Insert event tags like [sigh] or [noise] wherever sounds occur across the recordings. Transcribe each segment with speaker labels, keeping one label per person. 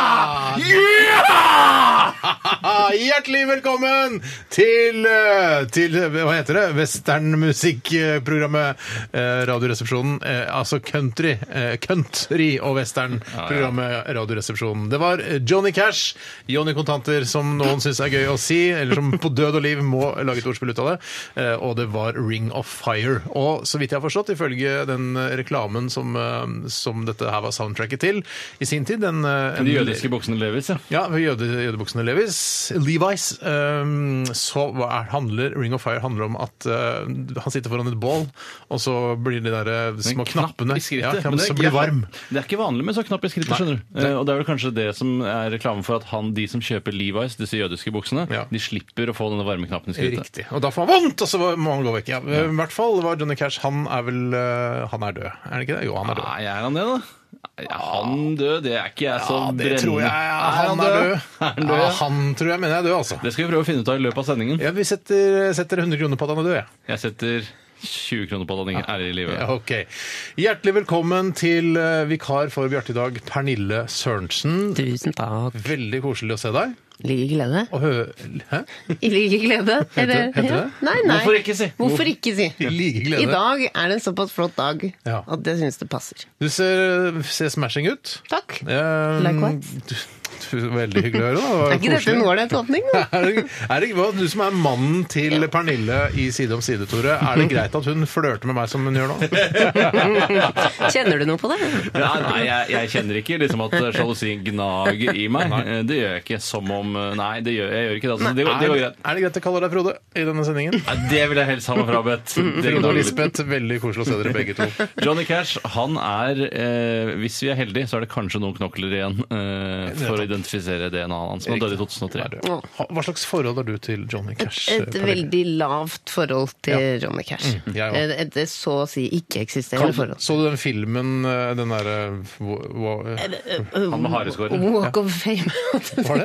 Speaker 1: Ah, [laughs] Hjertelig velkommen til, eh, til eh, hva heter det, westernmusikkprogrammet eh, Radioresepsjonen. Eh, altså country, eh, country og westernprogrammet Radioresepsjonen. Det var Johnny Cash, Johnny Kontanter, som noen syns er gøy å si, eller som på død og liv må lage et ordspill ut av det. Eh, og det var Ring of Fire. Og så vidt jeg har forstått, ifølge den eh, reklamen som, eh, som dette her var soundtracket til i sin tid den, eh,
Speaker 2: De jødiske buksene Levis, ja.
Speaker 1: ja, ved jøde, jødebuksene Levis, Levi's, ehm, så hva er, handler Ring of Fire handler om at eh, han sitter foran et bål, og så blir de der eh, små knappene
Speaker 2: i skrittet.
Speaker 1: ja,
Speaker 2: Men
Speaker 1: knapp,
Speaker 2: det er
Speaker 1: så blir
Speaker 2: ikke-
Speaker 1: varm.
Speaker 2: Det er ikke vanlig med så knapp i skrittet, skjønner du. Eh, Og det er vel kanskje det som er reklame for at han, de som kjøper Levi's, disse jødiske buksene,
Speaker 1: Ja.
Speaker 2: de slipper å få denne varmeknappen i skrittet.
Speaker 1: Riktig. Og da får han vondt, og så må han gå vekk. Ja. eh, I hvert fall var Johnny Cash Han er vel eh, Han er død, er han ikke det? Jo, han er død.
Speaker 2: Nei, er han det, da? Nei, Er han død? Det er ikke jeg så
Speaker 1: Ah, Ja, det
Speaker 2: brennende.
Speaker 1: tror jeg. ja, Han er død.
Speaker 2: [laughs] Er han død?
Speaker 1: Ja,
Speaker 2: ja?
Speaker 1: han tror jeg mener jeg er død, altså.
Speaker 2: Det skal vi prøve å finne ut av i løpet av sendingen.
Speaker 1: Ja, vi setter, setter 100 kroner på at han er død, jeg. Ja.
Speaker 2: Jeg setter 20 kroner på at han ikke er i live.
Speaker 1: Ja, Ok. Hjertelig velkommen til eh, vikar for Bjarte i dag, Pernille Sørensen.
Speaker 3: Tusen takk.
Speaker 1: Veldig koselig å se deg.
Speaker 3: I like glede.
Speaker 1: Og hø... Hæ?
Speaker 3: I like glede.
Speaker 1: [laughs] Heter-
Speaker 3: Eller-
Speaker 1: heter det?
Speaker 3: Ja. Nei, nei.
Speaker 2: Hvorfor ikke si?
Speaker 3: Hvorfor ikke si?
Speaker 1: I like glede.
Speaker 3: I dag er det en såpass flott dag
Speaker 1: Ja.
Speaker 3: at jeg syns det passer.
Speaker 1: Du ser, ser smashing ut.
Speaker 3: Takk.
Speaker 1: Eh,
Speaker 3: Likewise.
Speaker 1: du- du- Veldig hyggelig å høre. da.
Speaker 3: Er ikke dette en
Speaker 1: Koselig.
Speaker 3: ålreit åpning? da?
Speaker 1: [laughs] Er det, er det, hva- du som er mannen til Pernille i Side om side, Tore. Er det greit at hun flørter med meg som hun gjør nå?
Speaker 3: Kjenner du noe på det?
Speaker 2: Nei, nei jeg, jeg kjenner ikke liksom at sjalusien gnager i meg. Eh, Det gjør jeg ikke som om eh, Nei, det gjør, jeg gjør ikke det. Altså. Det, går, det går greit.
Speaker 1: Er det greit jeg kaller deg Frode i denne sendingen?
Speaker 2: Nei, det vil jeg helst ha meg frabedt. Det
Speaker 1: Frode og
Speaker 2: gnager litt.
Speaker 1: Lisbeth, veldig koselig å se dere begge to.
Speaker 2: Johnny Cash, han er eh, Hvis vi er heldige, så er det kanskje noen knokler igjen eh, for å identifisere DNA-et hans. Men han døde i 2003.
Speaker 1: Hva hva slags forhold har du til Johnny Cash?
Speaker 3: Et
Speaker 1: Pernille?
Speaker 3: veldig lavt forhold til Johnny Cash.
Speaker 1: Mm, jeg
Speaker 3: Et,
Speaker 1: også.
Speaker 3: et så å si ikke-eksisterende forhold.
Speaker 1: Så du den filmen, eh, den derre hva- hva-
Speaker 2: Han med hareskår.
Speaker 3: Walk of fame.
Speaker 1: Var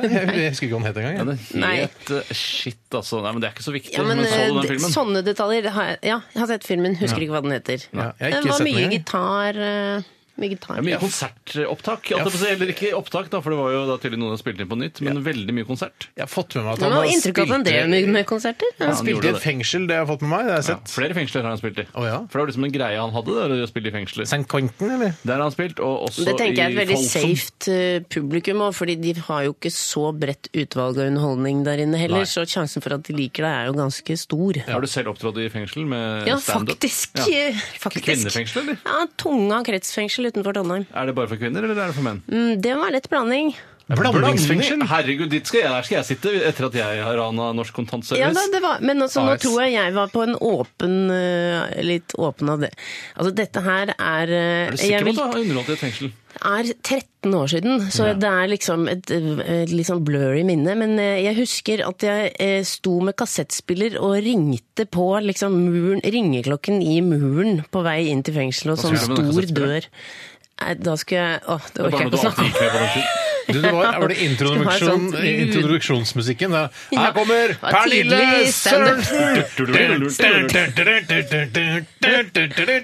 Speaker 3: [laughs]
Speaker 1: det? Jeg jeg husker ikke hva den het engang. jeg.
Speaker 2: Ja, det
Speaker 3: Nei.
Speaker 2: het eh, shit, altså. Nei, men det er ikke så viktig.
Speaker 3: Ja, men,
Speaker 2: men, så du
Speaker 3: eh,
Speaker 2: den filmen?
Speaker 3: sånne detaljer det har jeg, Ja, jeg har sett filmen, husker ikke hva den heter.
Speaker 1: Ja, jeg har ikke
Speaker 3: det var
Speaker 1: sett den
Speaker 3: mye
Speaker 1: engang.
Speaker 3: gitar. eh, Mye gitar.
Speaker 2: Det er mye konsertopptak. holdt jeg på å si. Eller ikke opptak, da, for det var jo da tydelig noen som spilte inn på nytt, men veldig mye konsert.
Speaker 1: Jeg har fått med meg at
Speaker 3: Man
Speaker 1: han
Speaker 3: har
Speaker 1: har
Speaker 3: inntrykk av at han
Speaker 1: spilt
Speaker 3: drev
Speaker 1: i-
Speaker 3: med, med konserter. Ja.
Speaker 1: Han spilte i
Speaker 2: gjorde
Speaker 1: et fengsel, det har jeg fått med meg. Det har jeg
Speaker 2: Ja,
Speaker 1: sett.
Speaker 2: flere fengsler har han spilt i.
Speaker 1: Å, ja.
Speaker 2: For det var liksom en greie han hadde, der, å spille i fengsler.
Speaker 1: St. Quentin, eller?
Speaker 2: Der har han spilt, og også
Speaker 3: Det tenker jeg er et
Speaker 2: i
Speaker 3: veldig
Speaker 2: Folsom.
Speaker 3: safe eh, publikum òg, fordi de har jo ikke så bredt utvalg av underholdning der inne
Speaker 2: Nei.
Speaker 3: heller, så sjansen for at de liker deg er jo ganske stor. Ja,
Speaker 2: Har du selv opptrådt i fengsel med standup?
Speaker 3: faktisk.
Speaker 2: Ja.
Speaker 3: eh, faktisk.
Speaker 2: Kvinnefengsel, eller?
Speaker 3: Ja, Tunga kretsfengsel utenfor Trondheim.
Speaker 2: Er det bare for kvinner, eller er det for menn?
Speaker 3: Mm, Det var lett blanding.
Speaker 1: Blandingsfengsel?
Speaker 2: Herregud, dit skal jeg, der skal jeg sitte etter at jeg har rana Norsk Kontantservice.
Speaker 3: Ja, da, det var, men altså, nå
Speaker 2: AS.
Speaker 3: tror jeg jeg var på en åpen eh, Litt åpen av det. Altså, dette her er eh,
Speaker 2: er du
Speaker 3: jeg
Speaker 2: sikker på
Speaker 3: vil-
Speaker 2: at du har underholdt i et fengsel?
Speaker 3: er 13 år siden, så det er liksom et, eh, et litt sånn blurry minne. Men eh, jeg husker at jeg eh, sto med kassettspiller og ringte på liksom muren, ringeklokken i muren på vei inn til fengselet, og sånn
Speaker 2: skulle du med den
Speaker 3: stor
Speaker 2: kassettspilleren?
Speaker 3: dør. Nei, Da skulle jeg Åh, det
Speaker 2: Det er
Speaker 3: orker
Speaker 2: bare
Speaker 3: jeg
Speaker 2: noe du
Speaker 3: ikke å snakke
Speaker 2: alltid gikk med
Speaker 3: om. [laughs]
Speaker 2: på den tiden.
Speaker 1: Du, det var, var det introduksjon,
Speaker 3: Det var et sånt lyd.
Speaker 1: introduksjonsmusikken? da? Her
Speaker 3: Ja.
Speaker 1: kommer
Speaker 3: Det var
Speaker 1: Pernille
Speaker 3: tidlig standup. Det
Speaker 1: [laughs]
Speaker 3: var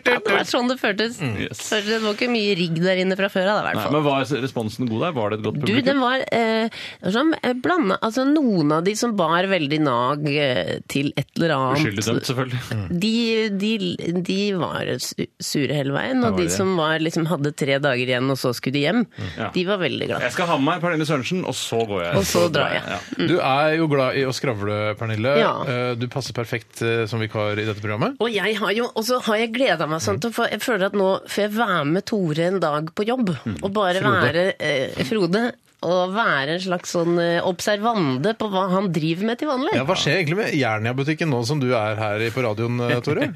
Speaker 1: Sørensen!
Speaker 3: sånn det føltes.
Speaker 2: Mm. Yes.
Speaker 3: Føltes- Det var ikke mye rigg der inne fra før av, i hvert
Speaker 2: Nei,
Speaker 3: fall.
Speaker 2: men Var responsen god der? Var det et godt
Speaker 3: Du,
Speaker 2: publikum?
Speaker 3: den var eh, det var sånn, eh, blanda Altså, noen av de som bar veldig nag eh, til et eller annet
Speaker 2: Uskyldig dømt,
Speaker 3: [laughs]
Speaker 2: selvfølgelig.
Speaker 3: De, de, de var su- sure hele veien, og
Speaker 2: var
Speaker 3: de
Speaker 2: det.
Speaker 3: som var, liksom, hadde tre dager igjen og så skulle de hjem,
Speaker 2: Ja.
Speaker 3: de var veldig glade.
Speaker 2: Jeg skal ha med meg Pernille Sørensen, og så går jeg.
Speaker 3: Og så drar jeg.
Speaker 2: Ja.
Speaker 1: Du er jo glad i å skravle, Pernille.
Speaker 3: Mm. Ja.
Speaker 1: Eh, Du passer perfekt eh, som vikar i dette programmet.
Speaker 3: Og jeg har jo, og så har jeg gleda meg sånn til å få Jeg
Speaker 2: Mm.
Speaker 3: føler at nå får jeg være med Tore en dag på jobb. Og bare være eh, Frode å være en slags sånn eh, observande på hva han driver med til vanlig.
Speaker 1: Ja, hva skjer egentlig med Jernia-butikken nå som du er her i- på radioen, eh, Tore?
Speaker 2: [laughs] Ja,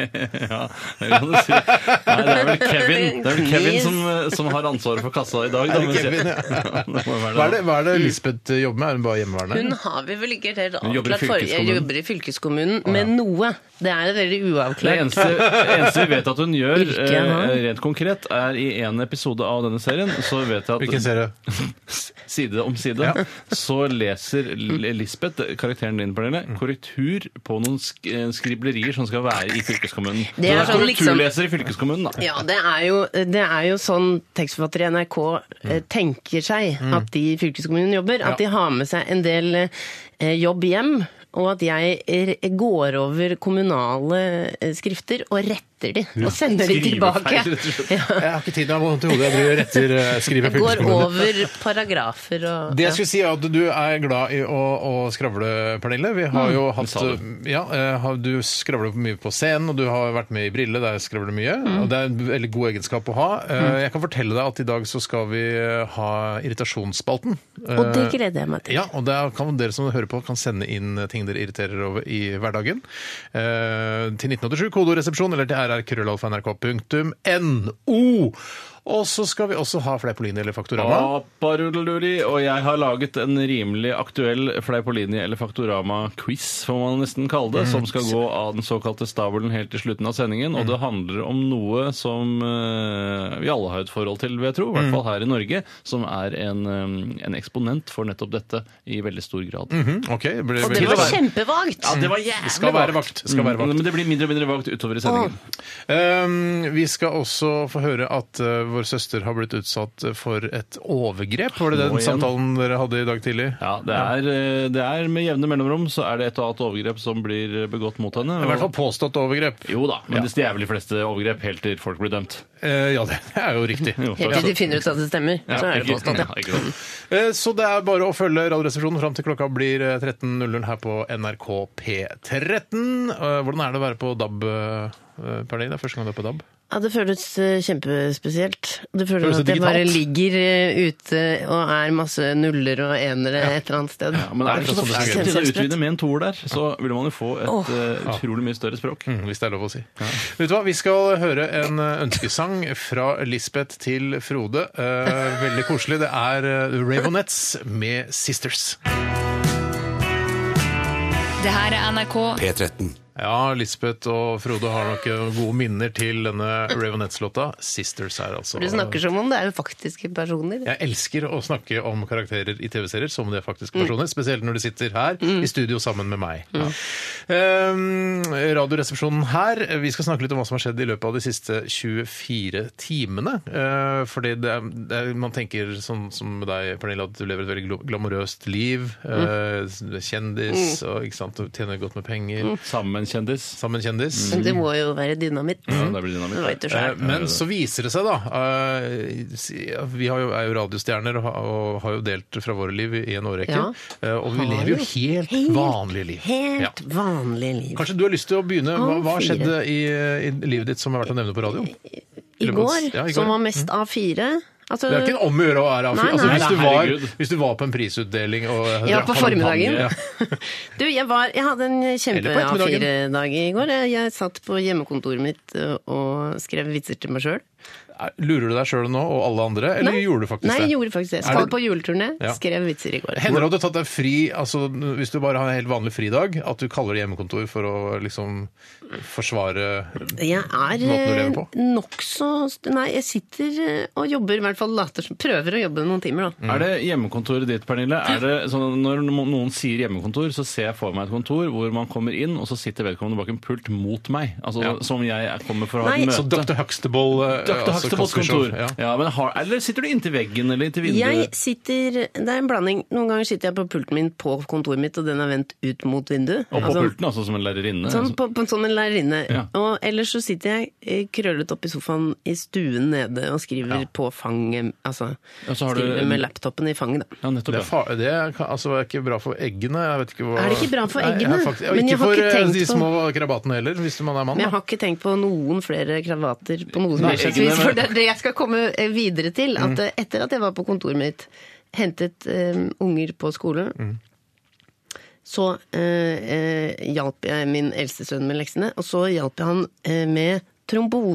Speaker 2: det kan du si. Nei, det er vel Kevin, det er vel Kevin som, eh, som har ansvaret for kassa i dag. Da,
Speaker 1: Er det
Speaker 2: men- [laughs]
Speaker 1: Kevin, ja?
Speaker 2: det må jo være
Speaker 1: Hva er det, hva er det Lisbeth eh, jobber med? Er hun bare hjemmeværende?
Speaker 3: Hun har vi vel ikke helt
Speaker 2: Hun jobber i
Speaker 3: avklart for jeg
Speaker 2: fylkeskommunen.
Speaker 3: jobber i fylkeskommunen med noe. Det er et veldig
Speaker 2: Det
Speaker 3: uavklart.
Speaker 2: eneste, det eneste vi vet at hun gjør,
Speaker 3: Ikke, ja.
Speaker 2: eh, rent konkret, er i en episode av denne serien, så vet jeg at
Speaker 1: Hvilken serie?
Speaker 3: [laughs]
Speaker 2: side om side, så leser L- Lisbeth, karakteren din, Pernille,
Speaker 1: Mm.
Speaker 2: korrektur på noen sk eh, skriblerier som skal være i fylkeskommunen.
Speaker 3: Det er
Speaker 2: Så
Speaker 3: sånn liksom-
Speaker 2: korrekturleser i fylkeskommunen, [laughs] da.
Speaker 3: Ja, det er, jo, det er jo sånn tekstforfattere i NRK eh, tenker seg at de i fylkeskommunen jobber. At de har med seg en del eh, jobb hjem, og at jeg er, går over kommunale eh, skrifter og retter de. Og sender de tilbake.
Speaker 2: Skrivefeil, rett og
Speaker 3: [laughs]
Speaker 2: slett.
Speaker 1: Jeg har ikke tid, jeg har vondt i hodet. Jeg driver og retter eh, skriver
Speaker 3: Jeg går
Speaker 1: fylkeskommunen.
Speaker 3: over paragrafer og
Speaker 1: Det jeg skulle si er at du er glad i å, å skravle, Pernille. Vi har
Speaker 3: Mm,
Speaker 1: jo hatt
Speaker 2: sa det.
Speaker 1: ja, eh, har- Du skravler mye på scenen, og du har vært med i Brille, der skravler du mye.
Speaker 3: Mm.
Speaker 1: Og det er en veldig god egenskap å ha. Eh, Jeg kan fortelle deg at i dag så skal vi eh, ha Irritasjonsspalten.
Speaker 3: ja. Og det
Speaker 1: Eh,
Speaker 3: gleder jeg meg til.
Speaker 1: Ja, og der kan dere som hører på kan sende inn eh, ting dere irriterer over i hverdagen. Eh, til 1987, kodoresepsjon, eller til rrkrøllalfa.nrk.no. Og så skal vi også ha Fleipolini eller Faktorama.
Speaker 2: Aparuluri, og jeg har laget en rimelig aktuell Fleipolini eller Faktorama-quiz, får man nesten kalle
Speaker 1: Mm.
Speaker 2: det, som skal gå av den såkalte stabelen helt til slutten av sendingen. Og det handler om noe som eh, vi alle har et forhold til, vil jeg tro, i
Speaker 1: Mm.
Speaker 2: hvert fall her i Norge, som er en, eh, en eksponent for nettopp dette i veldig stor grad.
Speaker 1: Mm, Ok, det blir-
Speaker 3: Og det var kjempevagt!
Speaker 2: Ja, det var jævlig
Speaker 1: Mhm. skal være vagt. Det skal være vagt.
Speaker 2: Mm, Men det blir mindre og mindre vagt utover i sendingen.
Speaker 1: Um, vi skal også få høre at uh, vår søster har blitt utsatt for et overgrep. Var det
Speaker 2: Nå
Speaker 1: den
Speaker 2: igjen.
Speaker 1: samtalen dere hadde i dag tidlig?
Speaker 2: Ja, det er, eh, det er med jevne mellomrom så er det et og annet overgrep som blir begått mot henne.
Speaker 1: I hvert
Speaker 2: og-
Speaker 1: fall påstått overgrep.
Speaker 2: Jo da, men
Speaker 1: Ja.
Speaker 2: det det er vel de fleste overgrep helt til folk blir dømt.
Speaker 1: Eh, ja, det er jo riktig.
Speaker 2: Jo,
Speaker 3: Helt til de finner ut at det stemmer.
Speaker 2: Ja,
Speaker 3: Så er det
Speaker 2: ikke-
Speaker 3: påstått, ja.
Speaker 2: [laughs] ja, ikke sant.
Speaker 1: Eh, Så det er bare å følge Radioresepsjonen fram til klokka blir eh, 13.00 her på NRK P13. Eh, Hvordan er det å være på DAB, eh, Pernille? Det er første gang du er på DAB.
Speaker 3: Ja, det føles eh, kjempespesielt. Det føles,
Speaker 1: Føles det
Speaker 3: at jeg bare
Speaker 1: digitalt?
Speaker 3: ligger eh, ute og er masse nuller og enere et eller annet sted.
Speaker 2: Ja, men er det ikke
Speaker 1: sånn
Speaker 2: sånn
Speaker 1: det
Speaker 2: at
Speaker 1: fungerer?
Speaker 2: hvis du utvider med en toer der, så ville man jo få et
Speaker 3: Åh.
Speaker 2: eh, utrolig mye større språk.
Speaker 1: Mm, hvis det er lov å si. Vet du hva, Vi skal høre en eh, ønskesang fra Lisbeth til Frode. Eh, veldig koselig. Det er eh, Raveonettes med 'Sisters'.
Speaker 4: Det her er NRK.
Speaker 5: P13.
Speaker 1: Ja, Lisbeth og Frode har nok eh, gode minner til denne Raveonettes-låta. 'Sisters' er altså
Speaker 3: Du snakker som om det er jo faktiske personer.
Speaker 1: Jeg elsker å snakke om karakterer i TV-serier som de er faktiske personer, spesielt når de sitter her i studio sammen med meg. Ja. Ehm, radioresepsjonen her, vi skal snakke litt om hva som har skjedd i løpet av de siste 24 timene. Eh, fordi det er, det er, man tenker sånn som med deg, Pernille, at du lever et veldig glo- glamorøst liv. eh, du er kjendis, og ikke sant, du tjener godt med penger.
Speaker 2: Sammen med en kjendis.
Speaker 1: Sammen kjendis.
Speaker 3: Men det må jo være dynamitt.
Speaker 2: Ja, det blir
Speaker 3: Du
Speaker 2: dynamitt.
Speaker 3: vet jo
Speaker 1: Eh,
Speaker 3: selv.
Speaker 1: Men så viser det seg, da eh, si- ja, Vi har jo, er jo radiostjerner og har- og har jo delt fra våre liv i en årrekke.
Speaker 3: Ja.
Speaker 1: eh, Og vi lever jo helt, vanlige liv. Ja.
Speaker 3: Helt vanlig liv.
Speaker 1: Kanskje du har lyst til å begynne? Hva,
Speaker 3: fire.
Speaker 1: hva
Speaker 3: Eh,
Speaker 1: skjedde i, i livet ditt som er verdt å nevne på radio?
Speaker 3: I
Speaker 1: Eller
Speaker 3: går,
Speaker 1: mens- ja, i går. Mm.
Speaker 3: som var mest A4 altså,
Speaker 1: Det er ikke en om å gjøre å være av
Speaker 3: Nei,
Speaker 1: altså,
Speaker 3: nei.
Speaker 2: Nei,
Speaker 1: hvis, du var,
Speaker 2: herregud.
Speaker 1: hvis du var på en prisutdeling og
Speaker 3: Ja,
Speaker 1: drakk
Speaker 3: på
Speaker 1: champagne.
Speaker 3: formiddagen.
Speaker 1: Ja.
Speaker 3: [laughs] Du, jeg, var, jeg hadde en
Speaker 1: Eller på ettermiddagen.
Speaker 3: kjempe-A4-dag i går. Jeg- Jeg satt på hjemmekontoret mitt ø, og skrev vitser til meg sjøl.
Speaker 1: Lurer du deg sjøl nå og alle andre, eller gjorde du faktisk
Speaker 3: Nei,
Speaker 1: det?
Speaker 3: jeg gjorde faktisk det.
Speaker 1: Er
Speaker 3: Skal
Speaker 1: det-
Speaker 3: på juleturné,
Speaker 1: Ja.
Speaker 3: skrev vitser i går.
Speaker 1: Hender det at du har tatt deg fri, altså hvis du bare har en helt vanlig fridag, at du kaller det hjemmekontor for å liksom forsvare
Speaker 3: Jeg
Speaker 1: Måten du lever
Speaker 3: er eh,
Speaker 1: på?
Speaker 3: nokså Nei, jeg sitter eh, og jobber, i hvert fall later som Prøver å jobbe noen timer, da.
Speaker 2: Er det hjemmekontoret ditt, Pernille? Er det, sånn, når no- noen sier hjemmekontor, så ser jeg for meg et kontor hvor man kommer inn, og så sitter vedkommende bak en pult mot meg. Altså, Som jeg er- kommer for å ha
Speaker 3: Nei,
Speaker 2: et
Speaker 1: Så
Speaker 2: møte.
Speaker 1: Dr. Huxtable eh,
Speaker 2: Dr.
Speaker 1: altså
Speaker 2: Huxtables
Speaker 1: Cosby-show,
Speaker 2: kontor.
Speaker 1: Ja.
Speaker 2: Ja, men har, eller sitter du inntil veggen eller inntil
Speaker 3: Jeg
Speaker 2: vinduet?
Speaker 3: sitter Det er en blanding. Noen ganger sitter jeg på pulten min på kontoret mitt, og den er vendt ut mot vinduet.
Speaker 2: Og på
Speaker 3: Altså,
Speaker 2: pulten, altså som en lærerinne?
Speaker 3: Sånn, på, på, som en lærerinne.
Speaker 2: Ja.
Speaker 3: Og ellers så sitter jeg eh, krøllet opp i sofaen i stuen nede og skriver på fanget Altså
Speaker 2: Ja, så har du-
Speaker 3: skriver med laptopen i fanget, da.
Speaker 2: Ja, nettopp.
Speaker 1: Det,
Speaker 2: Ja.
Speaker 1: er fa det er, ka- altså, er ikke bra for eggene. Jeg vet ikke hva...
Speaker 3: Er det ikke bra for
Speaker 1: Nei, jeg
Speaker 3: eggene?
Speaker 1: har faktisk- og
Speaker 3: Men jeg har
Speaker 1: for
Speaker 3: ikke
Speaker 1: eh,
Speaker 3: tenkt
Speaker 1: de
Speaker 3: på-
Speaker 1: små krabatene heller, hvis man er mann.
Speaker 3: Men jeg
Speaker 1: da.
Speaker 3: har ikke tenkt på noen flere kravater på noe som
Speaker 2: Nei,
Speaker 3: helst
Speaker 2: ikke det,
Speaker 3: vis.
Speaker 2: men-
Speaker 3: For det er det jeg skal komme eh, videre til. At eh, etter at jeg var på kontoret mitt hentet eh, unger på skolen. Så eh, eh, hjalp jeg min eldste sønn med leksene, og så hjalp jeg han eh, med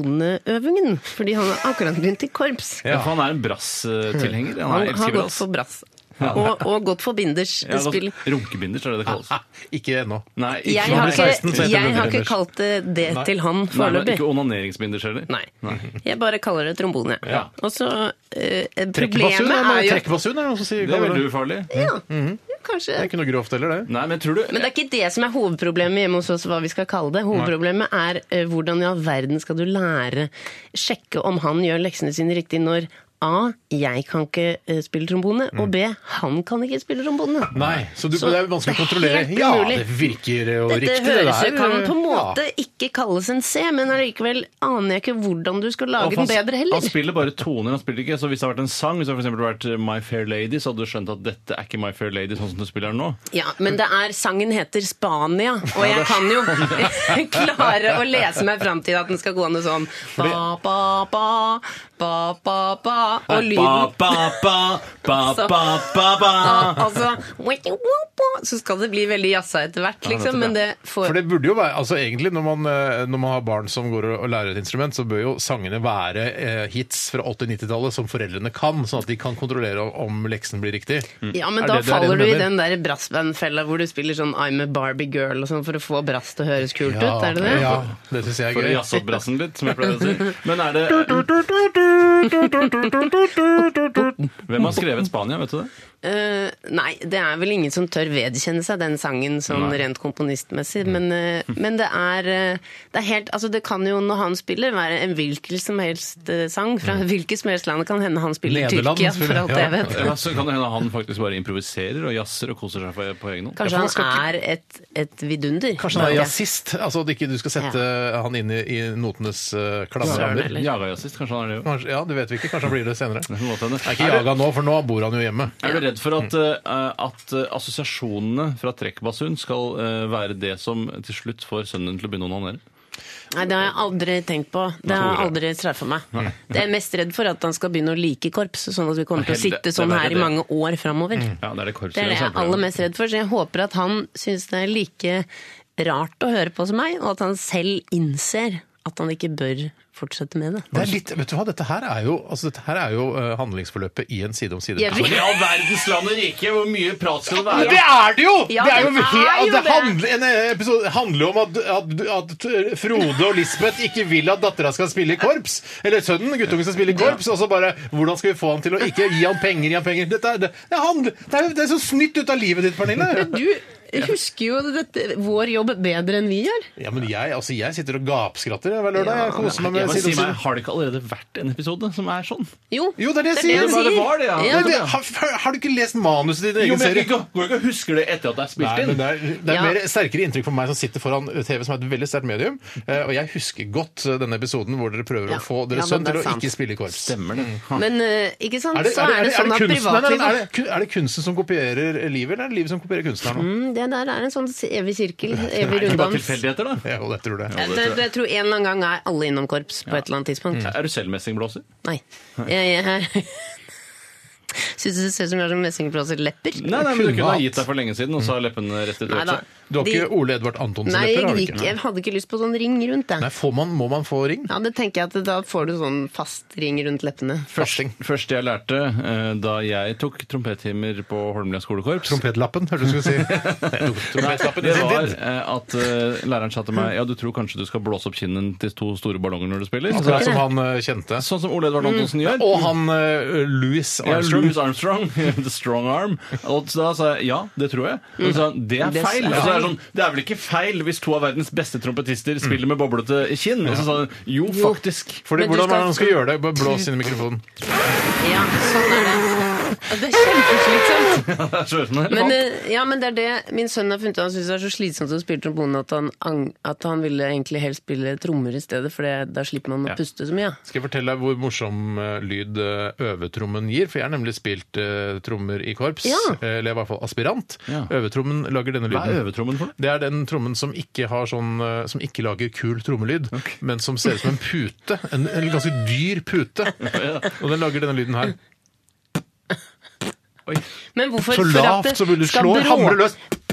Speaker 3: tromboneøvingen. Fordi han har akkurat begynt i korps.
Speaker 2: Ja. for han er en brass-tilhenger. Han,
Speaker 3: Han
Speaker 2: er
Speaker 3: har
Speaker 2: elsker
Speaker 3: gått
Speaker 2: brass.
Speaker 3: for brass. Og, og gått for binders.
Speaker 2: Ja, altså,
Speaker 3: spill.
Speaker 2: Runkebinders er det det
Speaker 1: [laughs]
Speaker 2: kalles.
Speaker 1: Ah, ikke ennå.
Speaker 2: Nei, ikke,
Speaker 3: Jeg
Speaker 1: når
Speaker 3: har
Speaker 1: han blir 16, så
Speaker 3: ikke,
Speaker 1: heter det
Speaker 3: jeg har ikke
Speaker 1: binders.
Speaker 3: kalt det det
Speaker 1: Nei.
Speaker 3: til han
Speaker 2: Nei, men
Speaker 3: foreløpig.
Speaker 2: ikke onaneringsbinders heller.
Speaker 3: Nei. Jeg bare kaller det trombone.
Speaker 2: Ja.
Speaker 3: Og så eh,
Speaker 1: Trekkebasun
Speaker 3: Problemet
Speaker 1: er,
Speaker 3: er jo
Speaker 1: trekkebasun, er det noen som sier.
Speaker 2: Det er
Speaker 1: kaller
Speaker 2: veldig
Speaker 1: det.
Speaker 2: ufarlig.
Speaker 3: ja, kanskje.
Speaker 1: Det er ikke noe grovt heller, det.
Speaker 2: Nei, men tror du
Speaker 3: Men det er ikke det som er hovedproblemet hjemme hos oss, hva vi skal kalle det. Hovedproblemet er eh, hvordan i all verden skal du lære sjekke om han gjør leksene sine riktig når A. Jeg kan ikke eh, spille trombone. Og B. Han kan ikke spille trombone.
Speaker 1: Mm. Nei, så, du,
Speaker 3: Så
Speaker 1: det er vanskelig å
Speaker 3: det er
Speaker 1: kontrollere.
Speaker 3: helt
Speaker 1: Ja,
Speaker 3: umulig.
Speaker 1: det virker jo
Speaker 3: Dette
Speaker 1: riktig, det
Speaker 3: høres
Speaker 1: der.
Speaker 3: jo kan på en
Speaker 1: Ja.
Speaker 3: måte ikke kalles en C, men allikevel aner jeg ikke hvordan du skal lage
Speaker 2: han,
Speaker 3: den bedre heller.
Speaker 2: han spiller bare toner, han spiller ikke. Så hvis det hadde vært en sang, hvis det hadde for eksempel vært My Fair Lady, så hadde du skjønt at dette er ikke My Fair Lady sånn som du spiller den nå.
Speaker 3: Ja, men det er, sangen heter Spania, og jeg kan jo [laughs] klare å lese meg fram til at den skal gående sånn ba, ba, ba, ba, ba, ba, og lyden [laughs] Så- Ah, Altså wah, wah, wah, Så skal det bli veldig jazza etter hvert, liksom, men det
Speaker 1: For
Speaker 3: får
Speaker 1: det burde jo være, altså egentlig Når man, eh, når man har barn som går og og lærer et instrument, så bør jo sangene være eh, hits fra 80-90-tallet som foreldrene kan, sånn at de kan kontrollere om leksen blir riktig.
Speaker 2: Mm.
Speaker 3: ja, men
Speaker 1: Er
Speaker 3: da
Speaker 1: det- det er det
Speaker 3: faller du i
Speaker 1: mener?
Speaker 3: den der brassbandfella hvor du spiller sånn I'm a Barbie girl og sånn for å få brass til å høres kult
Speaker 1: ja,
Speaker 3: ut, er det det?
Speaker 1: Ja, det syns jeg
Speaker 2: For å
Speaker 1: er gøy.
Speaker 2: jazze opp brassen litt, som jeg pleier å si. Men er
Speaker 3: [laughs]
Speaker 2: det Hvem har skrevet Spania, vet du det?
Speaker 3: Eh, nei, det er vel ingen som tør vedkjenne seg den sangen sånn
Speaker 2: Nei.
Speaker 3: rent komponistmessig.
Speaker 1: Mm.
Speaker 3: Men, eh, men det er eh, det er helt, altså det kan jo når han spiller være en hvilken som helst eh, sang fra hvilket som helst land. Det kan hende han spiller
Speaker 1: Mm. Nederland
Speaker 3: Tyrkia,
Speaker 1: spiller-
Speaker 3: for alt jeg
Speaker 1: ja.
Speaker 3: vet.
Speaker 2: Ja, så kan det hende han faktisk bare improviserer og jazzer og koser seg på, på egen hånd.
Speaker 3: Kanskje
Speaker 1: for han
Speaker 3: han
Speaker 1: skal ikke-
Speaker 3: er et, et vidunder.
Speaker 1: Kanskje han er
Speaker 3: Ja.
Speaker 1: jazzist? Altså at ikke du skal sette han inn i, i notenes uh,
Speaker 3: Søren,
Speaker 1: klasserammer?
Speaker 3: eller?
Speaker 2: Jaga-jazzist, kanskje han er det jo.
Speaker 1: Kanskje- Ja, det vet vi ikke. Kanskje han blir det senere.
Speaker 2: Det kan godt hende.
Speaker 1: Er ikke jaga nå, for nå bor han jo hjemme.
Speaker 2: Er du redd for at, eh, at eh, assosiasjonene fra trekkbasun skal eh, være det som til slutt får sønnen din til å begynne å onanere?
Speaker 3: Nei, det har jeg aldri tenkt på. Det har jeg aldri treffa meg. Jeg er mest redd for at han skal begynne å like korps, sånn at vi kommer til å
Speaker 2: Nei, det-
Speaker 3: sitte
Speaker 2: det
Speaker 3: sånn
Speaker 2: er
Speaker 3: her
Speaker 2: det.
Speaker 3: i mange år framover.
Speaker 1: Mm.
Speaker 2: Ja, det er det
Speaker 3: Det er det jeg er aller mest redd for, så jeg håper at han syns det er like rart å høre på som meg, og at han selv innser at han ikke bør fortsette med det.
Speaker 1: Det er litt, vet du hva, Dette her er jo, altså, dette her er jo eh, handlingsforløpet i en side om side.
Speaker 3: Jeg vil-
Speaker 2: Men i all verdens land og rike, hvor mye prat skal det
Speaker 1: Ja,
Speaker 2: være?
Speaker 1: Det er det jo!
Speaker 3: Ja,
Speaker 1: det er jo,
Speaker 3: den er
Speaker 1: he-
Speaker 3: jo
Speaker 1: det
Speaker 3: det.
Speaker 1: handler, en eh, episode handler jo om at, at, at Frode og Lisbeth ikke vil at dattera skal spille i korps. Eller sønnen, guttungen, skal spille i korps. Og så bare Hvordan skal vi få han til å ikke gi han penger, gi han penger? Dette er, det, det, handler, det, er, det er så snytt ut av livet ditt, Pernille.
Speaker 3: Du husker jo dette, vår jobb bedre enn vi gjør.
Speaker 1: Ja, men jeg, altså, jeg sitter og gapskratter hver lørdag. Jeg koser meg
Speaker 2: Jeg
Speaker 1: med
Speaker 2: bare
Speaker 1: side
Speaker 2: sier
Speaker 1: om
Speaker 2: meg,
Speaker 1: side.
Speaker 2: Har det ikke allerede vært en episode som er sånn?
Speaker 3: Jo,
Speaker 1: Jo, det er det jeg
Speaker 3: han
Speaker 1: sier.
Speaker 2: Det var det, ja.
Speaker 1: Nei,
Speaker 3: Ja.
Speaker 1: det, har, har du ikke lest manuset i din
Speaker 2: Jo,
Speaker 1: egen
Speaker 2: men jeg
Speaker 1: serie?
Speaker 2: går ikke- går ikke og husker det etter at det er
Speaker 1: Nei,
Speaker 2: spilt
Speaker 1: men
Speaker 2: inn.
Speaker 1: det er, det er
Speaker 3: Ja.
Speaker 1: mer sterkere inntrykk for meg som sitter foran TV, som er et veldig sterkt medium. Eh, Og jeg husker godt eh, denne episoden hvor dere prøver
Speaker 3: Ja.
Speaker 1: å få
Speaker 3: Ja, men
Speaker 1: deres sønn
Speaker 3: det er
Speaker 1: til å
Speaker 3: sant.
Speaker 1: ikke spille i korps.
Speaker 2: Stemmer det.
Speaker 3: Men eh, ikke sant,
Speaker 1: Er det,
Speaker 3: så
Speaker 1: er, det,
Speaker 3: er det sånn at
Speaker 1: kunsten, er, det, er,
Speaker 3: privatlivet
Speaker 1: det, kun- er det kunsten som kopierer livet, eller er det livet som kopierer kunstneren?
Speaker 3: Mm, Det der er en sånn evig sirkel, evig
Speaker 2: Ikke bare
Speaker 3: runddans.
Speaker 2: tilfeldigheter, da.
Speaker 1: Ja, og det tror jeg.
Speaker 3: Jeg, jeg, jeg tror en eller annen gang er alle innom korps på et eller annet tidspunkt.
Speaker 2: Er du selv messingblåser?
Speaker 3: Nei. Jeg, [laughs] jeg syns det ser ut som jeg har sånn messingblåserlepper.
Speaker 2: Nei, nei, men du
Speaker 1: Kunne
Speaker 2: kunne ha
Speaker 1: hatt.
Speaker 2: gitt deg for lenge siden, og så har leppene rettet
Speaker 3: Nei
Speaker 2: ut
Speaker 3: da.
Speaker 2: seg.
Speaker 1: Du har
Speaker 3: De-
Speaker 1: ikke Ole Edvard Antonsen
Speaker 3: Nei,
Speaker 1: lepper? har du
Speaker 3: jeg,
Speaker 1: ikke?
Speaker 3: gikk, jeg hadde ikke lyst på sånn ring rundt det.
Speaker 1: Nei, får man, må man få ring?
Speaker 3: Ja, det tenker jeg at Da får du sånn fast ring rundt leppene.
Speaker 1: Fasting.
Speaker 2: Første jeg lærte eh, da jeg tok trompettimer på Holmlia skolekorps
Speaker 1: Trompetlappen, hørte du skulle
Speaker 3: [laughs]
Speaker 1: si. Jeg tok Trompetlappen i
Speaker 2: det var
Speaker 1: sin tid.
Speaker 2: eh, at eh, læreren sa til meg Ja, du tror kanskje du skal blåse opp kinnen til to store ballonger når du spiller? Så,
Speaker 1: Akkurat som han eh, kjente.
Speaker 2: sånn som Ole Edvard
Speaker 3: Mm.
Speaker 2: Antonsen gjør.
Speaker 1: Og han eh, Louis
Speaker 2: Ja,
Speaker 1: Armstrong.
Speaker 2: Louis Armstrong. [laughs] The strong arm. Og så da sa jeg ja, det tror jeg. Og så sa han det er
Speaker 3: Mm. Det er
Speaker 2: feil.
Speaker 3: feil.
Speaker 2: Og så er det, sånn, det er vel ikke feil hvis to av verdens beste trompetister
Speaker 1: Mm.
Speaker 2: spiller med boblete kinn? Og så sa han jo, faktisk.
Speaker 1: Fordi,
Speaker 3: Men du skal-
Speaker 1: hvordan er det han skal gjøre det? Bare blås inn i mikrofonen.
Speaker 3: Ja, sånn er det. Ja, Det er
Speaker 1: [laughs]
Speaker 3: kjempeslitsomt.
Speaker 2: Det er så rørende.
Speaker 3: Men, eh, ja, men det er det min sønn har funnet ut. Han syns det er så slitsomt å spille trombone at han, ang- at han ville egentlig helst spille trommer i stedet, for det, da slipper man å puste så mye.
Speaker 1: Skal jeg fortelle deg hvor morsom eh, lyd eh, øvetrommen gir? For jeg har nemlig spilt eh, trommer i korps, eh,
Speaker 3: Ja.
Speaker 1: eller i hvert fall aspirant.
Speaker 2: Ja.
Speaker 1: Øvetrommen lager denne
Speaker 3: eh,
Speaker 2: Hva er
Speaker 1: lyden.
Speaker 2: øvetrommen
Speaker 3: [laughs]
Speaker 2: for?
Speaker 1: Det er den trommen som ikke, har sånn, eh, som ikke lager kul trommelyd, men som ser ut som en pute. En, en ganske dyr pute. Og den lager denne lyden her.
Speaker 3: Men hvorfor,
Speaker 1: Så
Speaker 3: for at
Speaker 1: lavt
Speaker 3: det
Speaker 1: som du
Speaker 3: skal
Speaker 1: slår,
Speaker 3: brå-
Speaker 1: hamrer løs.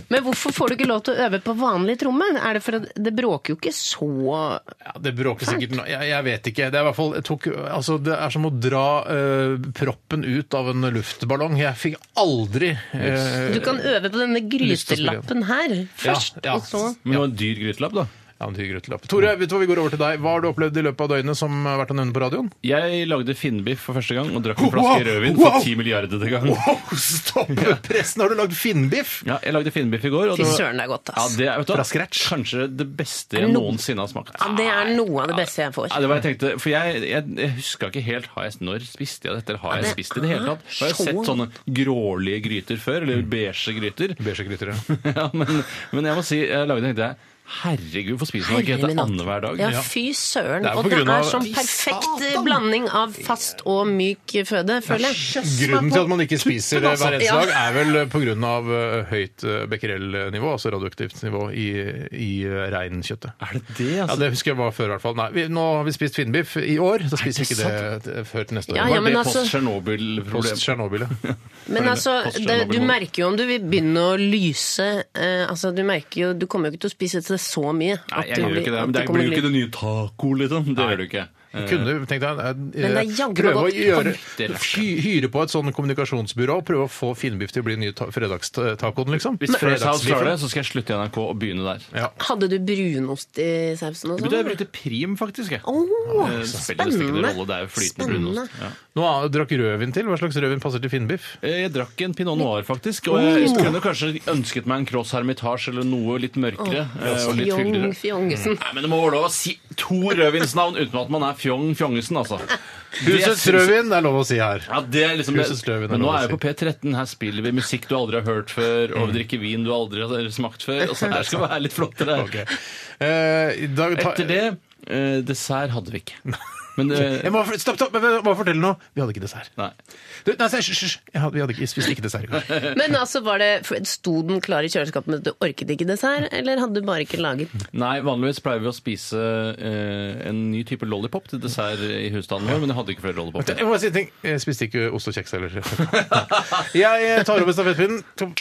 Speaker 3: Men hvorfor får du ikke lov til å øve på vanlig tromme? Er det for at det bråker jo ikke så
Speaker 1: Ja, det bråker sikkert nå. Jeg, jeg vet ikke. Det er, i hvert fall, jeg tok, altså, det er som å dra eh, proppen ut av en luftballong. Jeg fikk aldri eh,
Speaker 3: Du kan øve på denne
Speaker 1: lyst til å spille
Speaker 3: grytelappen her først,
Speaker 1: ja.
Speaker 3: og så
Speaker 2: Men det var en dyr grytelapp, da.
Speaker 1: ja, en dyr grøtelapp. Tore, vet du hva, vi går over til deg. Hva har du opplevd i løpet av døgnet som har vært å nevne på radioen?
Speaker 2: Jeg lagde finnbiff for første gang og drakk en
Speaker 1: Wow!
Speaker 2: flaske rødvin for
Speaker 1: Wow!
Speaker 2: ti milliardede gang.
Speaker 1: Wow, stopp pressen! Har du lagd finnbiff?
Speaker 2: Ja, jeg lagde finnbiff i går. og
Speaker 3: Fy
Speaker 2: det var-
Speaker 3: søren, det er godt,
Speaker 2: Ja,
Speaker 3: ass.
Speaker 2: det er vet du, hva,
Speaker 1: Fra scratch?
Speaker 2: kanskje det beste jeg
Speaker 3: No.
Speaker 2: noensinne har smakt.
Speaker 3: Ja, det er noe av det beste jeg får.
Speaker 2: Ja, det var jeg tenkte, for jeg, jeg, jeg huska ikke helt har jeg, når spiste jeg dette, eller har
Speaker 3: Ja,
Speaker 2: jeg
Speaker 3: det
Speaker 2: spist det i det hele tatt? For Jeg
Speaker 3: er
Speaker 2: har sett
Speaker 3: så-
Speaker 2: sånne grålige gryter før, eller
Speaker 1: Mm.
Speaker 2: beige gryter. [laughs]
Speaker 1: Beige gryter, ja.
Speaker 2: ja, men, men jeg må si, jeg lagde tenkte jeg, herregud, hvorfor spiser man ikke
Speaker 3: Herre min
Speaker 2: dette
Speaker 3: hatt.
Speaker 2: annenhver dag?
Speaker 3: Ja, fy søren.
Speaker 1: Det er jo
Speaker 3: Og
Speaker 1: på
Speaker 3: det
Speaker 1: grunn av-
Speaker 3: er sånn
Speaker 1: Fy
Speaker 3: perfekt
Speaker 1: satan.
Speaker 3: blanding av fast og myk føde, føler jeg.
Speaker 1: Grunnen til at man ikke spiser det hver eneste
Speaker 3: Ja.
Speaker 1: dag, er vel pga. høyt eh, becquerel-nivå, altså radioaktivt nivå, i, i eh, reinkjøttet.
Speaker 2: Er det det,
Speaker 1: Ja,
Speaker 2: altså?
Speaker 1: Det husker jeg var før, i hvert fall. Nei, vi, nå har vi spist finnbiff i år, så spiser vi
Speaker 2: det
Speaker 1: ikke det t- før til neste år.
Speaker 3: Ja,
Speaker 2: Var
Speaker 3: ja, men
Speaker 2: det
Speaker 3: altså-
Speaker 1: Post
Speaker 2: post-Tsjernobyl-problem?
Speaker 1: Tsjernobyl, ja.
Speaker 3: Men
Speaker 2: Føler
Speaker 3: altså,
Speaker 2: post-
Speaker 3: det, du
Speaker 2: Tsjernobyl-mode.
Speaker 3: merker jo om du vil begynne å lyse eh, altså, Du merker jo, du kommer jo ikke til å spise til så mye.
Speaker 2: Nei,
Speaker 3: at
Speaker 2: jeg
Speaker 3: du
Speaker 2: gjør jo
Speaker 3: blir-
Speaker 2: ikke det.
Speaker 3: at
Speaker 2: Men det
Speaker 3: kommer
Speaker 2: blir jo
Speaker 3: til å
Speaker 2: ikke det nye taco, liksom. Det gjør du ikke. Eh,
Speaker 1: Kunne du tenkt deg eh,
Speaker 3: Men det er jaggu
Speaker 1: prøve å
Speaker 3: godt.
Speaker 1: gjøre,
Speaker 2: Det er lurt.
Speaker 1: hy, hyre på et sånn kommunikasjonsbyrå, prøve å få finnbiff til å bli den nye ta- fredagstacoen, liksom?
Speaker 2: Hvis Fresh House
Speaker 1: Fredagsbiffen.
Speaker 2: klarer det, så skal jeg slutte i NRK og begynne der.
Speaker 1: Ja.
Speaker 3: Hadde du brunost i sausen og
Speaker 2: Vet du, jeg
Speaker 3: sånn?
Speaker 2: brukte prim, faktisk. Jeg.
Speaker 3: Åh,
Speaker 2: Eh, spiller nesten ikke noen
Speaker 3: spennende.
Speaker 2: rolle, det er jo flytende
Speaker 3: Spennende.
Speaker 2: brunost. Ja.
Speaker 1: Nå eh, drakk rødvin til. Hva slags rødvin passer til finnbiff?
Speaker 2: Eh, Jeg drakk en pinot noir, faktisk. Og jeg kunne kanskje ønsket meg en cross hermitage eller noe litt mørkere. eh, Og litt
Speaker 3: Fjong
Speaker 2: fyldigere.
Speaker 3: Fjongesen.
Speaker 2: Nei, men det må være lov å si to rødvinsnavn uten at man er Fjong Fjongesen,
Speaker 1: [laughs]
Speaker 2: altså. Det
Speaker 1: Husets
Speaker 2: syns-
Speaker 1: rødvin, det er lov å si her.
Speaker 2: Ja, det er liksom det.
Speaker 1: Husets rødvin er
Speaker 2: Men nå
Speaker 1: lov å
Speaker 2: er vi på
Speaker 1: si.
Speaker 2: P13. Her spiller vi musikk du aldri har hørt før, og vi drikker vin du aldri har smakt før. Altså, det skal være litt [laughs] flottere.
Speaker 1: Ok. Eh, i dag ta-
Speaker 2: Etter det eh, Dessert hadde vi ikke. Men eh,
Speaker 1: Jeg må, stopp, stopp, jeg må fortelle noe. Vi hadde ikke dessert.
Speaker 2: Nei.
Speaker 1: Du, nei, se, hysj, hysj. Jeg hadde- Vi hadde ikke, spiste ikke dessert. i går.
Speaker 3: Men altså, var det, for- sto den klar i kjøleskapet, men du orket ikke dessert? Eller hadde du bare ikke laget den?
Speaker 2: Nei, vanligvis pleier vi å spise eh, en ny type lollipop til dessert i husstanden vår, men jeg hadde ikke flere
Speaker 1: Vet du,
Speaker 2: lollipoper.
Speaker 1: Jeg må bare si en ting. Jeg spiste ikke ost og kjeks heller. [laughs] Jeg eh, tar over stafettpinnen. To-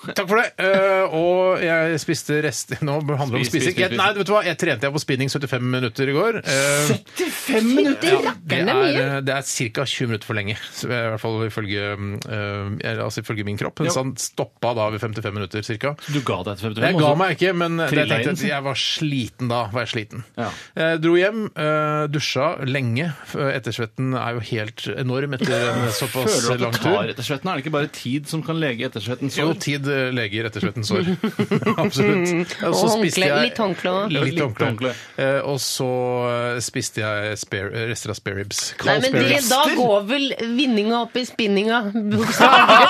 Speaker 1: Takk for det. Eh, og jeg spiste rester Nå handler det om
Speaker 2: Spis, spis,
Speaker 1: spising. Jeg,
Speaker 2: spis.
Speaker 1: nei, vet du hva? Jeg trente jeg på spinning 75 minutter i går. Eh, det
Speaker 3: Rakkerne mye.
Speaker 1: er, eh, det er ca. 20 minutter for lenge, så i hvert fall ifølge, eh, eller, altså, ifølge min kropp. Så han stoppa da ved 55 minutter ca.
Speaker 2: Du ga deg et 55?
Speaker 1: Jeg ga
Speaker 2: også?
Speaker 1: meg ikke, men jeg
Speaker 2: Trilla
Speaker 1: tenkte
Speaker 2: inn,
Speaker 1: at jeg var sliten da. var jeg sliten.
Speaker 2: Ja.
Speaker 1: Eh, dro hjem, eh, dusja lenge. f- Ettersvetten er jo helt enorm etter
Speaker 2: [laughs]
Speaker 1: en såpass
Speaker 2: Føler du
Speaker 1: lang
Speaker 2: at du tar
Speaker 1: tur.
Speaker 2: ettersvetten? Er det ikke bare tid som kan lege ettersvetten
Speaker 1: Jo,
Speaker 2: sår?
Speaker 1: tid eh, leger ettersvettens sår. [laughs] Absolutt. Og så
Speaker 3: Og
Speaker 1: spiste
Speaker 3: håndkle.
Speaker 1: jeg-
Speaker 3: Litt håndkle også.
Speaker 1: Litt
Speaker 2: Mm. Litt
Speaker 1: håndkle.
Speaker 2: håndkle.
Speaker 1: Eh, Og så eh, spiste jeg spare, eh, rester av spareribs.
Speaker 3: Nei, men det, da går vel vinninga opp i spinninga, bokstavelig.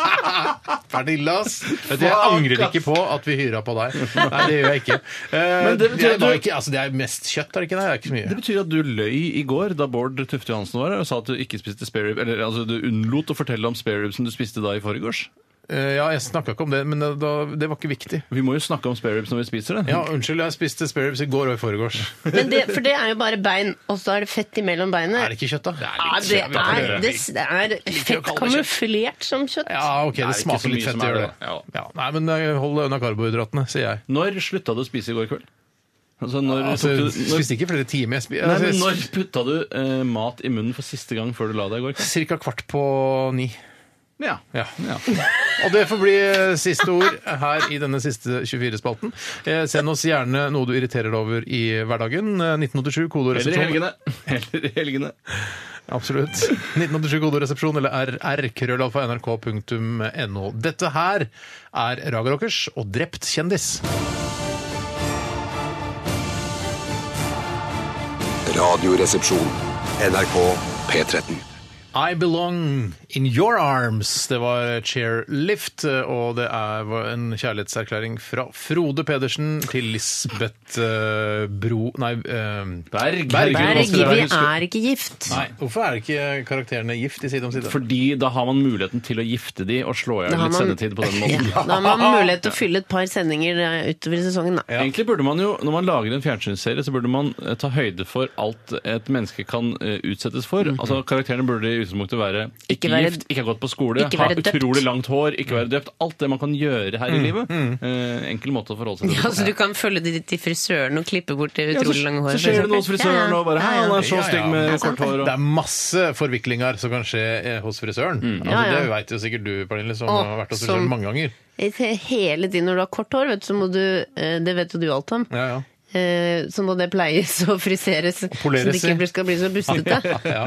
Speaker 2: [laughs]
Speaker 1: Ferdillas! Vet du, jeg angrer ikke på at vi hyra på deg. Nei, det gjør jeg ikke. Eh,
Speaker 2: [laughs] Men det betyr
Speaker 1: jeg
Speaker 2: at du-
Speaker 1: var ikke altså, det er mest kjøtt, er det ikke det? Det er ikke så mye.
Speaker 2: Det betyr at du løy i går da Bård Tufte Johansen var her og sa at du ikke spiste sparerib, eller altså du unnlot å fortelle om spareribsen du spiste da i forgårs.
Speaker 1: Eh, Ja, jeg snakka ikke om det, men det, da, det var ikke viktig.
Speaker 2: Vi må jo snakke om spareribs når vi spiser det.
Speaker 1: Ja, Unnskyld, jeg spiste spareribs i går og i forgårs.
Speaker 3: Men det, for det er jo bare bein, og så er det fett imellom beinet.
Speaker 1: Er det ikke kjøtt, da?
Speaker 3: Ja, det er, det, det er fett
Speaker 1: kalle det kjøtt.
Speaker 3: kamuflert som kjøtt.
Speaker 1: Ja, OK, det,
Speaker 2: ikke så mye
Speaker 1: smaker litt fett,
Speaker 2: som
Speaker 1: det
Speaker 2: er
Speaker 1: gjør
Speaker 2: det,
Speaker 1: det.
Speaker 2: da.
Speaker 1: Ja. Nei, men eh, hold deg unna karbohydratene, sier jeg.
Speaker 2: Når slutta du å spise i går kveld? Altså, når,
Speaker 1: Altså,
Speaker 2: tok du, når,
Speaker 1: spiste ikke flere timer. Jeg spi-
Speaker 2: nei,
Speaker 1: altså,
Speaker 2: men
Speaker 1: jeg
Speaker 2: når putta du eh, mat i munnen for siste gang før du la deg i går kveld?
Speaker 1: Cirka kvart på ni.
Speaker 2: Ja.
Speaker 1: Ja.
Speaker 2: Ja.
Speaker 1: Og det får bli eh, siste ord her i denne siste 24-spalten. Eh, Send oss gjerne noe du irriterer deg over i hverdagen. Eh, 1987, kode og
Speaker 2: Eller i
Speaker 1: resepsjon.
Speaker 2: helgene. Eller i helgene.
Speaker 1: Absolutt. 1987 koderesepsjon eller rr-krøllalfa.nrk.no. Dette her er Raga Rockers og Drept kjendis.
Speaker 5: Radioresepsjon. NRK P13.
Speaker 1: I belong in your arms. Det var Chairlift, og det er var en kjærlighetserklæring fra Frode Pedersen til Lisbeth eh, Bro... Nei. eh,
Speaker 2: Berg. Herregud,
Speaker 1: Berg.
Speaker 3: Berg,
Speaker 1: Berg.
Speaker 2: hva skal
Speaker 3: vi
Speaker 2: det være?
Speaker 3: er ikke gift.
Speaker 1: Nei, Hvorfor er ikke karakterene gift i Side om side?
Speaker 2: Fordi da har man muligheten til å gifte de og slå i
Speaker 3: Da
Speaker 2: hjel
Speaker 3: har
Speaker 2: litt
Speaker 3: man-
Speaker 2: sendetid på den måten.
Speaker 3: [laughs] Ja, da har man
Speaker 2: [laughs]
Speaker 3: mulighet til å fylle et par sendinger eh, utover i sesongen. Da.
Speaker 2: Egentlig burde man jo, Når man lager en fjernsynsserie, så burde man eh, ta høyde for alt et menneske kan eh, utsettes for. Altså Karakterene burde i utgangspunktet være
Speaker 3: Mhm. Ikke
Speaker 2: ikke,
Speaker 6: være-
Speaker 2: gift, ikke ha gått på skole,
Speaker 6: Ikke
Speaker 2: ha
Speaker 6: være døpt.
Speaker 2: utrolig langt hår, ikke være døpt. Alt det man kan gjøre her i livet. Eh, enkel måte å forholde seg til.
Speaker 3: Ja, så du kan følge de til frisøren og klippe bort det
Speaker 2: Ja, så,
Speaker 3: utrolig lange liksom.
Speaker 2: så
Speaker 3: håret?
Speaker 2: skjer det noe hos frisøren og bare Hei, han er så
Speaker 1: Ja, ja.
Speaker 2: stygg med
Speaker 1: Det
Speaker 2: kort hår.
Speaker 1: Det er masse forviklinger som kan skje eh, hos frisøren. Altså,
Speaker 6: Ja, ja.
Speaker 1: Det veit jo sikkert du, Pernille, som
Speaker 3: Og
Speaker 1: har vært hos
Speaker 3: som-
Speaker 1: frisøren mange ganger.
Speaker 3: Hele tiden når du har kort hår, vet du, så må du eh, Det vet jo du alt om.
Speaker 1: Ja, ja.
Speaker 3: Eh, Så må det pleies og friseres, så det
Speaker 1: poleres i.
Speaker 3: ikke blir- skal bli så bustete.
Speaker 1: [laughs] ja.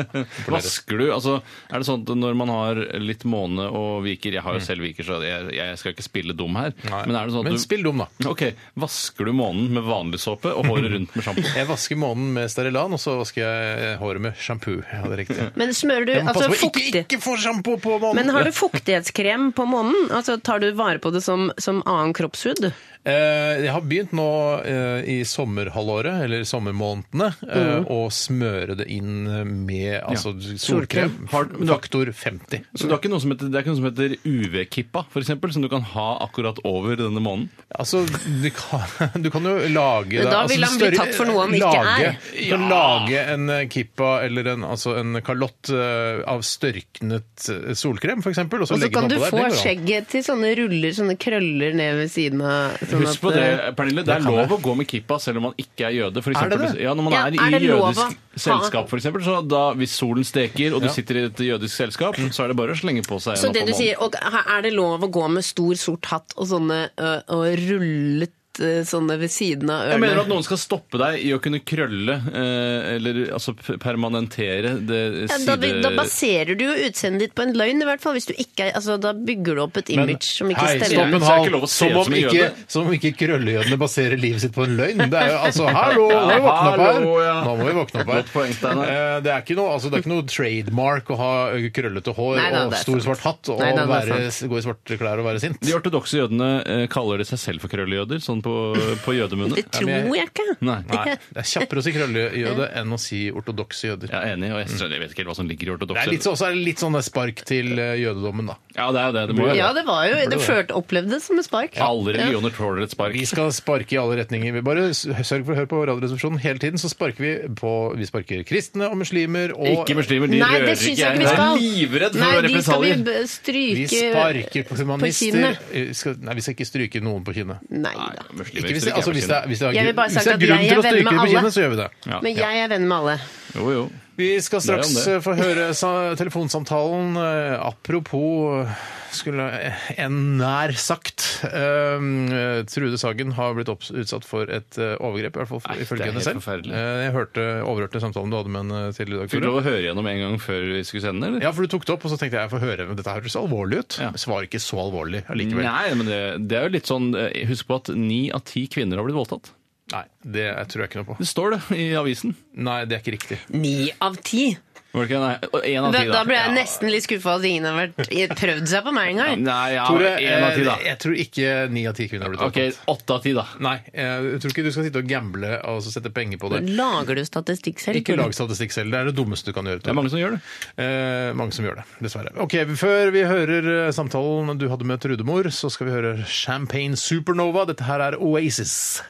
Speaker 2: Vasker du? Altså, er det sånn at når man har litt måne og viker Jeg har jo selv viker, så jeg, jeg skal ikke spille dum her.
Speaker 1: Nei.
Speaker 2: Mm. Men er det sånn at
Speaker 1: Men
Speaker 2: du
Speaker 1: spill dum, da.
Speaker 2: Ok, Vasker du månen med vanlig såpe og [laughs] håret rundt med sjampo?
Speaker 1: Jeg vasker månen med Sterilan, og så vasker jeg håret med sjampo. Ja, det er riktig.
Speaker 3: Men smører du
Speaker 1: Jeg må
Speaker 3: altså,
Speaker 1: passe på
Speaker 3: fuktig
Speaker 1: ikke, ikke få sjampo på månen!
Speaker 3: Men har du fuktighetskrem på månen? Altså, tar du vare på det som, som annen kroppshud?
Speaker 1: Eh, Jeg har begynt nå eh, i sommerhalvåret, eller sommermånedene, eh,
Speaker 3: Mm.
Speaker 1: å smøre det inn med altså, solkrem.
Speaker 2: Har- men du har-
Speaker 1: Faktor 50.
Speaker 2: Så du har ikke noe som heter, Det er ikke noe som heter UV-kippa, for eksempel, som du kan ha akkurat over denne månen?
Speaker 1: Altså, du kan, [laughs] du kan jo lage
Speaker 3: Men da
Speaker 1: altså,
Speaker 3: vil han bli tatt for noe han ikke
Speaker 1: lage,
Speaker 3: er.
Speaker 1: Du kan lage en eh, kippa eller en, altså en kalott eh, av størknet eh, solkrem, for eksempel, og så
Speaker 3: Og så
Speaker 1: legge
Speaker 3: kan
Speaker 1: den
Speaker 3: du få
Speaker 1: oppå der. Det går an.
Speaker 3: skjegget til sånne ruller, sånne krøller ned ved siden av. Sånn
Speaker 2: Husk på
Speaker 3: at, eh,
Speaker 2: det, Pernille. Det er
Speaker 1: kan
Speaker 2: lov
Speaker 1: jeg.
Speaker 2: å gå med kippa selv om man ikke er jøde. For
Speaker 1: Er det
Speaker 2: eksempel,
Speaker 1: det?
Speaker 2: Ja, når man
Speaker 3: Ja,
Speaker 2: er,
Speaker 3: er det
Speaker 2: i
Speaker 3: lov å
Speaker 2: jødisk
Speaker 3: ha-
Speaker 2: selskap, for eksempel, så da, hvis solen steker, og du
Speaker 1: Ja.
Speaker 2: sitter i et jødisk selskap, så er det bare å slenge på seg
Speaker 3: Så
Speaker 2: en
Speaker 3: det
Speaker 2: oppå
Speaker 3: du
Speaker 2: månen.
Speaker 3: sier, og her er det lov å gå med stor sort hatt og sånne ø, og rullet ø, sånne ved siden av
Speaker 2: Jeg mener at
Speaker 3: ørene?
Speaker 2: noen skal stoppe deg i å kunne krølle, eh, eller altså p- permanentere det
Speaker 3: Ja,
Speaker 2: side...
Speaker 3: da, vil- da baserer du jo utseendet ditt på en løgn, i hvert fall. Hvis du ikke er, altså, da bygger du opp et
Speaker 1: Men,
Speaker 3: image som ikke
Speaker 1: hei,
Speaker 3: stemmer.
Speaker 1: stopp en
Speaker 2: Så er det ikke
Speaker 1: hal.
Speaker 2: lov å se
Speaker 1: Som
Speaker 2: ut
Speaker 1: om
Speaker 2: som en
Speaker 1: ikke,
Speaker 2: jøde.
Speaker 1: som om ikke krøllejødene baserer livet sitt på en løgn. Det er jo altså Hallo, nå må vi våkne opp her!
Speaker 2: hallo, ja.
Speaker 1: Nå må vi våkne opp
Speaker 2: Godt poeng,
Speaker 1: her.
Speaker 2: Steinar.
Speaker 1: Eh, Det er ikke noe, altså, det er ikke noe trademark å ha krøllete hår
Speaker 3: Nei, da,
Speaker 1: og
Speaker 3: det er sant.
Speaker 1: stor svart hatt og
Speaker 3: Nei, da, det er
Speaker 1: være, gå i svarte klær og være sint.
Speaker 2: De ortodokse jødene eh, kaller de seg selv for krøllejøder, sånn på, på jødemunne.
Speaker 3: [laughs] Det tror
Speaker 1: men
Speaker 3: jeg ikke.
Speaker 2: Nei.
Speaker 1: Nei, det er kjappere å si krøllejøde enn å si ortodokse jøder.
Speaker 2: Jeg er enig, og jeg, skjønner- jeg vet ikke helt hva som ligger i
Speaker 1: Det
Speaker 2: ortodokse.
Speaker 1: er litt, så- også er det litt sånn der spark til eh, jødedommen, da.
Speaker 2: Ja, det er jo det. det må jo
Speaker 3: Ja,
Speaker 2: være.
Speaker 3: det var jo Det førte opplevde det som et spark.
Speaker 2: Alle religioner tåler et spark.
Speaker 1: Vi skal sparke i alle retninger. Vi bare s- sørg for å høre på Radioresepsjonen hele tiden, så sparker vi på Vi sparker kristne og muslimer og
Speaker 2: Ikke muslimer, de
Speaker 3: Nei, det
Speaker 2: rører ikke.
Speaker 3: syns jeg ikke vi
Speaker 2: Jeg er
Speaker 3: skal.
Speaker 2: livredd
Speaker 3: Nei,
Speaker 2: for
Speaker 3: de skal vi
Speaker 2: represalier.
Speaker 3: b-
Speaker 1: Vi
Speaker 3: stryke
Speaker 1: sparker på
Speaker 3: kinnet.
Speaker 1: humanister. Vi skal, nei, vi skal ikke stryke noen på kinnet.
Speaker 2: Nei,
Speaker 3: Nei da.
Speaker 2: muslimer
Speaker 1: Ikke hvis det,
Speaker 2: stryker jeg
Speaker 1: altså,
Speaker 2: på
Speaker 1: hvis det,
Speaker 2: kinnet.
Speaker 1: er- hvis det
Speaker 3: Jeg
Speaker 1: er,
Speaker 3: vil bare
Speaker 1: gru- hvis det
Speaker 3: sagt
Speaker 1: er
Speaker 3: at jeg
Speaker 1: grunn
Speaker 3: er
Speaker 1: til
Speaker 3: venn
Speaker 1: å stryke
Speaker 3: med
Speaker 1: dem på
Speaker 3: alle.
Speaker 1: kinnet, så gjør vi det.
Speaker 2: Ja.
Speaker 3: Men jeg er venn med alle.
Speaker 2: Jo, jo.
Speaker 1: Vi skal
Speaker 2: Det er om
Speaker 1: straks
Speaker 2: det.
Speaker 1: eh, få høre sa- telefonsamtalen. eh, Apropos eh, skulle eh, en nær sagt. Um, eh, Trude Sagen har blitt opps- utsatt for et eh, overgrep, i hvert fall
Speaker 2: Nei, det er
Speaker 1: ifølge henne
Speaker 2: helt
Speaker 1: selv.
Speaker 2: forferdelig.
Speaker 1: Eh, Jeg hørte, overhørte samtalen du hadde med henne tidligere i dag.
Speaker 2: Fikk du
Speaker 1: Tore.
Speaker 2: lov å høre gjennom en gang før vi skulle sende, eller?
Speaker 1: Ja, for du tok det opp, og så tenkte jeg jeg får høre, men dette høres alvorlig ut.
Speaker 2: Ja.
Speaker 1: Det var ikke så alvorlig allikevel.
Speaker 2: Nei, men det, det er jo litt sånn eh, Husk på at ni av ti kvinner har blitt voldtatt.
Speaker 1: Nei, det tror jeg ikke noe på.
Speaker 2: Det står det i avisen.
Speaker 1: Nei, det er ikke riktig.
Speaker 3: Ni av ti!
Speaker 2: Var det ikke? Nei, én av
Speaker 3: Da,
Speaker 2: ti, da.
Speaker 3: da ble jeg
Speaker 2: Ja.
Speaker 3: nesten litt skuffa at ingen har vært, prøvd seg på meg engang.
Speaker 2: Nei, ja,
Speaker 1: Tore,
Speaker 2: en av ti, da.
Speaker 1: eh, jeg tror ikke ni av ti kvinner har blitt
Speaker 2: Ok,
Speaker 1: voldtatt.
Speaker 2: åtte av ti, da.
Speaker 1: Nei, eh, jeg tror ikke du skal sitte og gamble og så sette penger på det.
Speaker 3: Lager du statistikk selv?
Speaker 1: Ikke lag statistikk selv. Det er det dummeste du kan gjøre.
Speaker 2: Det
Speaker 1: Tore.
Speaker 2: er mange som gjør det.
Speaker 1: eh, mange som gjør det, dessverre. Ok, Før vi hører eh, samtalen du hadde med Trudemor, så skal vi høre Champagne Supernova. Dette her er Oasis.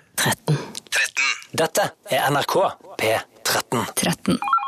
Speaker 7: Dette er NRK P13.
Speaker 8: 13.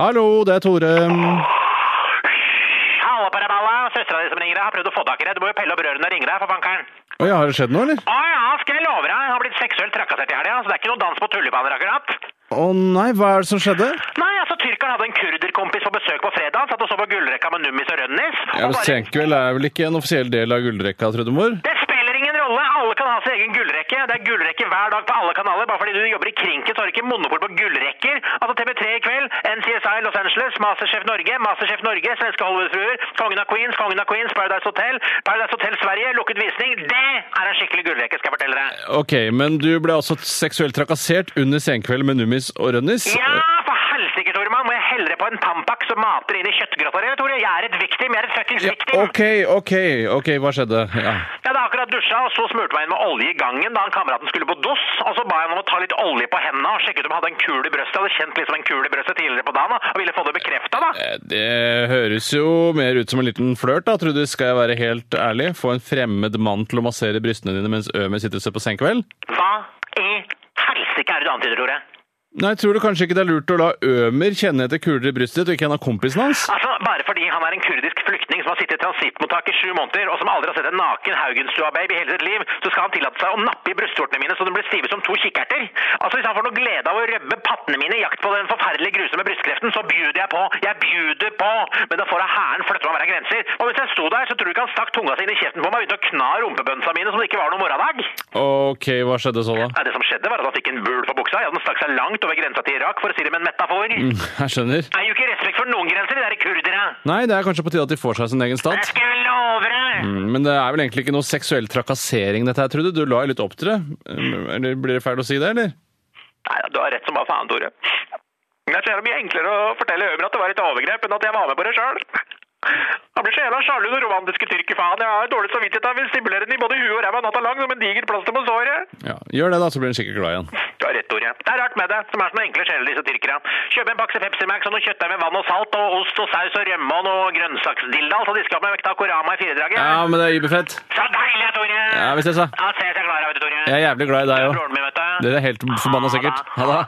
Speaker 1: Hallo, det er Tore.
Speaker 9: Halla, paraballa. Søstera di som ringer deg, har prøvd å få tak i deg. Du må jo pelle opp rørene og ringe deg, for bankeren.
Speaker 1: Oi, har det skjedd noe, eller?
Speaker 9: Å ja, skal jeg love deg. Jeg har blitt seksuelt trakassert i helga, så det er ikke noe dans på tulipaner akkurat.
Speaker 1: Å nei, hva er det som skjedde?
Speaker 9: Nei, altså, tyrkeren hadde en kurderkompis på besøk på fredag. Han Satt og så på gullrekka med Nummis og Rønnis.
Speaker 2: Ja,
Speaker 9: og
Speaker 2: men Senkveld er vel ikke en offisiell del av gullrekka, Trudemor?
Speaker 9: Det spiller ingen rolle. Alle kan ha sin egen gullrekke. Det er gullrekke hver dag på alle kanaler. Bare fordi du jobber i Krinken, så har du ikke monopol på gullrekker. Altså TV3 i kveld, NCSI Los Angeles, Masterchef Norge, Masterchef Norge, svenske Hollywood-fruer, Kongen av Queens, Kongen av Queens, Paradise Hotel, Paradise Hotel Sverige, lukket visning. Det er en skikkelig gullrekke, skal jeg fortelle deg.
Speaker 2: Ok, men du ble altså seksuelt trakassert under Senkveld med Nummis og Rønnis?
Speaker 9: Ja, for helsike, Toremann. Må jeg hellre på en Tampax som mater inn i kjøttgrotta di, Tore? Jeg er et victim. Jeg er et fuckings
Speaker 2: Ja,
Speaker 9: victim.
Speaker 2: OK, OK, ok, hva skjedde? Ja.
Speaker 9: Jeg hadde akkurat dusja, og så smurte meg inn med olje i gangen da han kameraten skulle på dos. Og så ba jeg ham om å ta litt olje på hendene og sjekke ut om han hadde en kul i brøstet. Jeg hadde kjent liksom en kul i brøstet tidligere på dagen da, og ville få det bekrefta, da.
Speaker 2: Eh, Det høres jo mer ut som en liten flørt, da, Trude. Skal jeg være helt ærlig? Få en fremmed mann til å massere brystene dine mens Ømer sitter og ser på Senkveld?
Speaker 9: Hva i helsike er det du antyder, Tore?
Speaker 2: Nei, Tror du kanskje ikke det er lurt å la Ømer kjenne etter kuler i brystet og ikke en av kompisene hans?
Speaker 9: Altså, Bare fordi han er en kurdisk flyktning som har sittet i transittmottak i sju måneder, og som aldri har sett en naken Haugenstua-baby i hele sitt liv, så skal han tillate seg å nappe i brystvortene mine så de blir stive som to kikkerter? Altså, Hvis han får noe glede av å rømme pattene mine i jakt på den forferdelige grusomme brystkreften, så bjuder jeg på! Jeg bjuder på! Men da får jeg hæren flytte meg hver grenser. Og hvis jeg sto der, så tror du ikke han stakk tunga si inn i kjeften på meg og begynte å kna rumpebønsa mine som det ikke var noen morgendag?
Speaker 2: Ok, hva skjedde så da? [laughs]
Speaker 9: Nei, Det som skjedde, var at han fikk en bul for buksa. Ja, den stakk seg langt over grensa til Irak, for å si det med en metafor.
Speaker 2: Jeg skjønner.
Speaker 9: Det er jo ikke respekt for noen grenser, de der kurdere.
Speaker 2: Nei, det er kanskje på tide at de får seg sin egen
Speaker 9: Jeg
Speaker 2: stat.
Speaker 9: skulle love deg!
Speaker 2: Mm, Men det er vel egentlig ikke noe seksuell trakassering dette her, Trude? Du la jo litt opp til det. Mm, Eller blir det feil å si det, eller?
Speaker 9: Nei, du har rett som bare faen, Tore. Men jeg tror det er mye enklere å fortelle Ømer at det var et overgrep, enn at jeg var med på det sjøl. Han blir så jævla sjalu, den romantiske tyrkerfaen. Jeg har dårlig samvittighet. Jeg vil stimulere den i både huet og ræva natta lang som en diger plaster på såret.
Speaker 2: Ja, Gjør det, da, så blir hun sikkert glad igjen.
Speaker 9: Du har rett, Tore. Det er rart med det, som er sånne enkle sjeler, disse tyrkerne. Kjøpe en bakse Pepsi Max og noe kjøttdeig med vann og salt og ost og saus og rømme og noe grønnsaksdilldall, så de skal med vekta korama i firedraget.
Speaker 2: Ja, men det er überfett.
Speaker 9: Så deilig, Tore!
Speaker 2: Ja, vi ses, da.
Speaker 9: Ja, ses jeg klarer, vet du, Tore.
Speaker 2: Jeg er jævlig glad i deg òg.
Speaker 9: Broren min, vet du.
Speaker 2: Dere er helt forbanna sikkert. Ha det.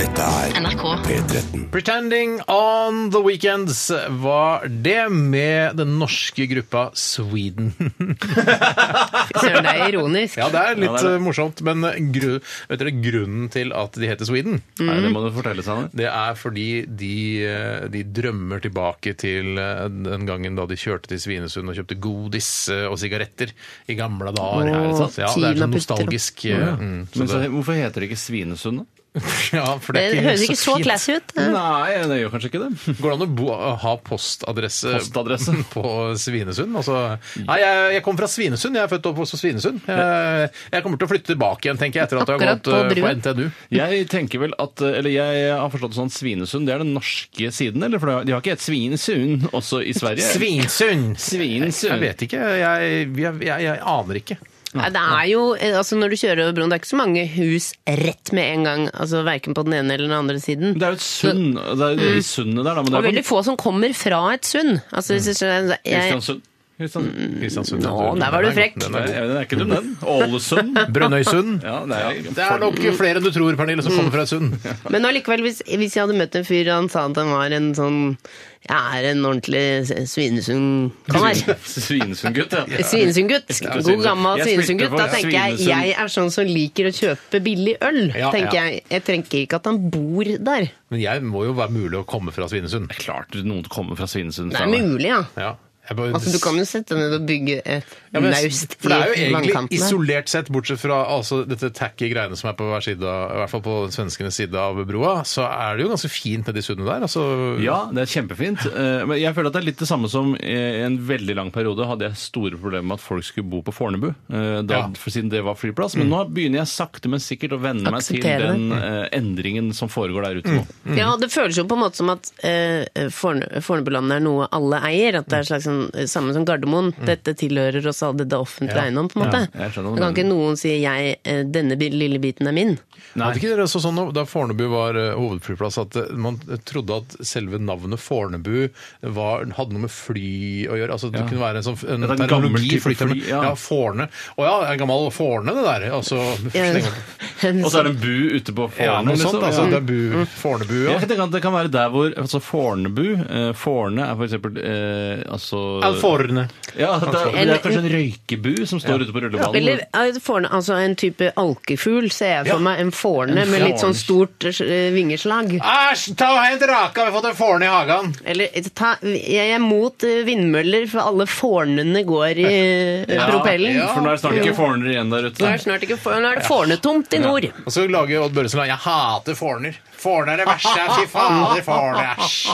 Speaker 5: Dette er
Speaker 6: NRK.
Speaker 5: P13.
Speaker 1: 'Pretending On The Weekends' var det med den norske gruppa Sweden. [laughs]
Speaker 3: Søren, det er ironisk.
Speaker 1: Ja, det er litt
Speaker 2: Ja, det er det.
Speaker 1: eh, morsomt, men gru, vet dere grunnen til at de heter Sweden?
Speaker 2: Nei, det må du fortelle, Sanne.
Speaker 1: Det er fordi de, eh, de drømmer tilbake til eh, den gangen da de kjørte til Svinesund og kjøpte godis eh, og sigaretter i gamle
Speaker 3: Åh,
Speaker 1: dager. er det sant? ja, det er
Speaker 3: tiden
Speaker 1: sånn
Speaker 3: er putter opp.
Speaker 1: nostalgisk. eh, Mm, så
Speaker 2: Men så,
Speaker 1: det,
Speaker 2: hvorfor heter det ikke Svinesund, da?
Speaker 1: [laughs] ja, for
Speaker 3: Det
Speaker 1: det er ikke
Speaker 3: høres ikke så
Speaker 1: fint.
Speaker 3: classy ut.
Speaker 2: Nei, det gjør kanskje ikke det.
Speaker 1: Går det an å bo, ha postadresse,
Speaker 2: Postadresse.
Speaker 1: [laughs] på Svinesund? Altså, nei, jeg, jeg kommer fra Svinesund. Jeg er født og oppvokst på Svinesund. Jeg, jeg kommer til å flytte tilbake igjen, tenker jeg, etter at jeg har
Speaker 3: Akkurat
Speaker 1: gått eh,
Speaker 3: på
Speaker 1: på,
Speaker 3: brua.
Speaker 1: NTNU.
Speaker 2: Jeg tenker vel at, eller jeg har forstått det sånn at Svinesund det er den norske siden, eller? For de har ikke et Svinesund også i Sverige?
Speaker 1: Svinsund!
Speaker 2: Svinesund.
Speaker 1: Jeg vet ikke. Jeg, jeg, jeg, jeg aner ikke.
Speaker 3: Nei, det er jo, eh, altså Når du kjører over broen, det er ikke så mange hus rett med en gang. altså Verken på den ene eller den andre siden.
Speaker 2: Det er jo et sund. Det er jo i sundet der, da. Men
Speaker 3: Mm. Og
Speaker 2: det er
Speaker 3: veldig
Speaker 2: jo
Speaker 3: få som kommer fra et sund.
Speaker 1: Mm.
Speaker 3: Altså, hvis jeg, skjønner- jeg,
Speaker 2: Kristiansund. Mm. Kristiansund.
Speaker 1: Kristiansund.
Speaker 3: Nå, der var du
Speaker 1: Den er-
Speaker 3: frekk.
Speaker 1: den
Speaker 2: Nei,
Speaker 1: er-
Speaker 2: den er ikke dum, den. Ålesund.
Speaker 1: Brønnøysund.
Speaker 2: Ja, det er,
Speaker 1: Det er nok flere enn du tror, Pernille, som kommer fra et sund.
Speaker 3: men allikevel, hvis, hvis jeg hadde møtt en fyr og han sa at han var en sånn Jeg er en ordentlig Svinesund-kar.
Speaker 1: [laughs]
Speaker 2: Svinesund-gutt, ja.
Speaker 3: Svinesundgutt.
Speaker 2: elsker
Speaker 3: God gammel
Speaker 2: Svinesund. Jeg
Speaker 3: Svinesundgutt.
Speaker 2: spilte for
Speaker 3: Da tenker jeg
Speaker 2: Svinesund.
Speaker 3: jeg er sånn som liker å kjøpe billig øl.
Speaker 1: Ja,
Speaker 3: tenker
Speaker 1: ja.
Speaker 3: Jeg Jeg trenger ikke at han bor der.
Speaker 1: Men jeg må jo være mulig å komme fra Svinesund.
Speaker 2: Klart noen kommer fra Svinesund.
Speaker 3: Det er mulig, ja.
Speaker 1: Ja. Jeg bare-
Speaker 3: Altså, du kan jo sette deg ned og bygge et
Speaker 1: Ja, men-
Speaker 3: naust
Speaker 1: for det er jo
Speaker 3: i
Speaker 1: egentlig
Speaker 3: vannkanten. her.
Speaker 1: isolert sett, bortsett fra altså, dette tacky greiene som er på hver side, av- i hvert fall på svenskenes side av broa, så er det jo ganske fint nedi sundet der. Altså,
Speaker 2: Ja, det er kjempefint. Eh, Men jeg føler at det er litt det samme som eh, i en veldig lang periode hadde jeg store problemer med at folk skulle bo på Fornebu, eh, da,
Speaker 1: Ja.
Speaker 2: for siden det var flyplass. Men nå begynner jeg sakte, men sikkert å venne meg til
Speaker 3: Akseptere det.
Speaker 2: den eh, endringen som foregår der ute nå.
Speaker 3: Ja,
Speaker 2: Mm.
Speaker 3: det føles jo på en måte som at eh, Forne- Fornebulandet er noe alle eier. At det
Speaker 2: Mm.
Speaker 3: er slags sånn, eh, samme som Gardermoen. Dette tilhører oss alle, det er offentlig eiendom, på en måte.
Speaker 2: Ja, jeg skjønner hva du
Speaker 3: Da
Speaker 2: mener.
Speaker 3: kan ikke noen si jeg, eh, denne bi- lille biten er min.
Speaker 1: Hadde ikke dere også sånn da Fornebu var eh, hovedflyplass, at eh, man trodde at selve navnet Fornebu var, hadde noe med fly å gjøre? Altså, det
Speaker 2: Ja.
Speaker 1: kunne være en sånn en
Speaker 2: Det er en gammel
Speaker 1: terminologi.
Speaker 2: type
Speaker 1: flyterm-
Speaker 2: fly,
Speaker 1: ja.
Speaker 2: ja.
Speaker 1: Forne. Å ja, det er gammel Forne, det der. Altså, sleng opp.
Speaker 2: Og så er
Speaker 3: sånn-
Speaker 2: det en bu ute på Fornebu.
Speaker 1: ja, noe sånt.
Speaker 2: liksom.
Speaker 1: Altså,
Speaker 2: Ja.
Speaker 1: det er bu, Fornebu, ja.
Speaker 2: Jeg tenker at Det kan være der hvor altså Fornebu eh, Forne er for eksempel eh, altså,
Speaker 1: Ja, Forne.
Speaker 2: ja, det, er, det er kanskje en røykebu som står ute på rullebanen.
Speaker 3: Eller eh, forne, altså en type alkefugl, ser jeg for meg. En forne med litt sånn stort eh, vingeslag.
Speaker 1: Æsj, ta og hent raka, vi har fått en forne i hagen!
Speaker 3: Eller eh, ta, jeg er mot eh, vindmøller, for alle fornene går i eh, propellen.
Speaker 2: Ja, for nå er det snart ikke forner igjen der
Speaker 3: Nå
Speaker 2: ute.
Speaker 3: er det snart ikke for, nå er det fornetomt i nord.
Speaker 1: Og så lager Odd Børresen Jeg hater forner. Forne er det verste. Fy fader, forne. Æsj.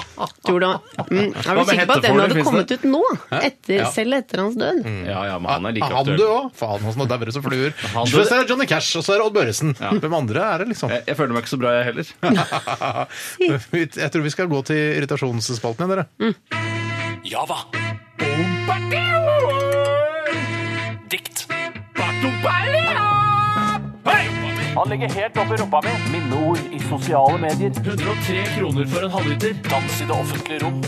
Speaker 3: Tror du, mm, er
Speaker 2: Hva
Speaker 3: du
Speaker 2: med
Speaker 3: sikker på at den
Speaker 2: hetteforne,
Speaker 3: hadde
Speaker 2: finnes
Speaker 3: kommet ut nå? Etter,
Speaker 1: Ja.
Speaker 3: Selv etter hans død?
Speaker 2: Ja, ja, men han er like
Speaker 1: Ah, Han
Speaker 2: aktuell.
Speaker 1: du òg. Faen, åssen det dauer som fluer.
Speaker 2: Han døde.
Speaker 1: Først er det Johnny Cash, og så er det Odd Børresen. Hvem andre er det, liksom?
Speaker 2: Jeg, jeg føler meg ikke så bra, jeg heller.
Speaker 1: Jeg tror vi skal gå til irritasjonsspalten igjen, dere.
Speaker 7: Java. Dikt.
Speaker 8: Han ligger helt oppi rumpa mi. Minneord i sosiale medier.
Speaker 7: 103 kroner for en halvliter. Ah!
Speaker 8: Dans i det offentlige rom.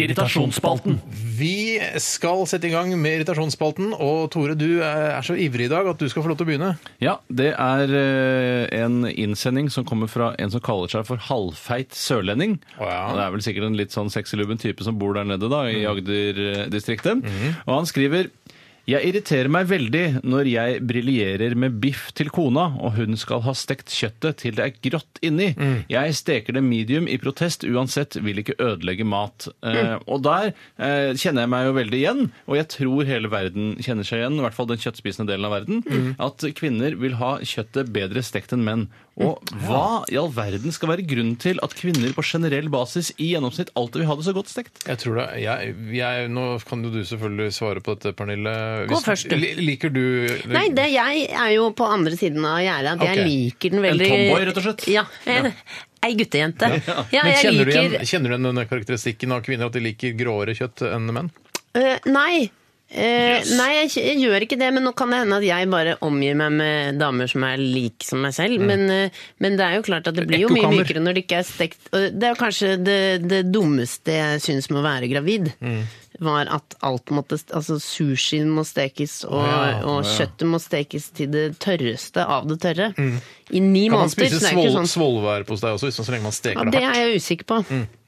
Speaker 7: Irritasjonsspalten.
Speaker 1: Vi skal sette i gang med irritasjonsspalten, og Tore, du er så ivrig i dag at du skal få lov til å begynne.
Speaker 2: Ja, det er eh, en innsending som kommer fra en som kaller seg for halvfeit sørlending.
Speaker 1: Å ja. Mm.
Speaker 2: Og Det er vel sikkert en litt sånn sexylubben type som bor der nede da, i Agder-distriktet.
Speaker 1: Mhm.
Speaker 2: Og han skriver... Jeg irriterer meg veldig når jeg briljerer med biff til kona, og hun skal ha stekt kjøttet til det er grått inni.
Speaker 1: Mm.
Speaker 2: Jeg steker det medium i protest, uansett vil ikke ødelegge mat. Eh,
Speaker 1: Mm.
Speaker 2: og der eh, kjenner jeg meg jo veldig igjen, og jeg tror hele verden kjenner seg igjen, i hvert fall den kjøttspisende delen av verden,
Speaker 1: Mm.
Speaker 2: at kvinner vil ha kjøttet bedre stekt enn menn. Og
Speaker 1: Mm.
Speaker 2: hva i all verden skal være grunnen til at kvinner på generell basis i gjennomsnitt alltid vil ha det så godt stekt?
Speaker 1: Jeg tror det. Jeg, jeg, nå kan jo du selvfølgelig svare på dette, Pernille.
Speaker 3: Gå først, du.
Speaker 1: Li- Liker du
Speaker 3: Nei, det, jeg er jo på andre siden av gjerdet. at
Speaker 1: Ok.
Speaker 3: Jeg liker den veldig
Speaker 2: tomboy, rett og slett?
Speaker 3: Ja. en- Ei guttejente. Ja,
Speaker 1: Men
Speaker 3: jeg
Speaker 1: kjenner, du
Speaker 3: liker
Speaker 1: igjen, kjenner du igjen denne karakteristikken av kvinner, at de liker gråere kjøtt enn menn?
Speaker 3: Øh, Nei. Eh, Nei, jeg, kj- jeg gjør ikke det, men nå kan det hende at jeg bare omgir meg med damer som er lik som meg
Speaker 1: Mm.
Speaker 3: selv. Men, eh, men det er jo klart at det blir jo mye
Speaker 1: Ekkokammer.
Speaker 3: mykere når det ikke er stekt. Og Det er jo kanskje det, det dummeste jeg syns med å være gravid.
Speaker 1: Mm.
Speaker 3: Var at alt måtte st- Altså sushien må stekes, og,
Speaker 1: ja,
Speaker 3: og kjøttet må stekes til det tørreste av det tørre. I ni
Speaker 1: Mm. Kan man
Speaker 3: måneder.
Speaker 1: spise
Speaker 3: så det er ikke
Speaker 1: svol, Mm.
Speaker 3: sånn.
Speaker 1: svolvær på deg også, hvis- så lenge man steker
Speaker 3: Ja,
Speaker 1: det
Speaker 3: det
Speaker 1: hardt?
Speaker 3: er jeg usikker på.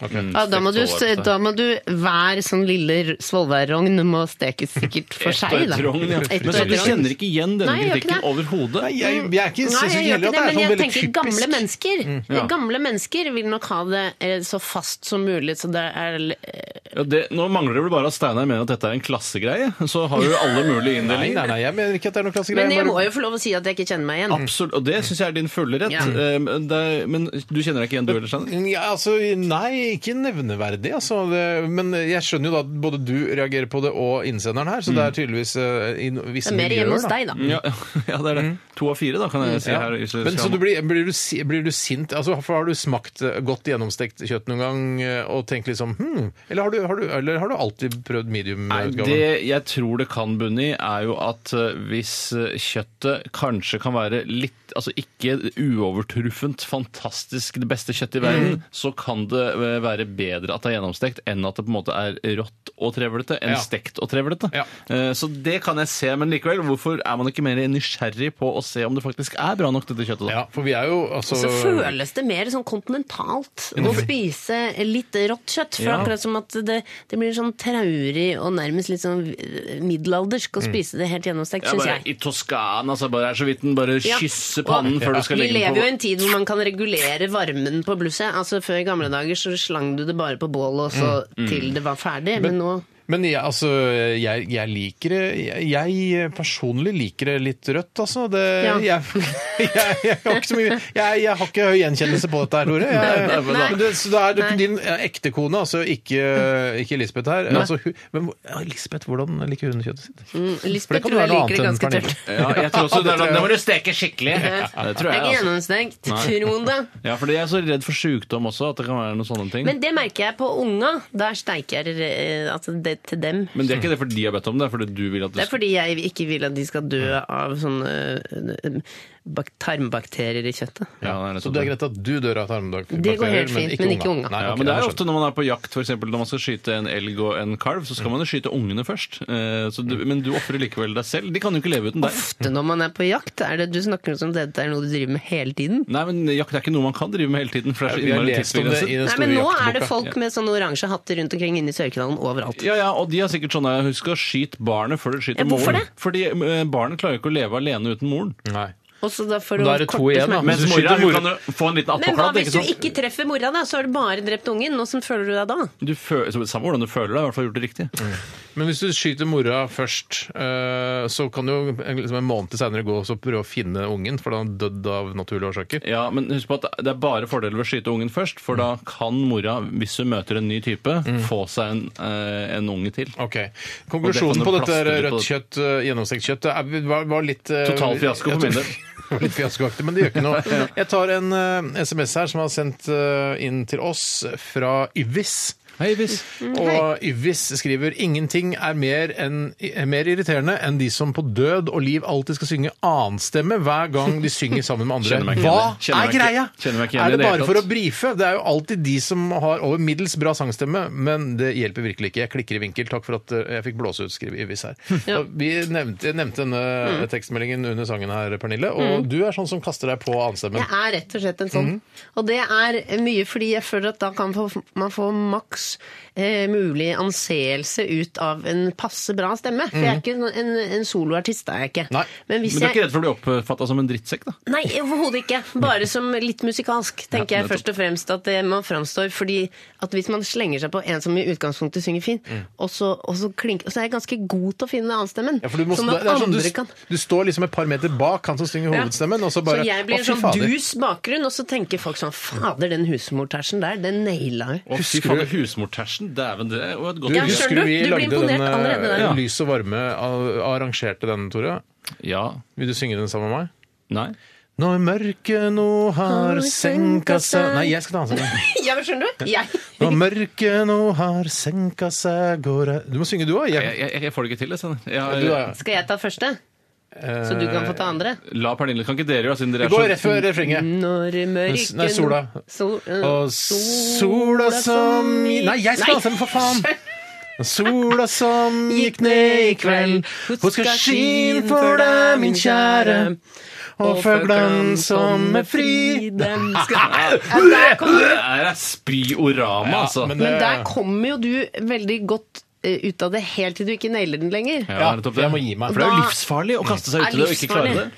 Speaker 1: Ok.
Speaker 3: Ja, da, må du,
Speaker 2: Stekt svolvær på deg.
Speaker 3: da må du Hver sånn lille r- svolværrogn må stekes sikkert for seg. Da. Ett
Speaker 2: Men
Speaker 3: og
Speaker 2: så
Speaker 3: ett
Speaker 2: du
Speaker 3: rogn.
Speaker 2: kjenner ikke igjen denne
Speaker 3: Nei, jeg gjør ikke
Speaker 2: kritikken overhodet?
Speaker 1: Nei, jeg, jeg er ikke,
Speaker 3: Mm. Nei, jeg
Speaker 1: synes ikke
Speaker 3: gjør ikke
Speaker 1: heller at
Speaker 3: det,
Speaker 1: det er
Speaker 3: men
Speaker 1: sånn
Speaker 3: jeg
Speaker 1: veldig
Speaker 3: tenker
Speaker 1: typisk. Mm,
Speaker 3: gamle mennesker
Speaker 2: ja.
Speaker 3: Gamle mennesker vil nok ha det eh, så fast som mulig, så det er eh,
Speaker 2: Ja, det, nå mangler det vel bare at Steinar mener at dette er en klassegreie. Så har jo alle
Speaker 1: [laughs]
Speaker 2: mulige
Speaker 1: Nei,
Speaker 2: inndelinger.
Speaker 1: nei, nei, jeg mener ikke at det er noen klassegreie.
Speaker 3: Men jeg
Speaker 1: bare-
Speaker 3: må jo få lov å si at jeg ikke kjenner meg igjen.
Speaker 2: Absolutt, og det syns jeg er din fulle rett.
Speaker 3: Ja.
Speaker 2: Eh, men det, men du kjenner deg ikke igjen, du heller, Steinar?
Speaker 1: Ja, altså, nei, ikke nevneverdig, altså. Det, men jeg skjønner jo da at både du reagerer på det og innsenderen her, så det er tydeligvis eh, i no-
Speaker 3: Mm. Det
Speaker 1: visse
Speaker 3: er mer
Speaker 1: miljøer,
Speaker 3: hjemme hos
Speaker 1: da. Mm.
Speaker 3: deg, da.
Speaker 2: Ja, [laughs] ja, det er det. To av fire, da, kan jeg si
Speaker 1: Ja.
Speaker 2: her. hvis jeg
Speaker 1: Men
Speaker 2: skal
Speaker 1: så
Speaker 2: ha-
Speaker 1: du blir, blir, du, si- blir du sint? Altså, for har du smakt eh, godt gjennomstekt kjøtt noen gang eh, og tenkt liksom hm, eller, har du, har du, eller har du alltid prøvd eh,
Speaker 2: Nei,
Speaker 1: medium-utgaven?
Speaker 2: det jeg tror det kan bunne i, er jo at eh, hvis eh, kjøttet kanskje kan være litt Altså ikke uovertruffent, fantastisk, det beste kjøttet i verden, så kan det eh, være bedre at det er gjennomstekt enn at det på en måte er rått og trevlete, enn
Speaker 1: Ja.
Speaker 2: stekt og trevlete.
Speaker 1: Ja.
Speaker 2: Eh, Så det kan jeg se, men likevel, hvorfor er man ikke mer nysgjerrig på å se om det faktisk er bra nok, dette kjøttet? da?
Speaker 1: Ja, for vi er jo altså
Speaker 3: Så føles det mer sånn kontinentalt å spise litt rått kjøtt. For
Speaker 2: Ja.
Speaker 3: akkurat som at det, det blir sånn traurig og nærmest litt sånn eh, middelaldersk
Speaker 1: Mm.
Speaker 3: å spise det helt gjennomstekt,
Speaker 2: Ja,
Speaker 3: syns
Speaker 2: bare,
Speaker 3: jeg.
Speaker 2: I Toskana så bare er så vidt den bare
Speaker 3: Ja.
Speaker 2: kysser pannen
Speaker 3: Og
Speaker 2: før du skal
Speaker 3: Vi
Speaker 2: legge den på
Speaker 3: lever jo i en tid hvor man kan regulere varmen på blusset. Altså Før i gamle dager så slang du det bare på bålet og så
Speaker 2: Mm,
Speaker 3: til det var ferdig. Men, nå
Speaker 1: Men jeg, altså, jeg, jeg liker det jeg, jeg personlig liker det litt rødt, altså. Det,
Speaker 3: Ja.
Speaker 1: [laughs] jeg, jeg, jeg har ikke så mye jeg, jeg har ikke høy gjenkjennelse på dette her, Tore. Jeg,
Speaker 2: Nei, nei, nei.
Speaker 1: Men det, så det er det er din ekte kone, altså ikke, ikke Lisbeth her. Altså, hun, men hvor- ja, Lisbeth, hvordan liker hun kjøttet sitt?
Speaker 3: mm,
Speaker 1: For
Speaker 3: Lisbeth
Speaker 1: det kan
Speaker 3: tror jeg
Speaker 1: være noe
Speaker 3: liker det
Speaker 1: annet enn
Speaker 3: ganske
Speaker 1: Pernille.
Speaker 3: tørt.
Speaker 2: Ja, jeg tror også det,
Speaker 1: tror jeg.
Speaker 2: det må du steke skikkelig. Det tror
Speaker 3: Det er
Speaker 2: jeg,
Speaker 3: ikke
Speaker 2: altså.
Speaker 3: gjennomstengt. Tro det.
Speaker 2: Ja, fordi jeg er så redd for sykdom også, at det kan være noen sånne ting. Men,
Speaker 3: Men det merker jeg på unga. Der steiker eh, altså det til dem.
Speaker 2: det er ikke det fordi de har bedt om det, det er fordi du vil at
Speaker 3: Det
Speaker 2: det
Speaker 3: er fordi jeg ikke vil at de skal dø
Speaker 2: Mm.
Speaker 3: av sånne eh, bak tarmbakterier i kjøttet.
Speaker 2: Ja, det er
Speaker 1: Så
Speaker 2: nettopp
Speaker 1: det er
Speaker 2: det.
Speaker 1: greit at du dør av tarmbakterier,
Speaker 3: Det går helt fint, men ikke unga.
Speaker 1: Nei,
Speaker 2: Ja,
Speaker 1: ok,
Speaker 2: men det er
Speaker 1: jeg
Speaker 2: jo ofte når man er på jakt, f.eks. når man skal skyte en elg og en kalv, så skal man jo skyte ungene først. Eh, Så du, men du ofrer likevel deg selv. De kan jo ikke leve uten deg.
Speaker 3: Ofte når man er på jakt, er det du snakker som om dette er noe du driver med hele tiden.
Speaker 2: Nei, men jakt er ikke noe man kan drive med hele tiden, for det er så
Speaker 1: Vi har
Speaker 2: innmari
Speaker 1: lest om det i
Speaker 2: tidsbegrenset.
Speaker 1: den
Speaker 3: Nei,
Speaker 1: store
Speaker 3: men nå er det
Speaker 1: jaktboka.
Speaker 3: folk med sånne oransje hatter rundt omkring inne i Sørkedalen overalt.
Speaker 2: Ja, ja, og de har sikkert sånn der, Husk å skyte barnet før du skyter
Speaker 3: Ja, hvorfor
Speaker 2: moren.
Speaker 3: det?
Speaker 2: Fordi eh, barnet klarer jo ikke å leve alene uten moren.
Speaker 1: Nei.
Speaker 3: Og så da får du
Speaker 1: Da er det to
Speaker 3: korte
Speaker 1: igjen, da.
Speaker 3: smeller.
Speaker 1: Mens
Speaker 2: Mens
Speaker 1: mora,
Speaker 2: mora
Speaker 1: hun
Speaker 2: kan
Speaker 1: kan
Speaker 2: jo få en liten
Speaker 3: Men hva
Speaker 2: attpåkladd.
Speaker 3: hvis du
Speaker 1: sånn-
Speaker 3: ikke treffer mora, da? Så har du bare drept ungen. Åssen føler du deg da?
Speaker 2: Du føler, så- samme hvordan du føler deg, i hvert fall gjort det riktig.
Speaker 1: Mm. Men hvis du skyter mora først, eh, så kan du jo liksom en måned senere gå og så prøve å finne ungen, for da har han dødd av naturlige årsaker.
Speaker 2: Ja, men husk på at det er bare fordeler ved å skyte ungen først, for da
Speaker 1: Mm.
Speaker 2: kan mora, hvis hun møter en ny type, få seg en, eh, en unge til.
Speaker 1: Ok.
Speaker 2: Og
Speaker 1: Konklusjonen
Speaker 2: det
Speaker 1: på
Speaker 2: kan du
Speaker 1: dette
Speaker 2: plastre litt
Speaker 1: rødt
Speaker 2: på
Speaker 1: kjøtt, eh, gjennomstekt kjøtt, det er- var, var litt eh,
Speaker 2: Total fiasko
Speaker 1: jeg
Speaker 2: for min
Speaker 1: tror-
Speaker 2: del.
Speaker 1: var [laughs] litt fiaskoaktig, men det gjør ikke
Speaker 2: [laughs]
Speaker 1: noe. Jeg tar en eh, SMS her som er sendt eh, inn til oss fra Yvis.
Speaker 2: Hei, Vis.
Speaker 3: Mm,
Speaker 1: Og Yvis skriver ingenting er mer, enn- er mer irriterende enn de som på død og liv alltid skal synge annenstemme hver gang de synger sammen med
Speaker 2: [laughs] Kjenner meg ikke
Speaker 1: andre.
Speaker 2: igjen
Speaker 1: Hva
Speaker 2: i- kjenner
Speaker 1: er
Speaker 2: meg ikke-
Speaker 1: greia?
Speaker 2: kjenner meg ikke igjen i
Speaker 1: Er det
Speaker 2: det
Speaker 1: bare
Speaker 2: hele
Speaker 1: for å
Speaker 2: tatt.
Speaker 1: brife? Det er jo alltid de som har over middels bra sangstemme, men det hjelper virkelig ikke. Jeg klikker i vinkel. Takk for at eh, jeg fikk blåse ut, skriver Yvis
Speaker 3: [laughs]
Speaker 1: her. Og Vi nevnte, jeg nevnte
Speaker 3: Mm.
Speaker 1: denne tekstmeldingen under sangen her, Pernille, og du er sånn som kaster deg på
Speaker 3: Jeg
Speaker 1: annenstemmen.
Speaker 3: er rett og slett en sånn.
Speaker 1: Mhm.
Speaker 3: Og det er mye fordi jeg føler at da kan få, man få maks eh, mulig anseelse ut av en passe bra stemme. For jeg er ikke en, en, en soloartist, det er jeg ikke.
Speaker 1: Mhm. Nei.
Speaker 3: Men hvis
Speaker 2: Men du er
Speaker 3: jeg
Speaker 2: ikke redd for å bli oppfatta som en drittsekk, da?
Speaker 3: Nei, overhodet ikke. Bare som litt musikalsk, tenker
Speaker 2: Ja,
Speaker 3: jeg
Speaker 2: nettopp.
Speaker 3: først og fremst. At det man framstår fordi at hvis man slenger seg på en som i utgangspunktet synger fint,
Speaker 1: Mm.
Speaker 3: og, så, og, så klink, og så er jeg ganske god til å finne annenstemmen.
Speaker 1: Ja, for du, må,
Speaker 3: Sånn at
Speaker 1: det er sånn,
Speaker 3: andre kan-
Speaker 1: du, du står liksom et par meter bak han som synger
Speaker 3: Ja.
Speaker 1: hovedstemmen, og så bare
Speaker 3: Så jeg blir
Speaker 1: Å,
Speaker 3: en
Speaker 1: fy
Speaker 3: sånn
Speaker 1: fader.
Speaker 3: dus bakgrunn, og så tenker folk sånn Fader, den husmortersen der, den naila hun.
Speaker 2: Å, fy fader, husmortersen. Dæven, det er jo et godt
Speaker 1: Du,
Speaker 3: Ja,
Speaker 2: hus.
Speaker 1: husker
Speaker 3: skjønner
Speaker 1: du
Speaker 3: du? Du
Speaker 1: vi
Speaker 3: blir
Speaker 1: lagde
Speaker 3: imponert
Speaker 1: den
Speaker 3: allerede der.
Speaker 1: eh,
Speaker 2: Ja.
Speaker 1: Lys og varme a- arrangerte den, Tore?
Speaker 2: Ja.
Speaker 1: Vil du synge den sammen med meg?
Speaker 2: Nei.
Speaker 1: Når mørket nå har
Speaker 3: Har
Speaker 1: senka
Speaker 3: senka
Speaker 1: seg
Speaker 3: seg.
Speaker 1: Nei, jeg skal ta den sangen.
Speaker 3: [laughs] Ja, men skjønner du? Jeg.
Speaker 1: Når mørket nå har senka seg, går jeg Du må synge du òg.
Speaker 2: Jeg, jeg, jeg får det ikke til, jeg. Sånn. Jeg,
Speaker 1: Du da.
Speaker 3: Skal jeg ta første? Så du kan få ta andre?
Speaker 2: La Pernille Kan ikke dere gjøre det, siden dere
Speaker 1: Vi
Speaker 2: er så
Speaker 1: går rett før refrenget.
Speaker 3: Når mørken
Speaker 1: Nei, sola.
Speaker 3: Sol, eh,
Speaker 1: Og sola som Nei, jeg skal danse den, for faen! Sola som gikk ned i kveld, hun skal skinne for deg, min kjære. Og føglan som er fri
Speaker 3: Den
Speaker 1: [laughs]
Speaker 3: skal ja, der kom,
Speaker 2: Det er spyorama, altså.
Speaker 1: men det-
Speaker 3: Men der kommer jo du veldig godt eh, ut av det helt til du ikke nailer den lenger.
Speaker 2: Ja,
Speaker 1: Ja,
Speaker 2: nettopp det.
Speaker 1: jeg må gi meg.
Speaker 2: For det er jo
Speaker 3: Da-
Speaker 2: livsfarlig å kaste seg
Speaker 3: Er
Speaker 2: uti det og ikke klare det.
Speaker 3: livsfarlig.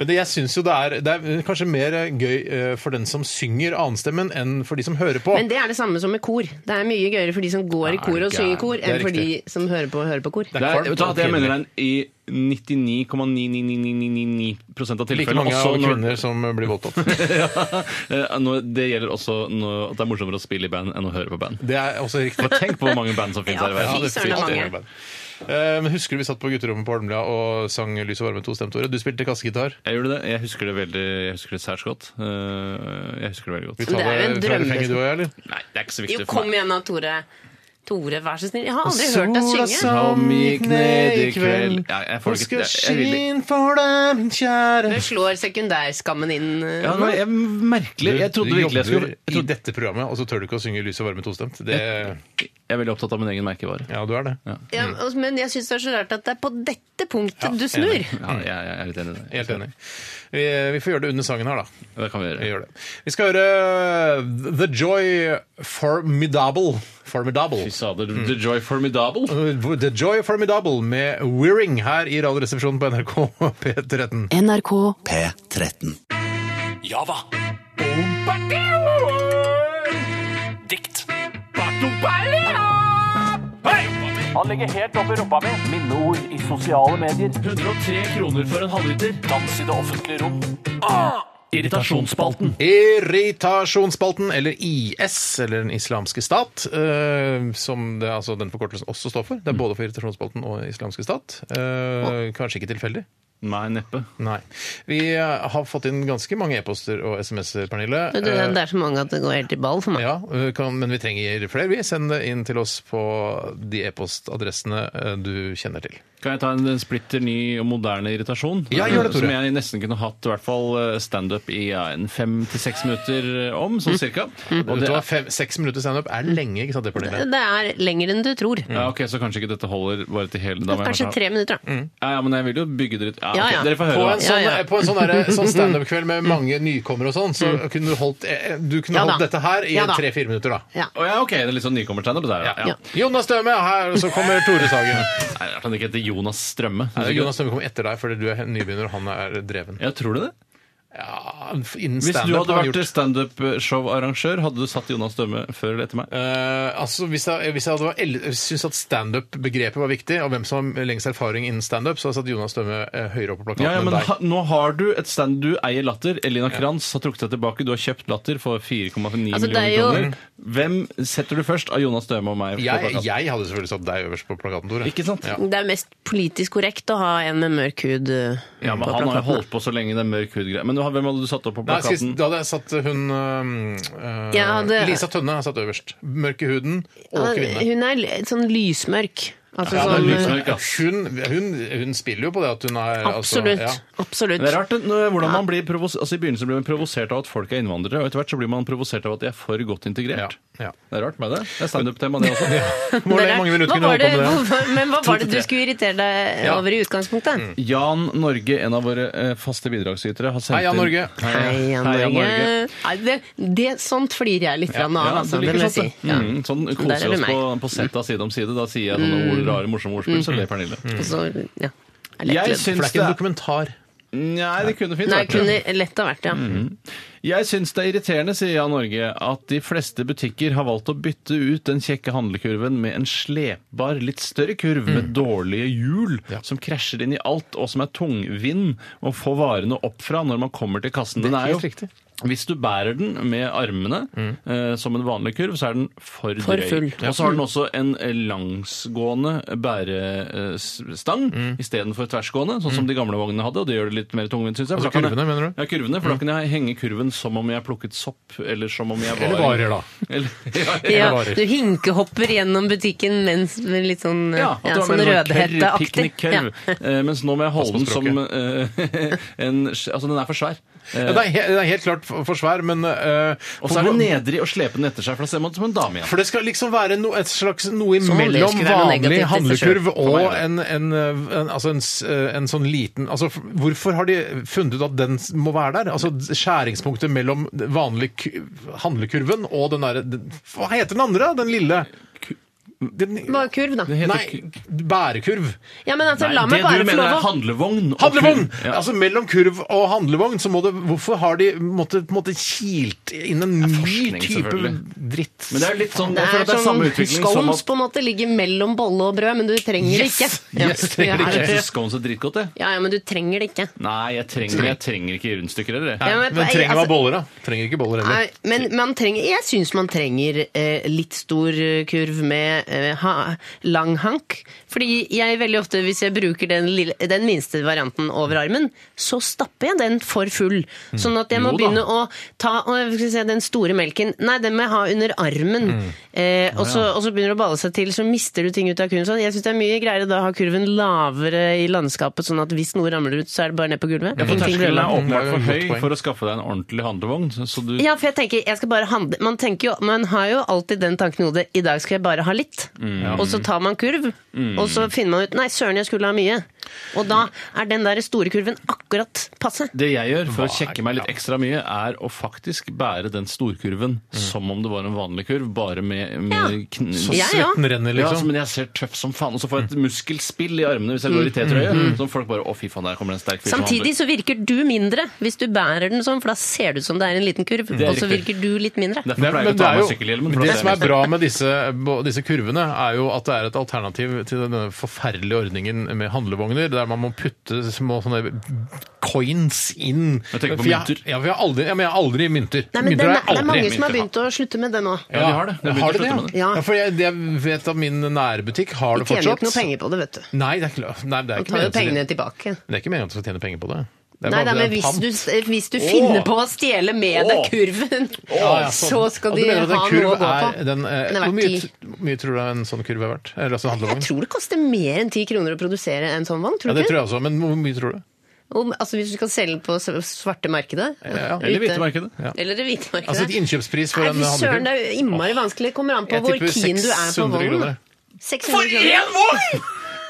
Speaker 1: Men det, jeg synes jo det er, det er kanskje mer gøy eh, for den som synger annenstemmen, enn for de som hører på.
Speaker 3: Men det er det samme som med kor. Det er mye gøyere for de som går i
Speaker 2: Ja,
Speaker 3: kor og
Speaker 2: gæren.
Speaker 3: synger kor,
Speaker 1: er
Speaker 3: enn for de som hører på og hører på kor.
Speaker 1: Det
Speaker 2: Det er,
Speaker 1: kvalmt
Speaker 2: vet du hva,
Speaker 1: og
Speaker 2: det jeg
Speaker 1: pinlig.
Speaker 2: mener er i 99,99999 av
Speaker 1: Like
Speaker 2: tilfellene.
Speaker 1: mange
Speaker 2: Også
Speaker 1: av
Speaker 2: når,
Speaker 1: kvinner som blir
Speaker 2: [laughs]
Speaker 1: voldtatt.
Speaker 2: eh, når, det gjelder også når, at det er morsommere å spille i band enn å høre på band.
Speaker 1: Det er også riktig.
Speaker 2: For tenk på hvor mange band som finnes
Speaker 3: Ja,
Speaker 2: her i
Speaker 1: Ja,
Speaker 2: verden.
Speaker 3: fy
Speaker 1: det
Speaker 3: søren, det er
Speaker 1: finnes
Speaker 3: mange.
Speaker 1: det. Eh, Men Husker du vi satt på gutterommet på Holmlia og sang 'Lys og varme' tostemtordet? Du spilte kassegitar.
Speaker 2: Jeg gjorde det. Jeg husker det veldig Jeg husker det særs godt. Eh, Jeg husker det veldig
Speaker 1: Vi
Speaker 2: godt.
Speaker 1: tar
Speaker 3: Det er jo en
Speaker 1: det fra
Speaker 3: drømme.
Speaker 1: refrenget, du og jeg, eller?
Speaker 2: Nei, det er ikke så
Speaker 3: Jo,
Speaker 2: viktig for
Speaker 3: kom
Speaker 2: meg.
Speaker 3: igjen da, Tore. Tore, vær så snill. Jeg har aldri hørt deg synge.
Speaker 2: som gikk ned i kveld. Ja, jeg får det ikke-
Speaker 1: Hun
Speaker 2: jeg- jeg vil ikke-
Speaker 1: skinne for deg, min kjære
Speaker 3: Du slår sekundærskammen inn. eh,
Speaker 2: Ja, nei, jeg, merkelig. Jeg trodde virkelig jeg skulle jeg,
Speaker 1: i
Speaker 2: trodde,
Speaker 1: dette programmet, og så tør du ikke å synge 'Lys og varme' tostemt. Det,
Speaker 2: jeg er veldig opptatt av min egen merkevare.
Speaker 1: ja, du er det.
Speaker 3: Ja, og- men jeg syns det er så rart at det er på dette punktet
Speaker 1: Ja,
Speaker 3: du snur.
Speaker 1: enig.
Speaker 2: Ja, jeg, jeg er litt enig i det.
Speaker 1: Helt enig. Vi, vi får gjøre det under sangen her, da.
Speaker 2: Det kan vi gjøre.
Speaker 1: Vi gjør det. Vi skal høre eh, The Joy Formidable. Formidable.
Speaker 2: Fy sader, The Joy Formidable.
Speaker 1: The Joy Formidable med Wearing her i Radioresepsjonen på NRK P13.
Speaker 6: NRK
Speaker 5: P13.
Speaker 7: Ja hva? Dikt.
Speaker 8: Han legger helt opp i rumpa mi. Minneord i sosiale medier.
Speaker 2: 103 kroner for en halvliter. Ah!
Speaker 8: Dans i det offentlige rom.
Speaker 2: Irritasjonsspalten.
Speaker 1: Irritasjonsspalten, eller IS, eller Den islamske stat, eh, som det, altså, den forkortelsen også står for. Det er
Speaker 2: Mm.
Speaker 1: både for Irritasjonsspalten og Islamske stat. Eh, kanskje ikke tilfeldig.
Speaker 2: Nei, neppe.
Speaker 1: Nei. Vi eh, har fått inn ganske mange e-poster og SMS-er, Pernille.
Speaker 3: Du, Det
Speaker 2: Eh.
Speaker 3: det er så mange at det går helt i ball for meg.
Speaker 1: Ja, eh, kan, men vi trenger flere. Vi Send det inn til oss på de e-postadressene eh, du kjenner til.
Speaker 2: Kan jeg ta en splitter ny og moderne irritasjon?
Speaker 1: Ja, gjør det, Tore.
Speaker 2: Som jeg nesten kunne hatt i hvert fall eh, standup i ja, en fem til seks minutter om, sånn cirka. Og
Speaker 1: Mm. Vet
Speaker 2: det
Speaker 1: du hva,
Speaker 2: er,
Speaker 1: fem, seks minutter standup er lenge, ikke sant det,
Speaker 3: Det
Speaker 1: Pernille?
Speaker 3: er lenger enn du tror.
Speaker 2: ja, ok, Så kanskje ikke dette holder bare til hele da må jeg Mm.
Speaker 3: Kanskje
Speaker 2: ta-
Speaker 3: tre minutter, da.
Speaker 2: Ja, ja, men jeg vil jo bygge det litt. Ja,
Speaker 3: Ja,
Speaker 2: ok,
Speaker 3: ja.
Speaker 2: Dere får
Speaker 1: På
Speaker 2: høre.
Speaker 1: en
Speaker 2: da.
Speaker 1: sånn,
Speaker 3: Ja, ja.
Speaker 1: på en sånn, derre-
Speaker 3: [laughs]
Speaker 1: sånn standup-kveld med mange nykommere og sånn, så kunne du holdt, eh, du kunne
Speaker 3: Mm. Ja da.
Speaker 1: holdt dette her i
Speaker 3: Ja da.
Speaker 1: tre-fire minutter, da.
Speaker 3: Ja.
Speaker 2: Å ja, ok, det er litt sånn nykommertegner på det her. Ja.
Speaker 3: Ja.
Speaker 1: Jonas Døme er her, og
Speaker 3: [laughs]
Speaker 1: så kommer Tore Sagen.
Speaker 2: Nei, Det er Rart han ikke heter Jonas Strømme.
Speaker 1: Jonas Døme kommer etter deg, fordi du er nybegynner, og han er dreven.
Speaker 2: Ja, tror du det?
Speaker 1: Ja, innen
Speaker 2: Hvis du
Speaker 1: standup
Speaker 2: hadde
Speaker 1: har han
Speaker 2: vært standup-show-arrangør, hadde du satt Jonas Dømme før eller etter meg?
Speaker 1: Eh, altså, hvis jeg, hvis jeg hadde vært el- syntes at standup-begrepet var viktig, og hvem som har lengst erfaring innen standup, så hadde jeg satt Jonas Dømme eh, høyere opp på plakaten
Speaker 2: Ja, ja, men
Speaker 1: enn deg.
Speaker 2: ha, nå har du et stand du eier latter. Elina Kranz har trukket seg tilbake. Du har kjøpt latter for 4,9
Speaker 3: Altså, det er
Speaker 2: millioner
Speaker 3: jo-
Speaker 2: kroner. Hvem setter du først av Jonas Døme og meg? på
Speaker 1: Jeg,
Speaker 2: plakaten?
Speaker 1: jeg hadde selvfølgelig satt deg øverst på plakaten, Tore.
Speaker 2: Ikke sant?
Speaker 1: Ja.
Speaker 3: Det er mest politisk korrekt å ha en med mørk hud. eh,
Speaker 2: Ja, men
Speaker 3: på
Speaker 2: Han har jo
Speaker 3: plakaten.
Speaker 2: holdt på så lenge, den mørk hud-greia. Men du ha? Hvem hadde du satt opp på
Speaker 1: Nei, skal,
Speaker 2: plakaten?
Speaker 1: jeg- da hadde jeg satt eh, hun øhm, øh,
Speaker 3: Jeg hadde-
Speaker 1: Lisa Tønne har satt øverst. Mørk i huden og kvinne.
Speaker 3: Hun er l- sånn lysmørk. Altså
Speaker 2: Ja, det er
Speaker 3: sånn,
Speaker 2: lysmørk, ja.
Speaker 1: Hun, hun, hun spiller jo på det at hun er altså,
Speaker 3: Absolutt.
Speaker 1: ja.
Speaker 3: absolutt.
Speaker 2: Men Det er rart nå, hvordan man blir provos altså, I begynnelsen blir man provosert av at folk er innvandrere, og etter hvert så blir man provosert av at de er for godt integrert.
Speaker 1: Ja,
Speaker 3: [laughs]
Speaker 1: ja.
Speaker 2: Det er rart med det. Det er standup-tema, det
Speaker 1: [laughs]
Speaker 2: også.
Speaker 3: Det
Speaker 1: Hvor
Speaker 3: er
Speaker 1: mange
Speaker 3: rart.
Speaker 1: minutter
Speaker 3: Hva
Speaker 1: kunne
Speaker 3: var
Speaker 1: du holdt på med det?
Speaker 3: det- hva- Men
Speaker 2: [laughs]
Speaker 3: hva var det du
Speaker 1: tre.
Speaker 3: skulle irritere deg
Speaker 1: Ja.
Speaker 3: over i utgangspunktet?
Speaker 2: Mm. Jan Norge, en av våre eh, faste bidragsytere, har sendt
Speaker 1: Hei, Jan
Speaker 2: inn-
Speaker 1: Norge.
Speaker 3: Hei, Jan
Speaker 2: Hei, Jan
Speaker 3: Norge.
Speaker 2: Norge.
Speaker 3: Nei, det, det, sånt flirer jeg litt grann av,
Speaker 2: Ja,
Speaker 3: altså,
Speaker 2: du
Speaker 3: det
Speaker 2: liker
Speaker 3: må jeg
Speaker 2: sånt,
Speaker 3: si.
Speaker 2: det.
Speaker 3: Ja.
Speaker 2: Mm, sånn
Speaker 3: Der
Speaker 2: koser vi
Speaker 3: er det
Speaker 2: oss
Speaker 3: meg. Mm.
Speaker 2: på, på sett av side om side. Da sier jeg sånne ord, rare, morsomme ordspill, så ler Pernille.
Speaker 3: Og så, ja. er lett
Speaker 2: Jeg
Speaker 3: ledd.
Speaker 1: For det er
Speaker 2: syns
Speaker 1: ikke
Speaker 2: det
Speaker 1: en
Speaker 2: er
Speaker 1: dokumentar.
Speaker 2: Nei, det kunne fint
Speaker 3: Nei,
Speaker 2: vært det.
Speaker 3: kunne lett ha vært det, ja.
Speaker 2: Mm. Jeg syns det er irriterende, sier Jan Norge, at de fleste butikker har valgt å bytte ut den kjekke handlekurven med en slepbar, litt større kurv
Speaker 1: Mm.
Speaker 2: med dårlige hjul som krasjer inn i alt, og som er tungvinn å få varene opp fra når man kommer til kassen. Den er jo
Speaker 1: helt riktig. Mm.
Speaker 2: hvis du bærer den med armene eh, som en vanlig kurv, så er den for,
Speaker 6: For
Speaker 2: drøy.
Speaker 6: full.
Speaker 2: Og så har den også en eh, langsgående bærestang
Speaker 1: Mm.
Speaker 2: istedenfor tversgående, sånn som de gamle vognene hadde, og det gjør det litt mer tungvint, syns jeg. for da
Speaker 1: Altså
Speaker 2: kan jeg-
Speaker 1: kurvene, mener du?
Speaker 2: ja, kurvene,
Speaker 1: Mm.
Speaker 2: for da kan jeg henge kurven som om jeg plukket sopp, eller som om jeg var
Speaker 1: Eller varer, da.
Speaker 2: [laughs] Eller, ja, ja.
Speaker 3: Ja,
Speaker 1: varer.
Speaker 3: du hinkehopper gjennom butikken mens med litt sånn,
Speaker 2: Ja,
Speaker 3: ja,
Speaker 2: at det var
Speaker 3: sånn
Speaker 2: mer sånn curry,
Speaker 3: rødhetteaktig.
Speaker 2: piknikkurv.
Speaker 3: Ja.
Speaker 2: Eh, mens nå må jeg holde den
Speaker 1: Pass på
Speaker 2: som eh, [laughs] en Altså, den er for svær. Eh,
Speaker 1: Ja, det, er, he- det er helt klart for for svær, men eh,
Speaker 2: og så er det nedrig å slepe den etter seg, for da ser man ut som en dame igjen.
Speaker 1: For det skal liksom være no, et slags noe
Speaker 3: Så man
Speaker 1: imellom
Speaker 3: leser det er noe
Speaker 1: vanlig
Speaker 3: negativt i seg selv.
Speaker 1: handlekurv og
Speaker 2: meg, ja.
Speaker 1: en, en, eh, en, altså en, s- eh, en sånn liten altså, f- Hvorfor har de funnet ut at den s- må være der? Altså skjæringspunktet mellom vanlig ku- handlekurven og den derre den- Hva heter den andre, da? den lille? Den,
Speaker 3: Bare kurv, da.
Speaker 1: nei, bærekurv.
Speaker 3: Ja, men altså,
Speaker 2: Nei,
Speaker 3: la
Speaker 2: det
Speaker 3: meg bare
Speaker 2: du
Speaker 3: få
Speaker 2: mener er
Speaker 3: lov å
Speaker 2: handlevogn. og
Speaker 1: Handlevogn!
Speaker 2: kurv. Ja.
Speaker 1: Altså Mellom kurv og handlevogn, så må det Hvorfor har de måttet på en måte kilt inn en ny
Speaker 2: forskning,
Speaker 1: type
Speaker 2: selvfølgelig.
Speaker 1: dritt?
Speaker 2: men det er jo litt sånn,
Speaker 3: det
Speaker 2: jeg føler
Speaker 3: er
Speaker 2: at det er samme
Speaker 3: sånn
Speaker 2: utvikling som
Speaker 3: scones
Speaker 2: at
Speaker 3: på en måte ligger mellom bolle og brød, men du trenger det
Speaker 1: Yes!
Speaker 3: ikke. Ja.
Speaker 1: Yes, trenger det
Speaker 3: Ja,
Speaker 2: Jeg
Speaker 1: ikke.
Speaker 2: synes scones er dritgodt, jeg.
Speaker 3: Ja, ja, men du trenger det ikke.
Speaker 2: Nei, jeg trenger, jeg trenger ikke rundstykker heller. jeg.
Speaker 3: Ja, altså-
Speaker 1: Men trenger man boller, da? Trenger ikke boller heller.
Speaker 3: Nei, men man trenger, jeg syns man trenger eh, litt stor eh, kurv med eh, ha, lang hank. Fordi jeg veldig ofte, hvis jeg bruker den, lille, den minste varianten over armen, så stapper jeg den for full. Sånn at jeg må
Speaker 2: Jo da.
Speaker 3: begynne å ta å, skal vi se, den store melken Nei, den må jeg ha under armen.
Speaker 2: Mm.
Speaker 3: Eh, og, så, og så begynner det å balle seg til, så mister du ting ut av kurven. Sånn. Jeg syns det er mye greiere da å ha kurven lavere i landskapet, sånn at hvis noe ramler ut, så er det bare ned på gulvet.
Speaker 2: Ja, for
Speaker 3: Ingenting
Speaker 2: Terskelen
Speaker 3: blir
Speaker 2: er
Speaker 3: ødelagt.
Speaker 2: åpenbart
Speaker 1: Det er jo et
Speaker 2: for
Speaker 1: Mm. godt
Speaker 2: høy
Speaker 1: poeng.
Speaker 2: for å skaffe deg en ordentlig handlevogn. så- Så du,
Speaker 3: Ja, for jeg tenker, jeg skal bare handle Man, tenker jo, man har jo alltid den tanken i hodet I dag skal jeg bare ha litt Og så tar man kurv Og så finner man ut, nei søren jeg skulle ha mye Og da er den der store kurven akkurat passe
Speaker 2: Det jeg gjør for å
Speaker 1: Hva er-
Speaker 2: kjekke meg litt ekstra mye, er å faktisk bære den storkurven som om det var en vanlig kurv, bare med, med kn-
Speaker 1: Mm. Så
Speaker 3: Ja, ja.
Speaker 1: svetten renner,
Speaker 2: Ja, altså,
Speaker 1: liksom. Mm.
Speaker 2: men jeg ser tøff som faen, og så får jeg et muskelspill i armene hvis jeg går i T-trøye. Så folk bare 'Å, fy faen, der kommer det en sterk fyr'. som
Speaker 3: Mm. Samtidig så virker du mindre Hvis du bærer den sånn, for da ser det ut som det er en liten kurv
Speaker 2: er
Speaker 3: Og så
Speaker 2: riktig.
Speaker 3: virker du litt mindre
Speaker 2: handler. Derfor
Speaker 1: Nei,
Speaker 2: pleier jeg ikke
Speaker 1: men
Speaker 2: å ta
Speaker 1: det er
Speaker 2: av meg
Speaker 1: jo-
Speaker 2: sykkelhjelmen. for da
Speaker 1: det
Speaker 2: ser
Speaker 1: som er
Speaker 2: jeg-
Speaker 1: bra med disse, bo- disse kurvene, er jo at det er et alternativ til denne forferdelige ordningen med handlevogner, der man må putte små sånne coins inn.
Speaker 2: Jeg tenker på
Speaker 1: For
Speaker 2: mynter.
Speaker 1: Ja, for jeg har aldri, ja, men jeg har aldri mynter.
Speaker 3: Nei, men den,
Speaker 1: mynter har
Speaker 3: er,
Speaker 1: jeg
Speaker 3: det er
Speaker 1: aldri.
Speaker 3: mange som har begynt å slutte med det nå
Speaker 2: Ja, de har det. De begynte
Speaker 1: har
Speaker 2: å
Speaker 1: det,
Speaker 2: slutte
Speaker 1: ja.
Speaker 2: med det.
Speaker 3: Ja.
Speaker 1: ja. For jeg, jeg vet at min nærbutikk har
Speaker 3: De
Speaker 1: det
Speaker 3: tjener jo
Speaker 1: fortsatt.
Speaker 3: ikke noe penger på det, vet du
Speaker 1: Nei, det er ikke, lov. nei, det er
Speaker 3: Man
Speaker 1: ikke
Speaker 3: tar jo
Speaker 1: meningen til-
Speaker 3: pengene tilbake
Speaker 1: Det er ikke meningen at du skal tjene penger på det. det
Speaker 3: Nei,
Speaker 1: er bare
Speaker 3: nei,
Speaker 1: at det er
Speaker 3: men
Speaker 1: en
Speaker 3: hvis
Speaker 1: pant.
Speaker 3: du, eh, hvis du finner
Speaker 2: Åh.
Speaker 3: på å stjele med deg
Speaker 2: Åh.
Speaker 3: kurven,
Speaker 1: Ja, ja,
Speaker 3: så skal
Speaker 1: Og
Speaker 3: de
Speaker 1: du mener
Speaker 3: ha
Speaker 1: at en
Speaker 3: noe å
Speaker 1: kurv
Speaker 3: gå på.
Speaker 1: er Den, eh,
Speaker 3: Den er
Speaker 1: hvor
Speaker 3: verdt
Speaker 1: mye,
Speaker 3: ti.
Speaker 1: hvor mye tror du en sånn kurv er verdt? Eller altså en
Speaker 3: Jeg
Speaker 1: handlevogn?
Speaker 3: tror det koster mer enn 10 kroner å produsere en sånn vogn.
Speaker 1: Ja,
Speaker 3: tror du
Speaker 1: det
Speaker 3: ikke?
Speaker 1: tror jeg også, men hvor mye tror du?
Speaker 3: Om, altså Hvis du skal selge den på s- svarte markedet.
Speaker 1: ja.
Speaker 3: ute-
Speaker 2: Eller hvite markedet.
Speaker 1: Ja.
Speaker 3: Eller det hvite markedet.
Speaker 1: Altså et innkjøpspris for
Speaker 3: Nei,
Speaker 1: en
Speaker 3: fy søren,
Speaker 1: handlekurv?
Speaker 3: det er jo innmari vanskelig. Det kommer an på
Speaker 1: Jeg
Speaker 3: hvor
Speaker 1: tipper
Speaker 3: keen du er på
Speaker 1: 600
Speaker 3: vognen.
Speaker 1: kroner.
Speaker 3: 600 kroner.
Speaker 2: vogn!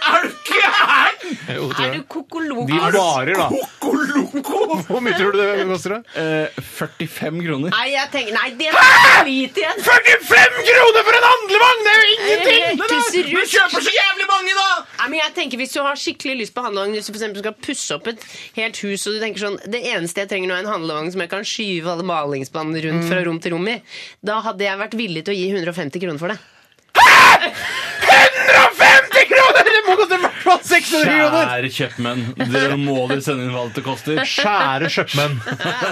Speaker 2: Er du gæren?!
Speaker 1: Jo, det tror
Speaker 3: Er
Speaker 1: jeg.
Speaker 3: du kokoloko?
Speaker 1: De varer, da.
Speaker 2: Kokoloko!
Speaker 1: Hvor mye tror du det koster? da?
Speaker 2: Eh, 45 kroner.
Speaker 3: Nei, jeg tenker, nei, det er drit i en
Speaker 1: 45 kroner for en handlevogn! Det er jo
Speaker 3: Helt tusserusk.
Speaker 2: så jævlig mange, da!
Speaker 3: Nei, men jeg tenker Hvis du har skikkelig lyst på handlevogn, hvis du for eksempel skal pusse opp et helt hus og du tenker sånn, Det eneste jeg trenger nå, er en handlevogn som jeg kan skyve alle malingsbåndene rundt fra rom til rom i. Da hadde jeg vært villig til å gi 150 kroner for det.
Speaker 1: 150 kroner! Det må koste i hvert fall 600 kroner!
Speaker 2: Kjære kjøpmenn, dere må dere sende inn hva det koster.
Speaker 1: Kjære kjøpmenn.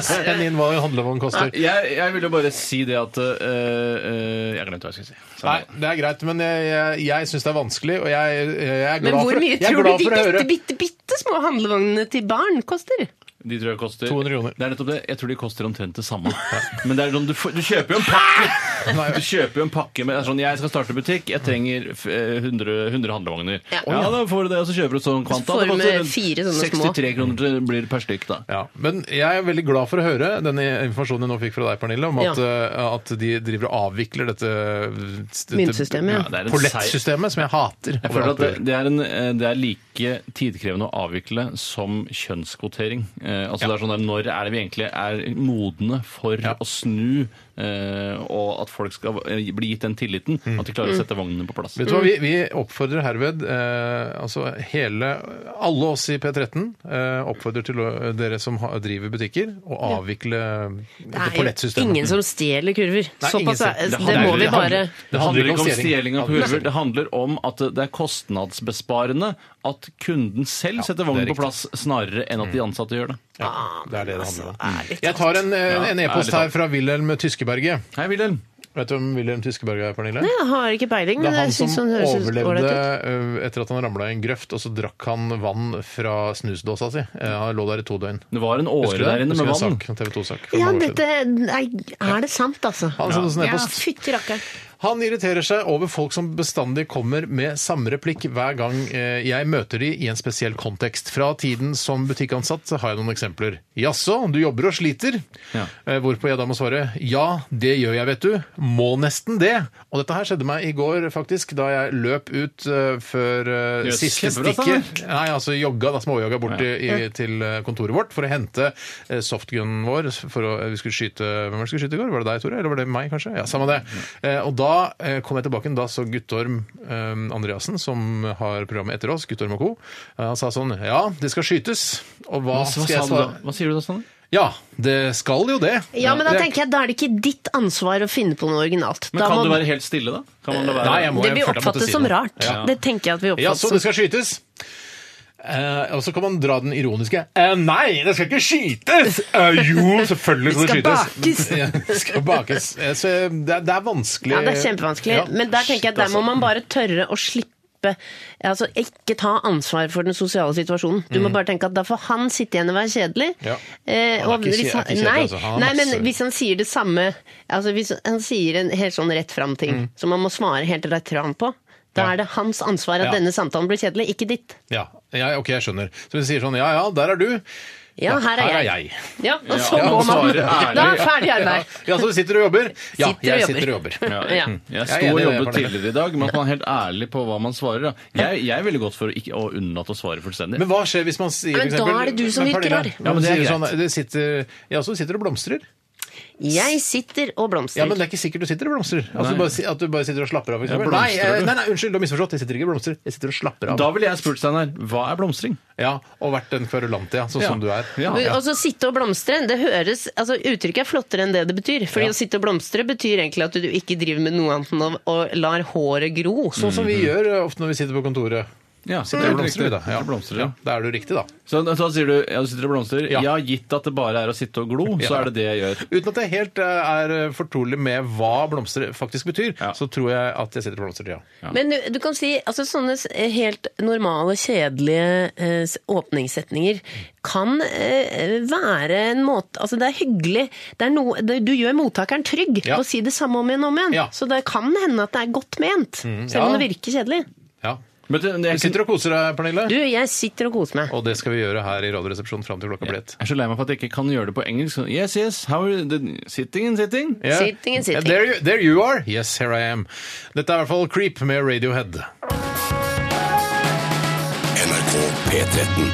Speaker 1: Send inn hva en handlevogn koster.
Speaker 2: Jeg, jeg vil jo bare si det at eh, eh, Jeg glemte hva jeg skulle si. Samme
Speaker 1: Nei, det er greit, men jeg, jeg, jeg syns det er vanskelig, og jeg, jeg er glad
Speaker 3: Men hvor
Speaker 1: for,
Speaker 3: mye
Speaker 1: jeg er
Speaker 3: tror du
Speaker 1: glad
Speaker 3: de
Speaker 1: for å høre
Speaker 3: bitte, bitte, bitte små handlevognene til barn koster?
Speaker 2: det. De tror jeg koster
Speaker 1: 200 kroner.
Speaker 2: Det er nettopp det. Jeg tror de koster omtrent det samme. Men det er sånn, du, får- du kjøper jo en pakke! Du kjøper jo en pakke med det er sånn, Jeg skal starte butikk, jeg trenger f- eh, 100, 100 handlevogner. Ja.
Speaker 6: Ja.
Speaker 2: da får du det, og så kjøper du et sånn kvanta.
Speaker 6: får
Speaker 2: Det
Speaker 6: du
Speaker 2: koster
Speaker 6: med
Speaker 2: rundt
Speaker 6: fire sånne små.
Speaker 2: 63 kroner til- blir det per stykk, da.
Speaker 1: Ja, Men jeg er veldig glad for å høre denne informasjonen jeg nå fikk fra deg, Pernille, om at,
Speaker 6: Ja.
Speaker 1: eh, at de driver og avvikler dette, dette
Speaker 6: Myntsystemet, ja.
Speaker 2: Ja, det er en
Speaker 1: Pollettsystemet, som jeg hater.
Speaker 2: Jeg føler at det, det, er en, eh, det er like tidkrevende å avvikle som kjønnskvotering. Eh, altså det er sånn der, Når er det vi egentlig er modne for å snu, eh, og at folk skal eh, bli gitt den tilliten
Speaker 1: Mm.
Speaker 2: at de
Speaker 3: Mm.
Speaker 2: klarer å sette vognene på plass?
Speaker 1: Vet du hva, vi, vi oppfordrer herved eh, altså hele, alle oss i P13 eh, oppfordrer til å- dere som ha, driver butikker, å avvikle
Speaker 3: Det
Speaker 1: dette
Speaker 3: er jo
Speaker 1: pollettsystemet.
Speaker 3: ingen som stjeler kurver.
Speaker 1: Nei,
Speaker 3: Såpass
Speaker 1: ingen
Speaker 3: er
Speaker 1: stjeler.
Speaker 3: det.
Speaker 2: Det
Speaker 3: må
Speaker 2: handler-
Speaker 3: vi
Speaker 2: det
Speaker 3: bare
Speaker 2: handler- Det handler ikke om
Speaker 1: stjeling.
Speaker 2: stjeling av
Speaker 1: Handler-
Speaker 2: kurver. Det handler om at det er kostnadsbesparende at kunden selv setter
Speaker 1: det er
Speaker 2: vognen på
Speaker 1: riktig. Mm.
Speaker 2: plass, snarere enn at de ansatte gjør det.
Speaker 1: Ja, det er det det handler om.
Speaker 3: Ærlig
Speaker 1: Jeg tar en eh,
Speaker 2: Ja,
Speaker 1: en e-post
Speaker 2: ærlig talt.
Speaker 1: her fra Wilhelm Tyskeberget.
Speaker 2: Hei, Wilhelm.
Speaker 1: Vet du hvem Wilhelm Tyskeberget er, Pernille?
Speaker 3: Jeg har ikke peiling,
Speaker 1: Det
Speaker 3: men
Speaker 1: er han
Speaker 3: jeg
Speaker 1: som
Speaker 3: syns han høres ut-
Speaker 1: overlevde
Speaker 3: ålreit ut.
Speaker 1: ø, etter at han ramla i en grøft, og så drakk han vann fra snusdåsa si. Eh, Han lå der i to døgn.
Speaker 2: Det var en åre
Speaker 1: Husker du
Speaker 2: der inne med
Speaker 1: Husker du en
Speaker 2: vann.
Speaker 1: sak, en TV2-sak. for
Speaker 3: Ja,
Speaker 1: noen år
Speaker 3: dette
Speaker 1: siden?
Speaker 3: nei, Er det sant, altså?
Speaker 1: Han sendte oss en
Speaker 3: Ja,
Speaker 1: e-post.
Speaker 3: fytti rakkeren.
Speaker 1: Han irriterer seg over folk som bestandig kommer med samme replikk hver gang eh, jeg møter de i en spesiell kontekst. Fra tiden som butikkansatt så har jeg noen eksempler. Jaså, du jobber og sliter?
Speaker 2: Ja.
Speaker 1: Eh, Hvorpå jeg da må svare ja, det gjør jeg, vet du. Må nesten det. Og dette her skjedde meg i går, faktisk, da jeg løp ut eh, før eh,
Speaker 2: Jøss,
Speaker 1: siste
Speaker 2: kjempebra,
Speaker 1: stikket. Nei, altså jogga, da småjogga bort i, i, til eh, kontoret vårt for å hente eh, softgunen vår. For å, eh, vi skulle skyte, hvem var det vi skulle skyte i går? Var det deg, Tore? Eller var det meg, kanskje? Ja, samme det. Eh, og da eh, kom jeg tilbake, da så Guttorm eh, Andreassen, som har programmet etter oss, Guttorm og co., eh, han sa sånn Ja, det skal skytes. Og hva,
Speaker 2: Hva, hva,
Speaker 1: skal
Speaker 2: sa
Speaker 1: jeg
Speaker 2: du da?
Speaker 1: svare?
Speaker 2: hva sier du da, Stanley?
Speaker 1: Ja, det skal jo det.
Speaker 3: Ja, men da
Speaker 1: Det er-
Speaker 3: tenker jeg da er det ikke ditt ansvar å finne på noe originalt.
Speaker 2: Men
Speaker 3: Da
Speaker 2: kan
Speaker 3: må-
Speaker 2: du være helt stille, da? Kan man la være?
Speaker 1: Nei, jeg må-
Speaker 3: det blir
Speaker 1: jeg følte jeg måtte
Speaker 3: oppfattet
Speaker 1: si
Speaker 3: som
Speaker 1: det.
Speaker 3: rart.
Speaker 1: Ja.
Speaker 3: Det tenker jeg at vi
Speaker 1: Ja,
Speaker 3: oppfattes
Speaker 1: så det
Speaker 3: som.
Speaker 1: skal skytes. Eh, og så kan man dra den ironiske. Eh, nei, det skal ikke skytes! Eh, jo, selvfølgelig skal det
Speaker 3: Det skal
Speaker 1: skytes. [laughs] Ja, det skal bakes. Eh, så det, er, det er vanskelig.
Speaker 3: Ja, det er kjempevanskelig.
Speaker 1: Ja.
Speaker 3: Men der tenker jeg at der må
Speaker 1: Shit, altså.
Speaker 3: man bare tørre å slippe Altså Ikke ta ansvar for den sosiale situasjonen. Du må bare tenke at da får han sitte igjen og være kjedelig.
Speaker 1: Mm. Ja.
Speaker 3: Eh,
Speaker 1: Han er
Speaker 3: og
Speaker 1: ikke
Speaker 3: hvis
Speaker 1: kje- er ikke kjedelig,
Speaker 3: nei,
Speaker 1: altså. Han har
Speaker 3: nei, men
Speaker 1: masse-
Speaker 3: hvis han sier det samme Altså Hvis han sier en helt sånn rett fram-ting som man må svare helt rett fram på, da
Speaker 1: Mm. Ja.
Speaker 3: er det hans ansvar at
Speaker 1: Ja.
Speaker 3: denne samtalen blir kjedelig, ikke ditt.
Speaker 1: Ja, ja, ok, jeg skjønner. Så vi sier sånn, ja ja, der er du.
Speaker 3: Ja, her er jeg. Ja, og så
Speaker 1: Ja,
Speaker 3: går
Speaker 1: og
Speaker 3: man.
Speaker 1: svarer ærlig.
Speaker 3: Da er ferdig
Speaker 1: [laughs]
Speaker 3: arbeid.
Speaker 1: Ja, så du sitter og jobber? Ja,
Speaker 3: Sitter og
Speaker 1: jeg
Speaker 3: jobber.
Speaker 1: sitter og jobber.
Speaker 2: Ja, Mm.
Speaker 3: Ja.
Speaker 2: Jeg
Speaker 1: Jeg er
Speaker 2: sto
Speaker 1: enig
Speaker 2: og
Speaker 1: i det,
Speaker 2: jobbet
Speaker 1: Pernille.
Speaker 2: tidligere i dag, men at man er helt ærlig på hva man svarer. Da. Jeg, jeg er veldig godt for å, ikke, å unnlate å svare fullstendig.
Speaker 1: Men hva skjer hvis man sier
Speaker 3: Ja, men
Speaker 1: for eksempel-
Speaker 3: da er det du som
Speaker 1: Men
Speaker 3: virker
Speaker 1: Pernille,
Speaker 3: rar.
Speaker 1: Ja, men det er
Speaker 2: greit.
Speaker 1: Sånn, det sitter, ja, så sitter og blomstrer.
Speaker 3: Jeg sitter og blomstrer.
Speaker 1: Ja, men det er ikke sikkert du sitter og blomstrer. At du
Speaker 2: Nei.
Speaker 1: bare, si- at du bare sitter og slapper av. for
Speaker 2: Ja,
Speaker 1: eksempel.
Speaker 2: blomstrer
Speaker 1: Nei, eh,
Speaker 2: du?
Speaker 1: nei, nei, unnskyld, du har misforstått. Jeg sitter ikke og blomstrer. Jeg sitter og slapper av.
Speaker 2: Da ville jeg spurt Steinar hva er blomstring?
Speaker 1: Ja, Og vært en kverulant, ja. Sånn
Speaker 2: Ja.
Speaker 1: som du er.
Speaker 2: Ja.
Speaker 3: Men også sitte og blomstre, det høres, altså Uttrykket er flottere enn det det betyr. Fordi
Speaker 1: Ja.
Speaker 3: å sitte og blomstre betyr egentlig at du ikke driver med noe annet enn å, å lar håret gro.
Speaker 1: Sånn som vi gjør eh, ofte når vi sitter på kontoret.
Speaker 2: Ja,
Speaker 1: Sitter og blomstrer, vi, da.
Speaker 2: Ja. Blomstrer, ja.
Speaker 1: Da er du riktig, da.
Speaker 2: Så da sier du ja, du sitter og blomstrer.
Speaker 1: Ja.
Speaker 2: Ja. gitt at det bare er å sitte og glo, så
Speaker 1: Ja.
Speaker 2: er det det jeg gjør.
Speaker 1: Uten at jeg helt eh, er fortrolig med hva blomster faktisk betyr,
Speaker 2: Ja.
Speaker 1: så tror jeg at jeg sitter og blomstrer, ja.
Speaker 3: Men du, du kan si altså sånne s- helt normale, kjedelige eh, s- åpningssetninger kan eh, være en måte Altså, det er hyggelig. Det er noe, det, du gjør mottakeren trygg
Speaker 1: Ja.
Speaker 3: ved å si det samme om igjen og om igjen.
Speaker 1: Ja. Mm,
Speaker 3: Så det kan hende at det er godt ment, selv om
Speaker 1: ja.
Speaker 3: det virker kjedelig.
Speaker 1: ja.
Speaker 2: Men det,
Speaker 1: Du
Speaker 2: jeg,
Speaker 1: sitter og koser deg, Pernille.
Speaker 3: Du, jeg sitter og koser meg.
Speaker 1: Og det skal vi gjøre her i Radioresepsjonen fram til klokka blir ett.
Speaker 2: jeg er så lei meg for at jeg ikke kan gjøre det på engelsk. Så, Yes, yes, how are you, the- sitting and sitting?
Speaker 1: Yeah.
Speaker 3: Sitting and sitting.
Speaker 1: Yeah, There you, there you are. Yes, here I am. Dette er i hvert fall Creep med Radiohead.
Speaker 5: NRK P13.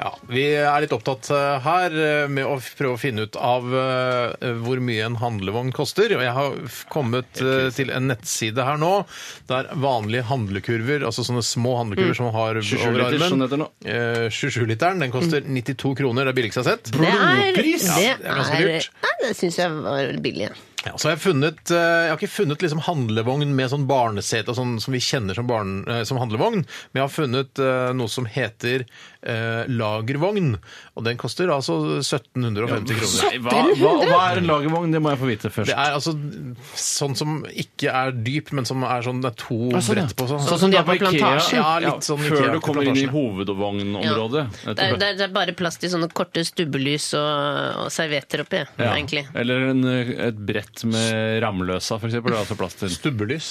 Speaker 1: Ja, Vi er litt opptatt eh, her eh, med å f- prøve å finne ut av eh, hvor mye en handlevogn koster. Og jeg har f- kommet eh, til en nettside her nå der vanlige handlekurver, altså sånne små handlekurver som man har
Speaker 2: 27
Speaker 1: over
Speaker 2: liter, sånn heter
Speaker 1: armen
Speaker 2: den nå.
Speaker 1: eh, 27-literen, den koster 92 kroner. Det er billigst jeg har sett.
Speaker 3: Det er,
Speaker 1: Blodpris!
Speaker 3: det
Speaker 1: Ja, det er ganske
Speaker 3: er-
Speaker 1: dyrt.
Speaker 3: Nei, det syns jeg var billig. ja.
Speaker 1: Ja, så har jeg, funnet, eh, jeg har ikke funnet liksom handlevogn med sånn barnesete og sånn som vi kjenner som, barn, eh, som handlevogn, men jeg har funnet eh, noe som heter eh, lagervogn. Og den koster altså 1750 kroner.
Speaker 2: Nei, hva, hva, hva er en lagervogn? Det må jeg få vite
Speaker 1: Det
Speaker 2: først.
Speaker 1: er altså sånn som ikke er dyp, men som er sånn det er to
Speaker 2: sånn, ja.
Speaker 1: brett på. Sånn,
Speaker 3: Sånn som de har på plantasjen.
Speaker 1: Ja, litt sånn
Speaker 2: Før
Speaker 1: Ikea
Speaker 2: du
Speaker 1: på
Speaker 2: kommer inn i
Speaker 1: plantasjen.
Speaker 2: hovedvognområdet.
Speaker 3: Ja. Det, er, det, er, det er bare plass til sånne korte stubbelys og, og servietter oppi,
Speaker 2: Ja.
Speaker 3: egentlig.
Speaker 2: Eller en, eh, et brett med ramløsa, for eksempel. Det er altså plass til.
Speaker 1: Stubbelys.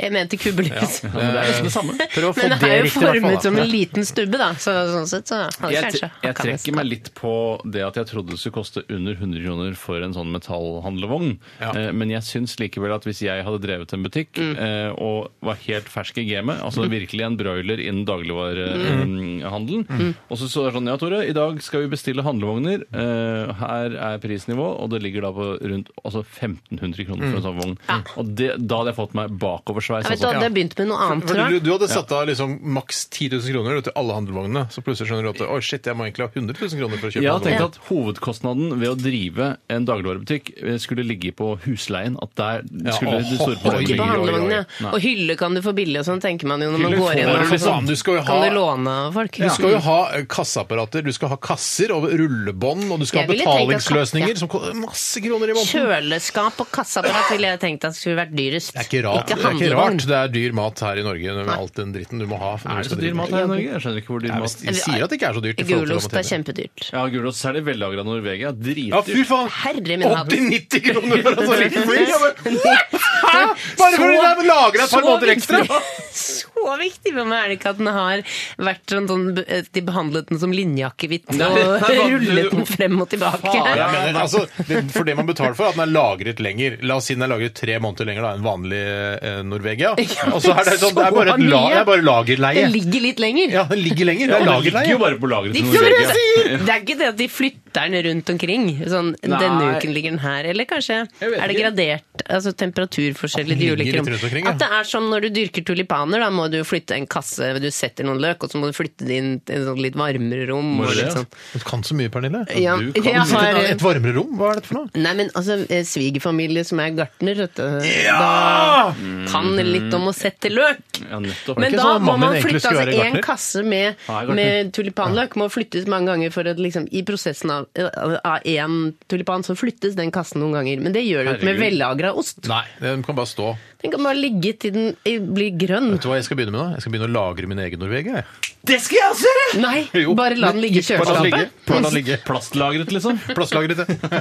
Speaker 3: Jeg mente kubbelys.
Speaker 2: Ja, men det er nesten det
Speaker 3: [laughs]
Speaker 2: samme.
Speaker 1: Prøv å få
Speaker 3: Men det
Speaker 1: det
Speaker 3: er jo
Speaker 1: riktig, i hvert fall.
Speaker 3: formet
Speaker 1: da.
Speaker 3: som en liten stubbe, da. Så, sånn sett så hadde
Speaker 2: Jeg,
Speaker 3: kanskje
Speaker 2: jeg
Speaker 3: kan
Speaker 2: trekker
Speaker 3: nesten-
Speaker 2: meg litt på det at jeg trodde det skulle koste under 100 kroner for en sånn metallhandlevogn.
Speaker 1: Ja.
Speaker 2: Eh, Men jeg syns likevel at hvis jeg hadde drevet en butikk
Speaker 3: Mm.
Speaker 2: eh, og var helt fersk i gamet, altså virkelig en broiler innen
Speaker 3: Mm.
Speaker 2: dagligvarehandelen Og så så er det sånn Ja, Tore, i dag skal vi bestille handlevogner. Eh, Her er prisnivå, og det ligger da på rundt altså 1500 kroner for en sånn vogn. Og det, da hadde jeg fått meg bakoversveis.
Speaker 3: Jeg Mm. vet du,
Speaker 2: altså.
Speaker 3: Hadde jeg begynt med noe annet,
Speaker 1: For
Speaker 3: tror
Speaker 1: du,
Speaker 3: jeg.
Speaker 1: du hadde satt av liksom maks 10 000 kroner til alle handlevognene, så plutselig skjønner du at «Oi, shit, jeg må egentlig ha 100 000 kroner for å kjøpe
Speaker 2: Jeg har tenkt
Speaker 1: handlevogn».
Speaker 2: at hovedkostnaden ved å drive en dagligvarebutikk eh, skulle ligge på husleien. At der skulle
Speaker 1: Ja,
Speaker 2: det store
Speaker 1: åh,
Speaker 2: problemet
Speaker 1: ikke
Speaker 3: Ikke på
Speaker 2: ligge.
Speaker 3: handlevogn, ja.
Speaker 2: Nei.
Speaker 3: Og hylle kan du få billig og sånn, tenker man jo når man
Speaker 1: Hylle får
Speaker 3: går
Speaker 1: du
Speaker 3: gjennom.
Speaker 1: liksom,
Speaker 3: sånn.
Speaker 1: du skal jo
Speaker 3: Kan
Speaker 1: ha-
Speaker 3: du låne av folk?
Speaker 1: Du skal jo ha eh, kasseapparater, du skal ha kasser og rullebånd, og du skal ha
Speaker 3: Jeg ville tenkt at
Speaker 1: betalingsløsninger
Speaker 3: kasse-
Speaker 1: som koster masse kroner i måneden.
Speaker 3: Kjøleskap og kassaapparat ville jeg tenkt at skulle vært dyrest.
Speaker 1: Det er ikke rart. Det er ikke
Speaker 3: handlevogn.
Speaker 1: rart. Det er dyr mat her i Norge med alt den dritten du må ha.
Speaker 2: Er
Speaker 1: når du
Speaker 2: det
Speaker 1: skal
Speaker 2: så dyr
Speaker 1: drive
Speaker 2: mat her i Norge? Jeg skjønner ikke hvor dyr
Speaker 1: Nei,
Speaker 2: mat
Speaker 1: De sier at det ikke er så dyrt. i forhold til
Speaker 3: Gulost er
Speaker 1: hva man tjener.
Speaker 3: kjempedyrt.
Speaker 2: Ja, gulost er det vellagra Norvegia.
Speaker 1: Ja, fy
Speaker 2: Dritdyrt.
Speaker 1: faen!
Speaker 3: Herre min hatt. [laughs]
Speaker 1: 80-90 kroner for en sånn liten fly! ja, men- Hæ? Bare fordi det er lagra et par
Speaker 3: så
Speaker 1: måneder ekstra!
Speaker 3: viktig- Så viktig for meg er det ikke at den har vært sånn, sånn at De behandlet den som linjeakevitt og
Speaker 2: Nei, nei, hva-
Speaker 3: rullet den frem og
Speaker 2: Faen,
Speaker 3: tilbake.
Speaker 2: ja.
Speaker 1: Jeg mener, altså, det, for det man betaler for, er at den er lagret lenger. La oss si den er lagret tre måneder lenger da, enn vanlig eh, Norvegia. Og så er det sånn, det er bare, et la,
Speaker 3: mye.
Speaker 1: det er bare lagerleie.
Speaker 3: [laughs] Den ligger litt lenger.
Speaker 1: Ja, den ligger lenger. Det
Speaker 2: Ja,
Speaker 1: er
Speaker 2: det ligger jo
Speaker 1: lagerleie.
Speaker 2: bare på lageret
Speaker 3: De
Speaker 2: til
Speaker 3: flytter,
Speaker 2: Norvegia.
Speaker 3: det er ikke det at de flytter den rundt omkring. Sånn, denne
Speaker 2: Nei.
Speaker 3: uken ligger den her. Eller kanskje
Speaker 2: vet
Speaker 3: er det
Speaker 2: ikke.
Speaker 3: gradert altså temperaturforskjell i
Speaker 1: At den
Speaker 3: de
Speaker 1: ligger
Speaker 3: ulike
Speaker 1: litt
Speaker 3: rom.
Speaker 1: rundt omkring, ja.
Speaker 3: At det er som når du dyrker tulipaner, da må du flytte en kasse, du setter noen løk, og så må du flytte det inn til en sånn litt varmere rom.
Speaker 2: Må
Speaker 3: Og
Speaker 2: du det,
Speaker 3: litt
Speaker 2: ja?
Speaker 3: sånn.
Speaker 1: Du kan så mye, Pernille.
Speaker 3: Ja,
Speaker 2: du kan
Speaker 3: jeg har,
Speaker 1: Et varmere rom? Hva er dette for noe?
Speaker 3: nei, men altså, eh, svigerfamilie som er gartner, vet du, da
Speaker 1: Ja!
Speaker 3: kan litt om å sette løk.
Speaker 2: Ja, nettopp.
Speaker 3: Men
Speaker 1: ikke
Speaker 3: da
Speaker 1: sånn at
Speaker 3: må
Speaker 1: mannen
Speaker 3: man
Speaker 1: egentlig
Speaker 3: flytte altså
Speaker 1: skulle være
Speaker 3: en
Speaker 1: gartner?
Speaker 3: kasse
Speaker 2: Ja,
Speaker 3: med,
Speaker 2: jeg er gartner.
Speaker 3: med tulipanløk må flyttes mange ganger for at liksom, i prosessen av én tulipan, så flyttes den kassen noen ganger. Men det gjør det jo ikke med
Speaker 2: Herregud.
Speaker 3: vellagra ost.
Speaker 1: Nei, den kan bare stå.
Speaker 3: Den kan bare ligge til den eh, blir grønn.
Speaker 1: [laughs] Vet du hva jeg skal begynne med da? Jeg skal begynne å lagre min egen Norvegia. jeg.
Speaker 3: Nei,
Speaker 1: Jo.
Speaker 3: bare la den ligge i
Speaker 1: Bare la den ligge.
Speaker 3: kjøleskapet.
Speaker 1: Bare la den ligge.
Speaker 2: Plastlagret,
Speaker 3: [laughs]
Speaker 2: liksom.
Speaker 1: Plasslagret, ja.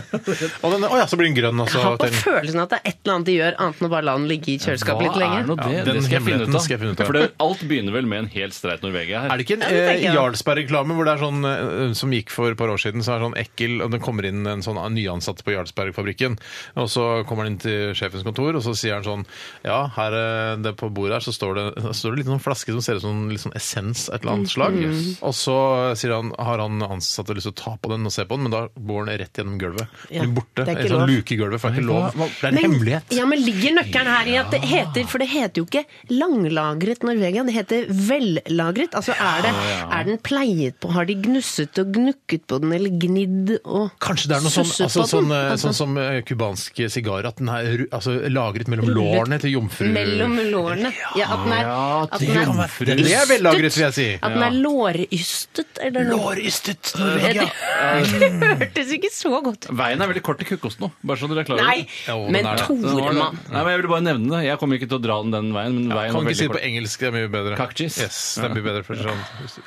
Speaker 1: Og den, å ja, så blir den grønn
Speaker 3: Jeg har
Speaker 1: også.
Speaker 3: på
Speaker 1: Den-
Speaker 3: følelsen at det er et eller annet de gjør, annet enn å bare la den ligge i kjøleskapet litt
Speaker 2: Hva er nå
Speaker 3: lenge.
Speaker 2: det?
Speaker 1: Ja, den
Speaker 2: det skal jeg finne
Speaker 1: hemmeligheten
Speaker 2: ut av.
Speaker 1: skal jeg finne ut av.
Speaker 2: For det, alt begynner vel med en helt streit Norvegia
Speaker 1: Er
Speaker 2: her.
Speaker 1: det ikke en
Speaker 3: det
Speaker 1: eh,
Speaker 3: tenker jeg.
Speaker 1: Jarlsberg-reklame hvor det er sånn eh, som gikk for et par år siden, så er det sånn ekkel, og det kommer inn en sånn nyansatt på Jarlsberg-fabrikken, og så kommer han inn til sjefens kontor, og så sier han sånn Ja, her eh, det på bordet her så står det, så står det litt sånn flaske som ser ut som litt sånn essens av et eller annet slag,
Speaker 3: Mm.
Speaker 1: og så sier han har han ansatte lyst til å ta på den og se på den, men da går den rett gjennom gulvet.
Speaker 3: Ja,
Speaker 1: Blir
Speaker 3: det
Speaker 1: borte.
Speaker 3: er ikke
Speaker 1: En sånn
Speaker 3: lov.
Speaker 1: luke i gulvet, for det er ikke lov. Det er en
Speaker 3: Men,
Speaker 1: hemmelighet.
Speaker 3: ja, men ligger nøkkelen her i at det heter For det heter jo ikke langlagret Norvegia, det heter vellagret. Altså er, det, er den pleiet på? Har de gnusset og gnukket på den, eller gnidd og
Speaker 1: Kanskje det er noe sånn,
Speaker 3: susset
Speaker 1: altså,
Speaker 3: på
Speaker 1: sånn,
Speaker 3: den?
Speaker 1: eh,
Speaker 3: Altså,
Speaker 1: sånn som eh, kubansk sigar, at den er ru- altså, lagret mellom
Speaker 3: Rullet
Speaker 1: lårene til
Speaker 3: [laughs]
Speaker 1: jomfru...
Speaker 3: Mellom lårene. Ja, at den er, at den er,
Speaker 1: Det er vellagret, vil jeg si.
Speaker 3: at den er lårystet, eller noe.
Speaker 1: Lårystet
Speaker 3: Det, [laughs] det hørtes ikke så godt ut.
Speaker 2: Veien er veldig kort til kukost nå. Bare så dere er klar over
Speaker 3: Nei,
Speaker 2: det.
Speaker 1: Jo, den
Speaker 3: men
Speaker 1: er det.
Speaker 2: Den var det.
Speaker 3: Toremann
Speaker 2: Nei, men jeg ville bare nevne det. Jeg kommer ikke til å dra den den veien, men veien
Speaker 1: Kan
Speaker 2: var
Speaker 1: ikke
Speaker 2: veldig
Speaker 1: si det på
Speaker 2: kort.
Speaker 1: engelsk, det er mye bedre.
Speaker 2: Cockchase.
Speaker 1: Yes, det er mye bedre for sånn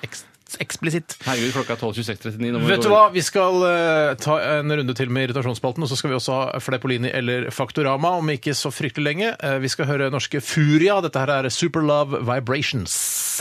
Speaker 1: eks- eksplisitt.
Speaker 2: Herregud, klokka er 12.26.39. nå må vi gå
Speaker 1: Vet du
Speaker 2: videre.
Speaker 1: hva, vi skal eh, ta en runde til med irritasjonsspalten, og så skal vi også ha Fleipolini eller Faktorama om ikke så fryktelig lenge. Eh, Vi skal høre norske Furia. Dette her er Superlove Vibrations.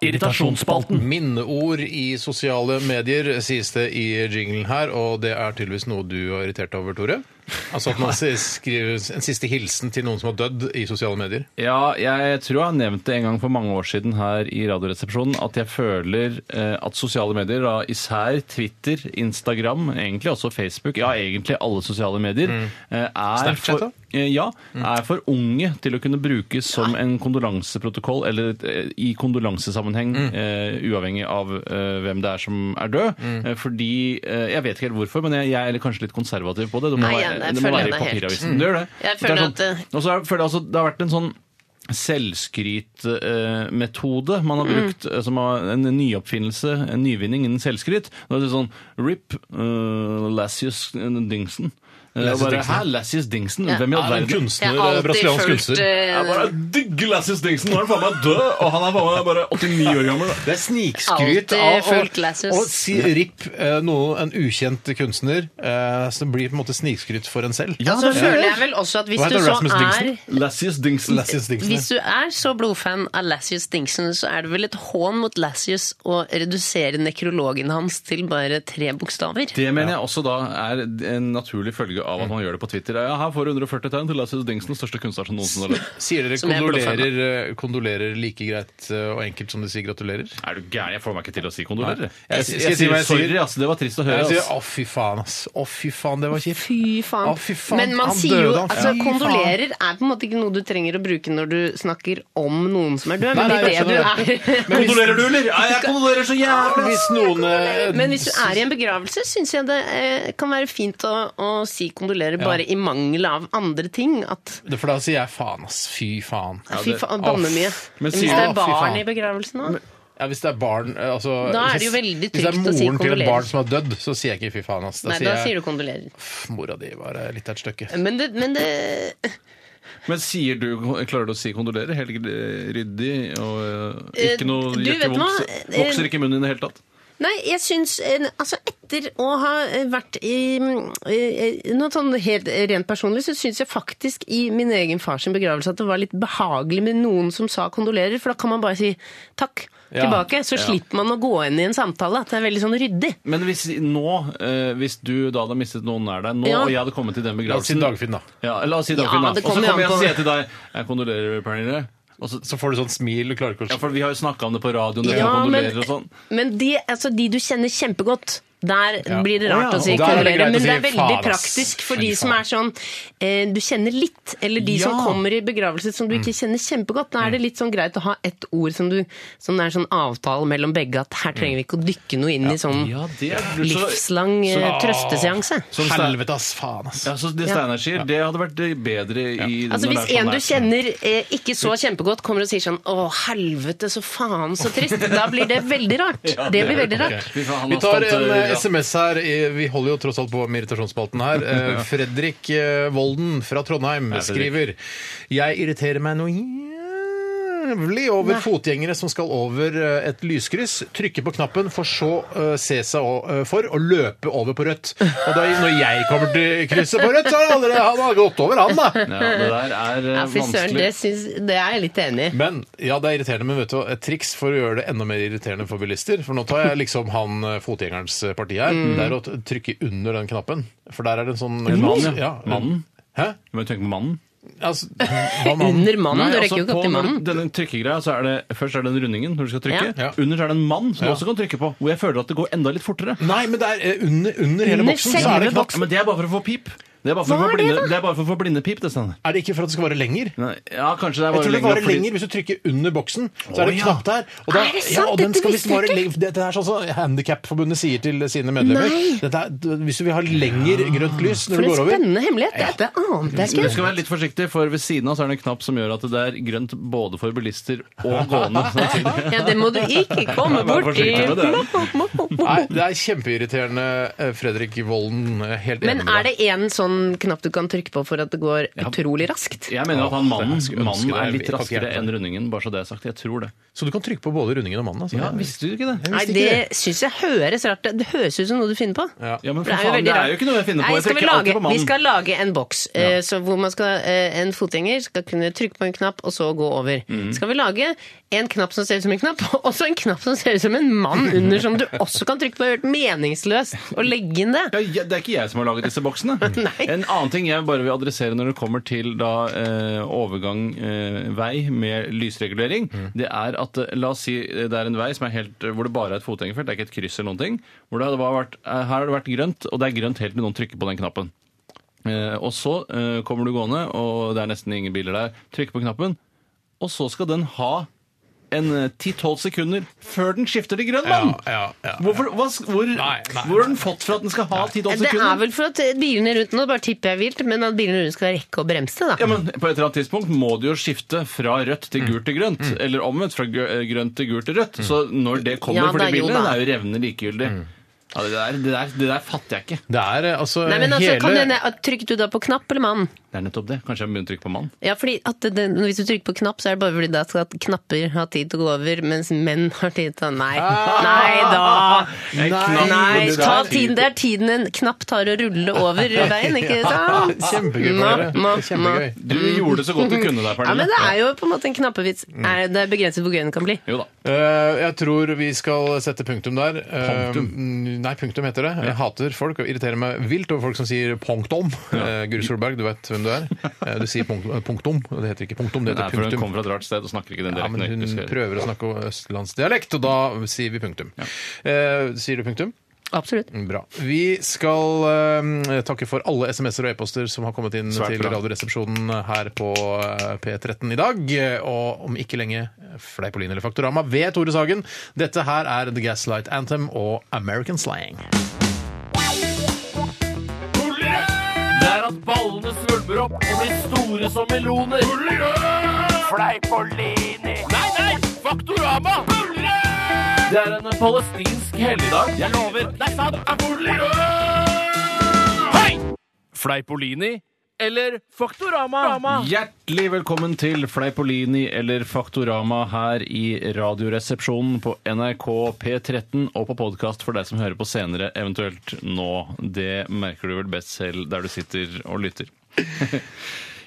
Speaker 2: Irritasjonsspalten.
Speaker 1: Minneord i sosiale medier sies det i jinglen her, og det er tydeligvis noe du er irritert over, Tore? Altså at man s- skriver en siste hilsen til noen som har dødd i sosiale medier.
Speaker 2: Ja, jeg tror jeg har nevnt det en gang for mange år siden her i Radioresepsjonen, at jeg føler eh, at sosiale medier, da, især Twitter, Instagram, egentlig også Facebook, ja, egentlig alle sosiale medier,
Speaker 3: Mm.
Speaker 2: eh, er
Speaker 1: Snapchat,
Speaker 2: for, eh, ja, er for unge til å kunne brukes som en kondolanseprotokoll, eller eh, i kondolansesammenheng,
Speaker 3: Mm.
Speaker 2: eh, uavhengig av eh, hvem det er som er død.
Speaker 3: Mm.
Speaker 2: Eh, fordi, eh, jeg vet ikke helt hvorfor, men jeg, jeg er kanskje litt konservativ på det. Det må,
Speaker 3: Nei,
Speaker 2: være,
Speaker 3: jeg
Speaker 2: det må
Speaker 3: føler
Speaker 2: være i
Speaker 3: det helt. Mm.
Speaker 2: papiravisen. Det gjør det.
Speaker 3: Jeg
Speaker 2: Det er
Speaker 3: føler
Speaker 2: sånn-
Speaker 3: at, eh,
Speaker 2: og så er- føler jeg altså, det har vært en sånn selvskrytmetode man har brukt, eh, som har en nyoppfinnelse, en nyvinning innen selvskryt. Nå er det sånn RIP uh, Lassius Dingsen. Eh,
Speaker 1: Lassius
Speaker 2: bare,
Speaker 1: Dingsen.
Speaker 2: Hæ, Lassius Dingsen? Hvem i all
Speaker 1: Er en
Speaker 2: verden?
Speaker 1: kunstner, eh,
Speaker 3: Jeg har alltid
Speaker 1: brasiliansk
Speaker 3: følt,
Speaker 1: kunstner.
Speaker 3: eh,
Speaker 2: Jeg bare digger Lassius Dingsen! Nå er han faen meg død, og han er faen meg bare 89 år gammel.
Speaker 1: Det er snikskryt
Speaker 3: Alltid
Speaker 1: av å-
Speaker 3: fulgt Lassus.
Speaker 1: å si RIP eh, noe, en ukjent kunstner, eh, så det blir på en måte snikskryt for en selv.
Speaker 2: Ja,
Speaker 3: Så
Speaker 2: det er-
Speaker 3: føler jeg vel også at hvis
Speaker 1: Hva
Speaker 3: du
Speaker 1: heter
Speaker 3: så
Speaker 1: Rasmus
Speaker 3: er
Speaker 1: Dingsen?
Speaker 2: Lassius Dingsen.
Speaker 1: Lassus Dingsen.
Speaker 3: hvis du er så blodfan av Lassius Dingsen, så er det vel et hån mot Lassius å redusere nekrologen hans til bare tre bokstaver?
Speaker 2: Det mener jeg også da er en naturlig følge av at man gjør det på Twitter. Ja, her får du 140 tegn til Lassius Dingsen, største kunstner som noensinne har levd.
Speaker 1: Sier dere
Speaker 3: Som jeg burde
Speaker 1: kondolerer, eh, kondolerer like greit eh, og enkelt som de sier gratulerer?
Speaker 2: Er du gæren? Jeg får meg ikke til å si kondolerer. Jeg,
Speaker 1: Nei.
Speaker 2: jeg,
Speaker 1: Skal
Speaker 2: jeg,
Speaker 1: jeg si
Speaker 2: sier
Speaker 1: hva jeg
Speaker 2: sorry,
Speaker 1: sier?
Speaker 2: ass. Det var trist å høre.
Speaker 1: Jeg sier
Speaker 2: ass.
Speaker 1: å, fy faen, ass. Å, fy faen, det var kjipt.
Speaker 3: Fy faen.
Speaker 1: Å, fy faen.
Speaker 3: Men man
Speaker 1: Han
Speaker 3: sier jo
Speaker 1: døde, han.
Speaker 3: altså,
Speaker 1: Fy faen.
Speaker 3: Kondolerer er på en måte ikke noe du trenger å bruke når du snakker om noen som er død,
Speaker 1: Nei,
Speaker 3: men
Speaker 1: nei,
Speaker 3: det
Speaker 1: jeg
Speaker 3: er det du
Speaker 1: skjønner
Speaker 3: er.
Speaker 1: Men hvis-
Speaker 2: du, eller? Ja, jeg kondolerer så jævlig!
Speaker 1: Hvis noen eh,
Speaker 3: Men [laughs] hvis du er i en begravelse, syns jeg det eh, kan være fint å, å si kondolerer bare i mangel av andre ting. At
Speaker 1: For da sier jeg faen, ass. Fy faen.
Speaker 3: fy faen, banne
Speaker 1: Å,
Speaker 3: mye.
Speaker 1: f-
Speaker 2: men
Speaker 3: Men
Speaker 2: sier
Speaker 3: hvis det
Speaker 1: du-
Speaker 3: er
Speaker 1: Å, fy
Speaker 3: barn
Speaker 1: faen.
Speaker 3: i begravelsen òg?
Speaker 1: Ja, hvis det er barn eh, altså,
Speaker 3: Da er
Speaker 1: hvis-
Speaker 3: det jo veldig
Speaker 1: Hvis det er
Speaker 3: trygt å si
Speaker 1: moren til et
Speaker 3: kondolerer.
Speaker 1: barn som har dødd, så sier jeg ikke fy faen, ass. Da
Speaker 3: Nei,
Speaker 1: sier
Speaker 3: da
Speaker 1: jeg
Speaker 3: sier du kondolerer.
Speaker 1: pff, mora di var eh, litt av et stykke.
Speaker 3: Men det, men det
Speaker 2: Men sier du, klarer du å si kondolerer? Helt eh, ryddig og eh,
Speaker 3: Eh,
Speaker 2: ikke noe
Speaker 3: du vet
Speaker 2: hjertevondt?
Speaker 3: hva? Eh,
Speaker 2: Vokser ikke i munnen i det hele tatt?
Speaker 3: Nei, jeg syns eh, Altså, etter å ha eh, vært i mm, eh, Noe sånn helt eh, rent personlig, så syns jeg faktisk i min egen fars begravelse at det var litt behagelig med noen som sa kondolerer, for da kan man bare si takk
Speaker 1: Ja,
Speaker 3: tilbake. Så slipper man å gå inn i en samtale. At det er veldig sånn ryddig.
Speaker 2: Men hvis nå, eh, hvis du da hadde mistet noen nær deg nå,
Speaker 3: Ja.
Speaker 2: og jeg hadde kommet til den
Speaker 1: La oss si
Speaker 2: begravelsen
Speaker 1: Dagfinn, da.
Speaker 2: Ja, la oss si Dagfinn,
Speaker 3: Ja,
Speaker 2: da.
Speaker 3: det
Speaker 2: Og så
Speaker 3: kommer jo
Speaker 2: kommer jeg
Speaker 3: an
Speaker 2: og
Speaker 3: på-
Speaker 2: sier til deg Jeg kondolerer, Pernille. Og så,
Speaker 1: Så får du sånn smil. du klarer ikke å
Speaker 2: ja, for vi har jo snakka om det på radioen, det
Speaker 3: Ja,
Speaker 2: med kondolerer
Speaker 3: men,
Speaker 2: og sånn.
Speaker 3: men de, altså, de du kjenner kjempegodt, der
Speaker 1: Ja.
Speaker 3: blir det rart
Speaker 2: Å ja,
Speaker 3: å si
Speaker 1: og der er det
Speaker 3: kondolerer.
Speaker 1: greit å
Speaker 3: Men
Speaker 1: si
Speaker 3: det er veldig
Speaker 1: faen, ass.
Speaker 3: praktisk for
Speaker 1: Fy
Speaker 3: de som
Speaker 1: faen.
Speaker 3: er sånn eh, du kjenner litt, eller de som
Speaker 2: Ja.
Speaker 3: kommer i begravelse som du ikke kjenner kjempegodt. Da er det litt sånn greit å ha ett ord som, du, som er sånn avtale mellom begge, at her trenger vi ikke å dykke noe inn i sånn
Speaker 2: Ja, det er
Speaker 3: livslang eh, trøsteseanse.
Speaker 1: sånn
Speaker 2: Som Stein-
Speaker 1: Helvete, ass. Faen, ass.
Speaker 2: Ja, så det Steinar sier, det hadde vært eh, bedre i når
Speaker 3: Altså Hvis
Speaker 2: det er sånn
Speaker 3: en du
Speaker 2: der.
Speaker 3: kjenner eh, ikke så kjempegodt, kommer og sier sånn 'Å, helvete, så faen, så trist', da blir det veldig rart. Det blir veldig rart.
Speaker 2: Fy faen, han
Speaker 1: Vi
Speaker 2: har
Speaker 1: tar
Speaker 2: stått,
Speaker 1: en
Speaker 2: eh,
Speaker 1: eh,
Speaker 2: ja.
Speaker 1: SMS her. Eh, Vi holder jo tross alt på med irritasjonsspalten her. Eh, Fredrik eh, Volden fra Trondheim
Speaker 2: Hei,
Speaker 1: skriver
Speaker 2: Fredrik.
Speaker 1: Jeg irriterer meg noe jævlig over fotgjengere som skal over eh, et lyskryss, trykke på knappen, for så eh, se seg o- eh, for og løpe over på rødt. Og da, når jeg kommer til krysset på rødt, så har han allerede han har gått over, han, da.
Speaker 2: Ja, det der er eh,
Speaker 3: Ja, fy søren,
Speaker 2: vanskelig.
Speaker 3: det, syns- det er jeg litt enig i.
Speaker 1: Men ja, det er irriterende, men vet du, hva, et triks for å gjøre det enda mer irriterende for bilister For nå tar jeg liksom han eh, fotgjengerens parti her.
Speaker 2: Mm.
Speaker 1: Det er å t- trykke under den knappen. For der er det en sånn
Speaker 2: En mann, ja.
Speaker 1: en-
Speaker 2: Mannen.
Speaker 1: Hæ?
Speaker 2: Du må jo tenke på mannen.
Speaker 1: Altså, hva mannen?
Speaker 3: Under mannen, du
Speaker 2: Nei, altså,
Speaker 3: rekker jo ikke
Speaker 2: på
Speaker 3: opp til
Speaker 2: når du-
Speaker 3: mannen.
Speaker 2: Denne trykkegreia, så er det Først er det den rundingen når du skal trykke.
Speaker 1: Ja.
Speaker 2: Under så er det en mann som du
Speaker 1: Ja.
Speaker 2: også kan trykke på. Hvor jeg føler at det går enda litt fortere.
Speaker 1: Nei, men det er eh, under, under hele
Speaker 3: Under
Speaker 1: boksen. Så er det
Speaker 3: selve
Speaker 1: knapp.
Speaker 2: Ja, men det er bare for å få pip. Det er bare for,
Speaker 3: Hva
Speaker 2: å få,
Speaker 3: er det,
Speaker 2: blinde,
Speaker 3: da?
Speaker 2: det er bare for å få blindepip, det, Steinar.
Speaker 1: Er det ikke for at det skal vare lenger?
Speaker 2: Nei, Ja, kanskje det er
Speaker 1: Jeg
Speaker 2: bare
Speaker 1: tror det varer
Speaker 2: fordi-
Speaker 1: lenger hvis du trykker under boksen. Så er det
Speaker 2: Å,
Speaker 1: en
Speaker 2: ja.
Speaker 1: knapp der. Og da-
Speaker 3: Er det sant?
Speaker 1: Ja, og den
Speaker 3: Dette
Speaker 1: skal
Speaker 3: visste
Speaker 1: visst vare
Speaker 3: jeg ikke.
Speaker 1: lenger. Dette er sånn som Handikapforbundet sier til sine medlemmer. Dette er, hvis du vil ha
Speaker 2: Ah.
Speaker 1: lenger grønt lys når
Speaker 3: For
Speaker 1: du
Speaker 3: en
Speaker 1: går over
Speaker 3: spennende hemmelighet! Dette ante
Speaker 2: Men
Speaker 3: jeg
Speaker 2: du
Speaker 3: ikke.
Speaker 2: skal være litt forsiktig, for ved siden av så er det en knapp som gjør at det er grønt både for bilister og gående.
Speaker 3: [laughs]
Speaker 2: samtidig.
Speaker 3: Ja, det må du ikke komme
Speaker 2: Vær
Speaker 3: borti!
Speaker 2: forsiktig med det.
Speaker 1: Nei, det er kjempeirriterende, eh, Fredrik Volden. eh, Helt
Speaker 3: Men
Speaker 1: enig med
Speaker 3: er
Speaker 1: deg.
Speaker 3: det en sånn
Speaker 6: sånn knapp du kan trykke på for at det går utrolig raskt.
Speaker 2: Jeg mener at han mannen,
Speaker 1: Jeg skulle
Speaker 2: mannen
Speaker 1: ønske det.
Speaker 2: er litt
Speaker 1: Jeg kan ikke
Speaker 2: raskere
Speaker 1: hjelpe
Speaker 2: enn
Speaker 1: det.
Speaker 2: rundingen, bare så det er sagt. Jeg tror det.
Speaker 1: Så du kan trykke på både rundingen og mannen? Altså.
Speaker 2: Ja, visste du ikke det?
Speaker 1: Jeg
Speaker 3: Nei,
Speaker 1: visste ikke
Speaker 3: det syns jeg høres rart ut. Det høres ut som noe du finner på.
Speaker 1: Ja.
Speaker 2: Ja, men for
Speaker 3: For
Speaker 2: faen, det er
Speaker 3: rart.
Speaker 2: jo ikke noe jeg finner på.
Speaker 3: Nei,
Speaker 2: Jeg
Speaker 3: skal vi,
Speaker 2: trykker alltid på
Speaker 3: lage, vi
Speaker 2: mannen.
Speaker 3: skal lage en boks eh, så hvor man skal, eh, en fotgjenger skal kunne trykke på en knapp og så gå over.
Speaker 2: Mhm.
Speaker 3: Skal vi lage en knapp som ser ut som en knapp, [laughs] og så en knapp som ser ut som en mann under, som du også kan trykke på. Det er helt meningsløst å legge inn det.
Speaker 2: Ja, ja, det er ikke jeg som har laget disse
Speaker 1: [laughs]
Speaker 2: boksene.
Speaker 3: Nei.
Speaker 2: En annen ting jeg bare vil adressere når det kommer til da, eh, overgang eh, vei med lysregulering,
Speaker 1: Mm.
Speaker 2: det er at eh, la oss si eh, det er en vei som er helt, eh, hvor det bare er et fotgjengerfelt, det er ikke et kryss eller noen ting. Hvor det hadde bare vært, eh, her har det vært grønt, og det er grønt helt til noen trykker på den knappen. Eh, og så eh, kommer du gående, og det er nesten ingen biler der. Trykker på knappen, og så skal den ha en eh, 10-12 sekunder før den skifter til grønn mann!
Speaker 1: ja, ja.
Speaker 2: Hvorfor, hva, s- hvor,
Speaker 1: Nei, nei,
Speaker 2: hvor har den fått for at den skal ha 10-12
Speaker 3: Det
Speaker 2: sekunder?
Speaker 3: er vel for at bilene rundt nå, bare tipper jeg vilt, men at bilene rundt skal rekke å bremse, da.
Speaker 2: Ja, men På et eller annet tidspunkt må du jo skifte fra rødt til gult til grønt. Eller omvendt, fra grø- eh, grønt til gult til rødt. Så når det kommer
Speaker 3: Ja,
Speaker 2: for
Speaker 3: da,
Speaker 2: de
Speaker 3: jo
Speaker 2: bilene, det
Speaker 3: da.
Speaker 2: er jo revnende likegyldig. Ja, det, der, det, der, det der fatter jeg ikke.
Speaker 1: Det er eh, altså,
Speaker 3: Nei, men altså,
Speaker 1: hele
Speaker 3: kan hende, at- Trykket du da på knapp eller mann?
Speaker 2: Det er nettopp det. Kanskje jeg må begynne å trykke på mann.
Speaker 3: Ja, fordi at det, det, Hvis du trykker på knapp, så er det bare fordi da skal knapper ha tid til å gå over, mens menn har tid til å Nei,
Speaker 2: Ah!
Speaker 3: nei
Speaker 2: [laughs]
Speaker 3: da!
Speaker 2: En
Speaker 1: Nei,
Speaker 2: knapp, men
Speaker 3: Nei,
Speaker 2: det
Speaker 3: ta
Speaker 2: der-
Speaker 3: tiden, Det er tiden en knapp tar å rulle
Speaker 1: [laughs]
Speaker 3: over veien, ikke sant?
Speaker 1: [laughs] Kjempegøy for dere.
Speaker 3: Nå, nå,
Speaker 1: Kjempegøy.
Speaker 3: nå.
Speaker 2: Du gjorde så godt du kunne der,
Speaker 3: Ja,
Speaker 2: Pernille.
Speaker 3: men Det er jo på en måte en knappevits.
Speaker 1: Mm.
Speaker 3: Er det er begrenset hvor gøy den kan bli.
Speaker 2: Jo da.
Speaker 1: Eh, jeg tror vi skal sette punktum der. Eh,
Speaker 2: Punktum?
Speaker 1: mm, nei, punktum heter det. Jeg hater folk og irriterer meg vilt over folk som sier punktum. Eh, Guri Solberg, du vet hvem du er. Eh, du sier punktum, eh, punktum, og det heter ikke punktum, det
Speaker 2: Nei,
Speaker 1: heter
Speaker 2: for hun
Speaker 1: punktum.
Speaker 2: kommer fra et rart sted og snakker ikke den
Speaker 1: Ja, men
Speaker 2: direkten.
Speaker 1: hun
Speaker 2: jeg husker.
Speaker 1: prøver å snakke østlandsdialekt, og da sier vi punktum. Eh, sier du punktum?
Speaker 3: Absolutt.
Speaker 1: Bra. Vi skal eh, takke for alle SMS-er og e-poster som har kommet inn
Speaker 2: Svært
Speaker 1: til
Speaker 2: bra.
Speaker 1: Radioresepsjonen her på eh, P13 i dag. Og om ikke lenge Fleipolin eller Faktorama ved Tore Sagen. Dette her er The Gaslight Anthem og American Slang.
Speaker 8: Det er at ballene svulmer opp og blir store som meloner. Fleipolini. Nei, nei! Faktorama. Det er en palestinsk helligdag. Jeg lover. Det er sant. Hei! Fleipolini eller Faktorama?
Speaker 2: Hjertelig velkommen til Fleipolini eller Faktorama her i Radioresepsjonen på NRK P13 og på podkast for deg som hører på senere, eventuelt nå. Det merker du vel best selv der du sitter og lytter.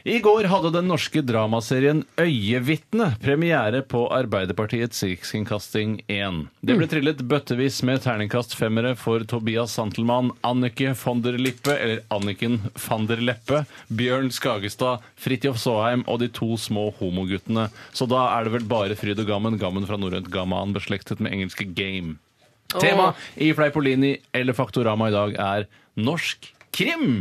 Speaker 2: I går hadde den norske dramaserien Øyevitne premiere på Arbeiderpartiets Rikskringkasting 1. Det ble trillet bøttevis med terningkast femmere for Tobias Santelmann, Annike von der Lippe, eller Anniken van der Leppe, Bjørn Skagestad, Fridtjof Saaheim og de to små homoguttene. Så da er det vel bare fryd og gammen, gammen fra norrønt gamman, beslektet med engelske game. Tema i Fleipolini eller Faktorama i dag er norsk krim.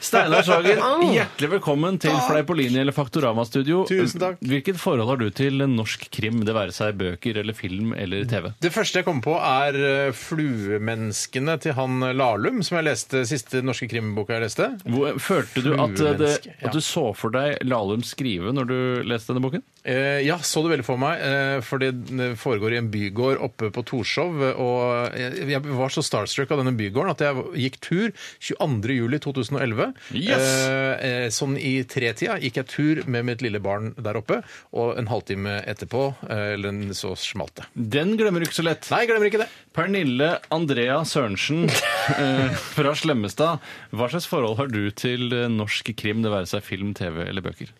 Speaker 2: Steinar Sagen, hjertelig velkommen til Fleipolini eller Faktorama-studio.
Speaker 1: Tusen takk.
Speaker 2: Hvilket forhold har du til norsk krim, det være seg bøker eller film eller TV?
Speaker 1: Det første jeg kommer på, er eh, 'Fluemenneskene' til han Lahlum, som jeg leste siste norske krimboka jeg leste.
Speaker 2: Hvor- Følte du at, eh, det,
Speaker 1: Fluemenneske, ja.
Speaker 2: at du så for deg Lahlum skrive når du leste denne boken?
Speaker 1: Eh, ja, så det veldig for meg. Eh, for det foregår i en bygård oppe på Torshov. Og jeg, jeg var så starstruck av denne bygården at jeg gikk tur 22.07.2011.
Speaker 2: Yes!
Speaker 1: Eh, eh, sånn i tretida gikk jeg tur med mitt lille barn der oppe. Og en halvtime etterpå, eh, eller en- så smalt det.
Speaker 2: Den glemmer du ikke så lett.
Speaker 1: Nei, jeg glemmer ikke det.
Speaker 2: Pernille Andrea [laughs] Sørensen eh, fra Slemmestad, hva slags forhold har du til eh, norsk krim, det være seg film, TV eller bøker?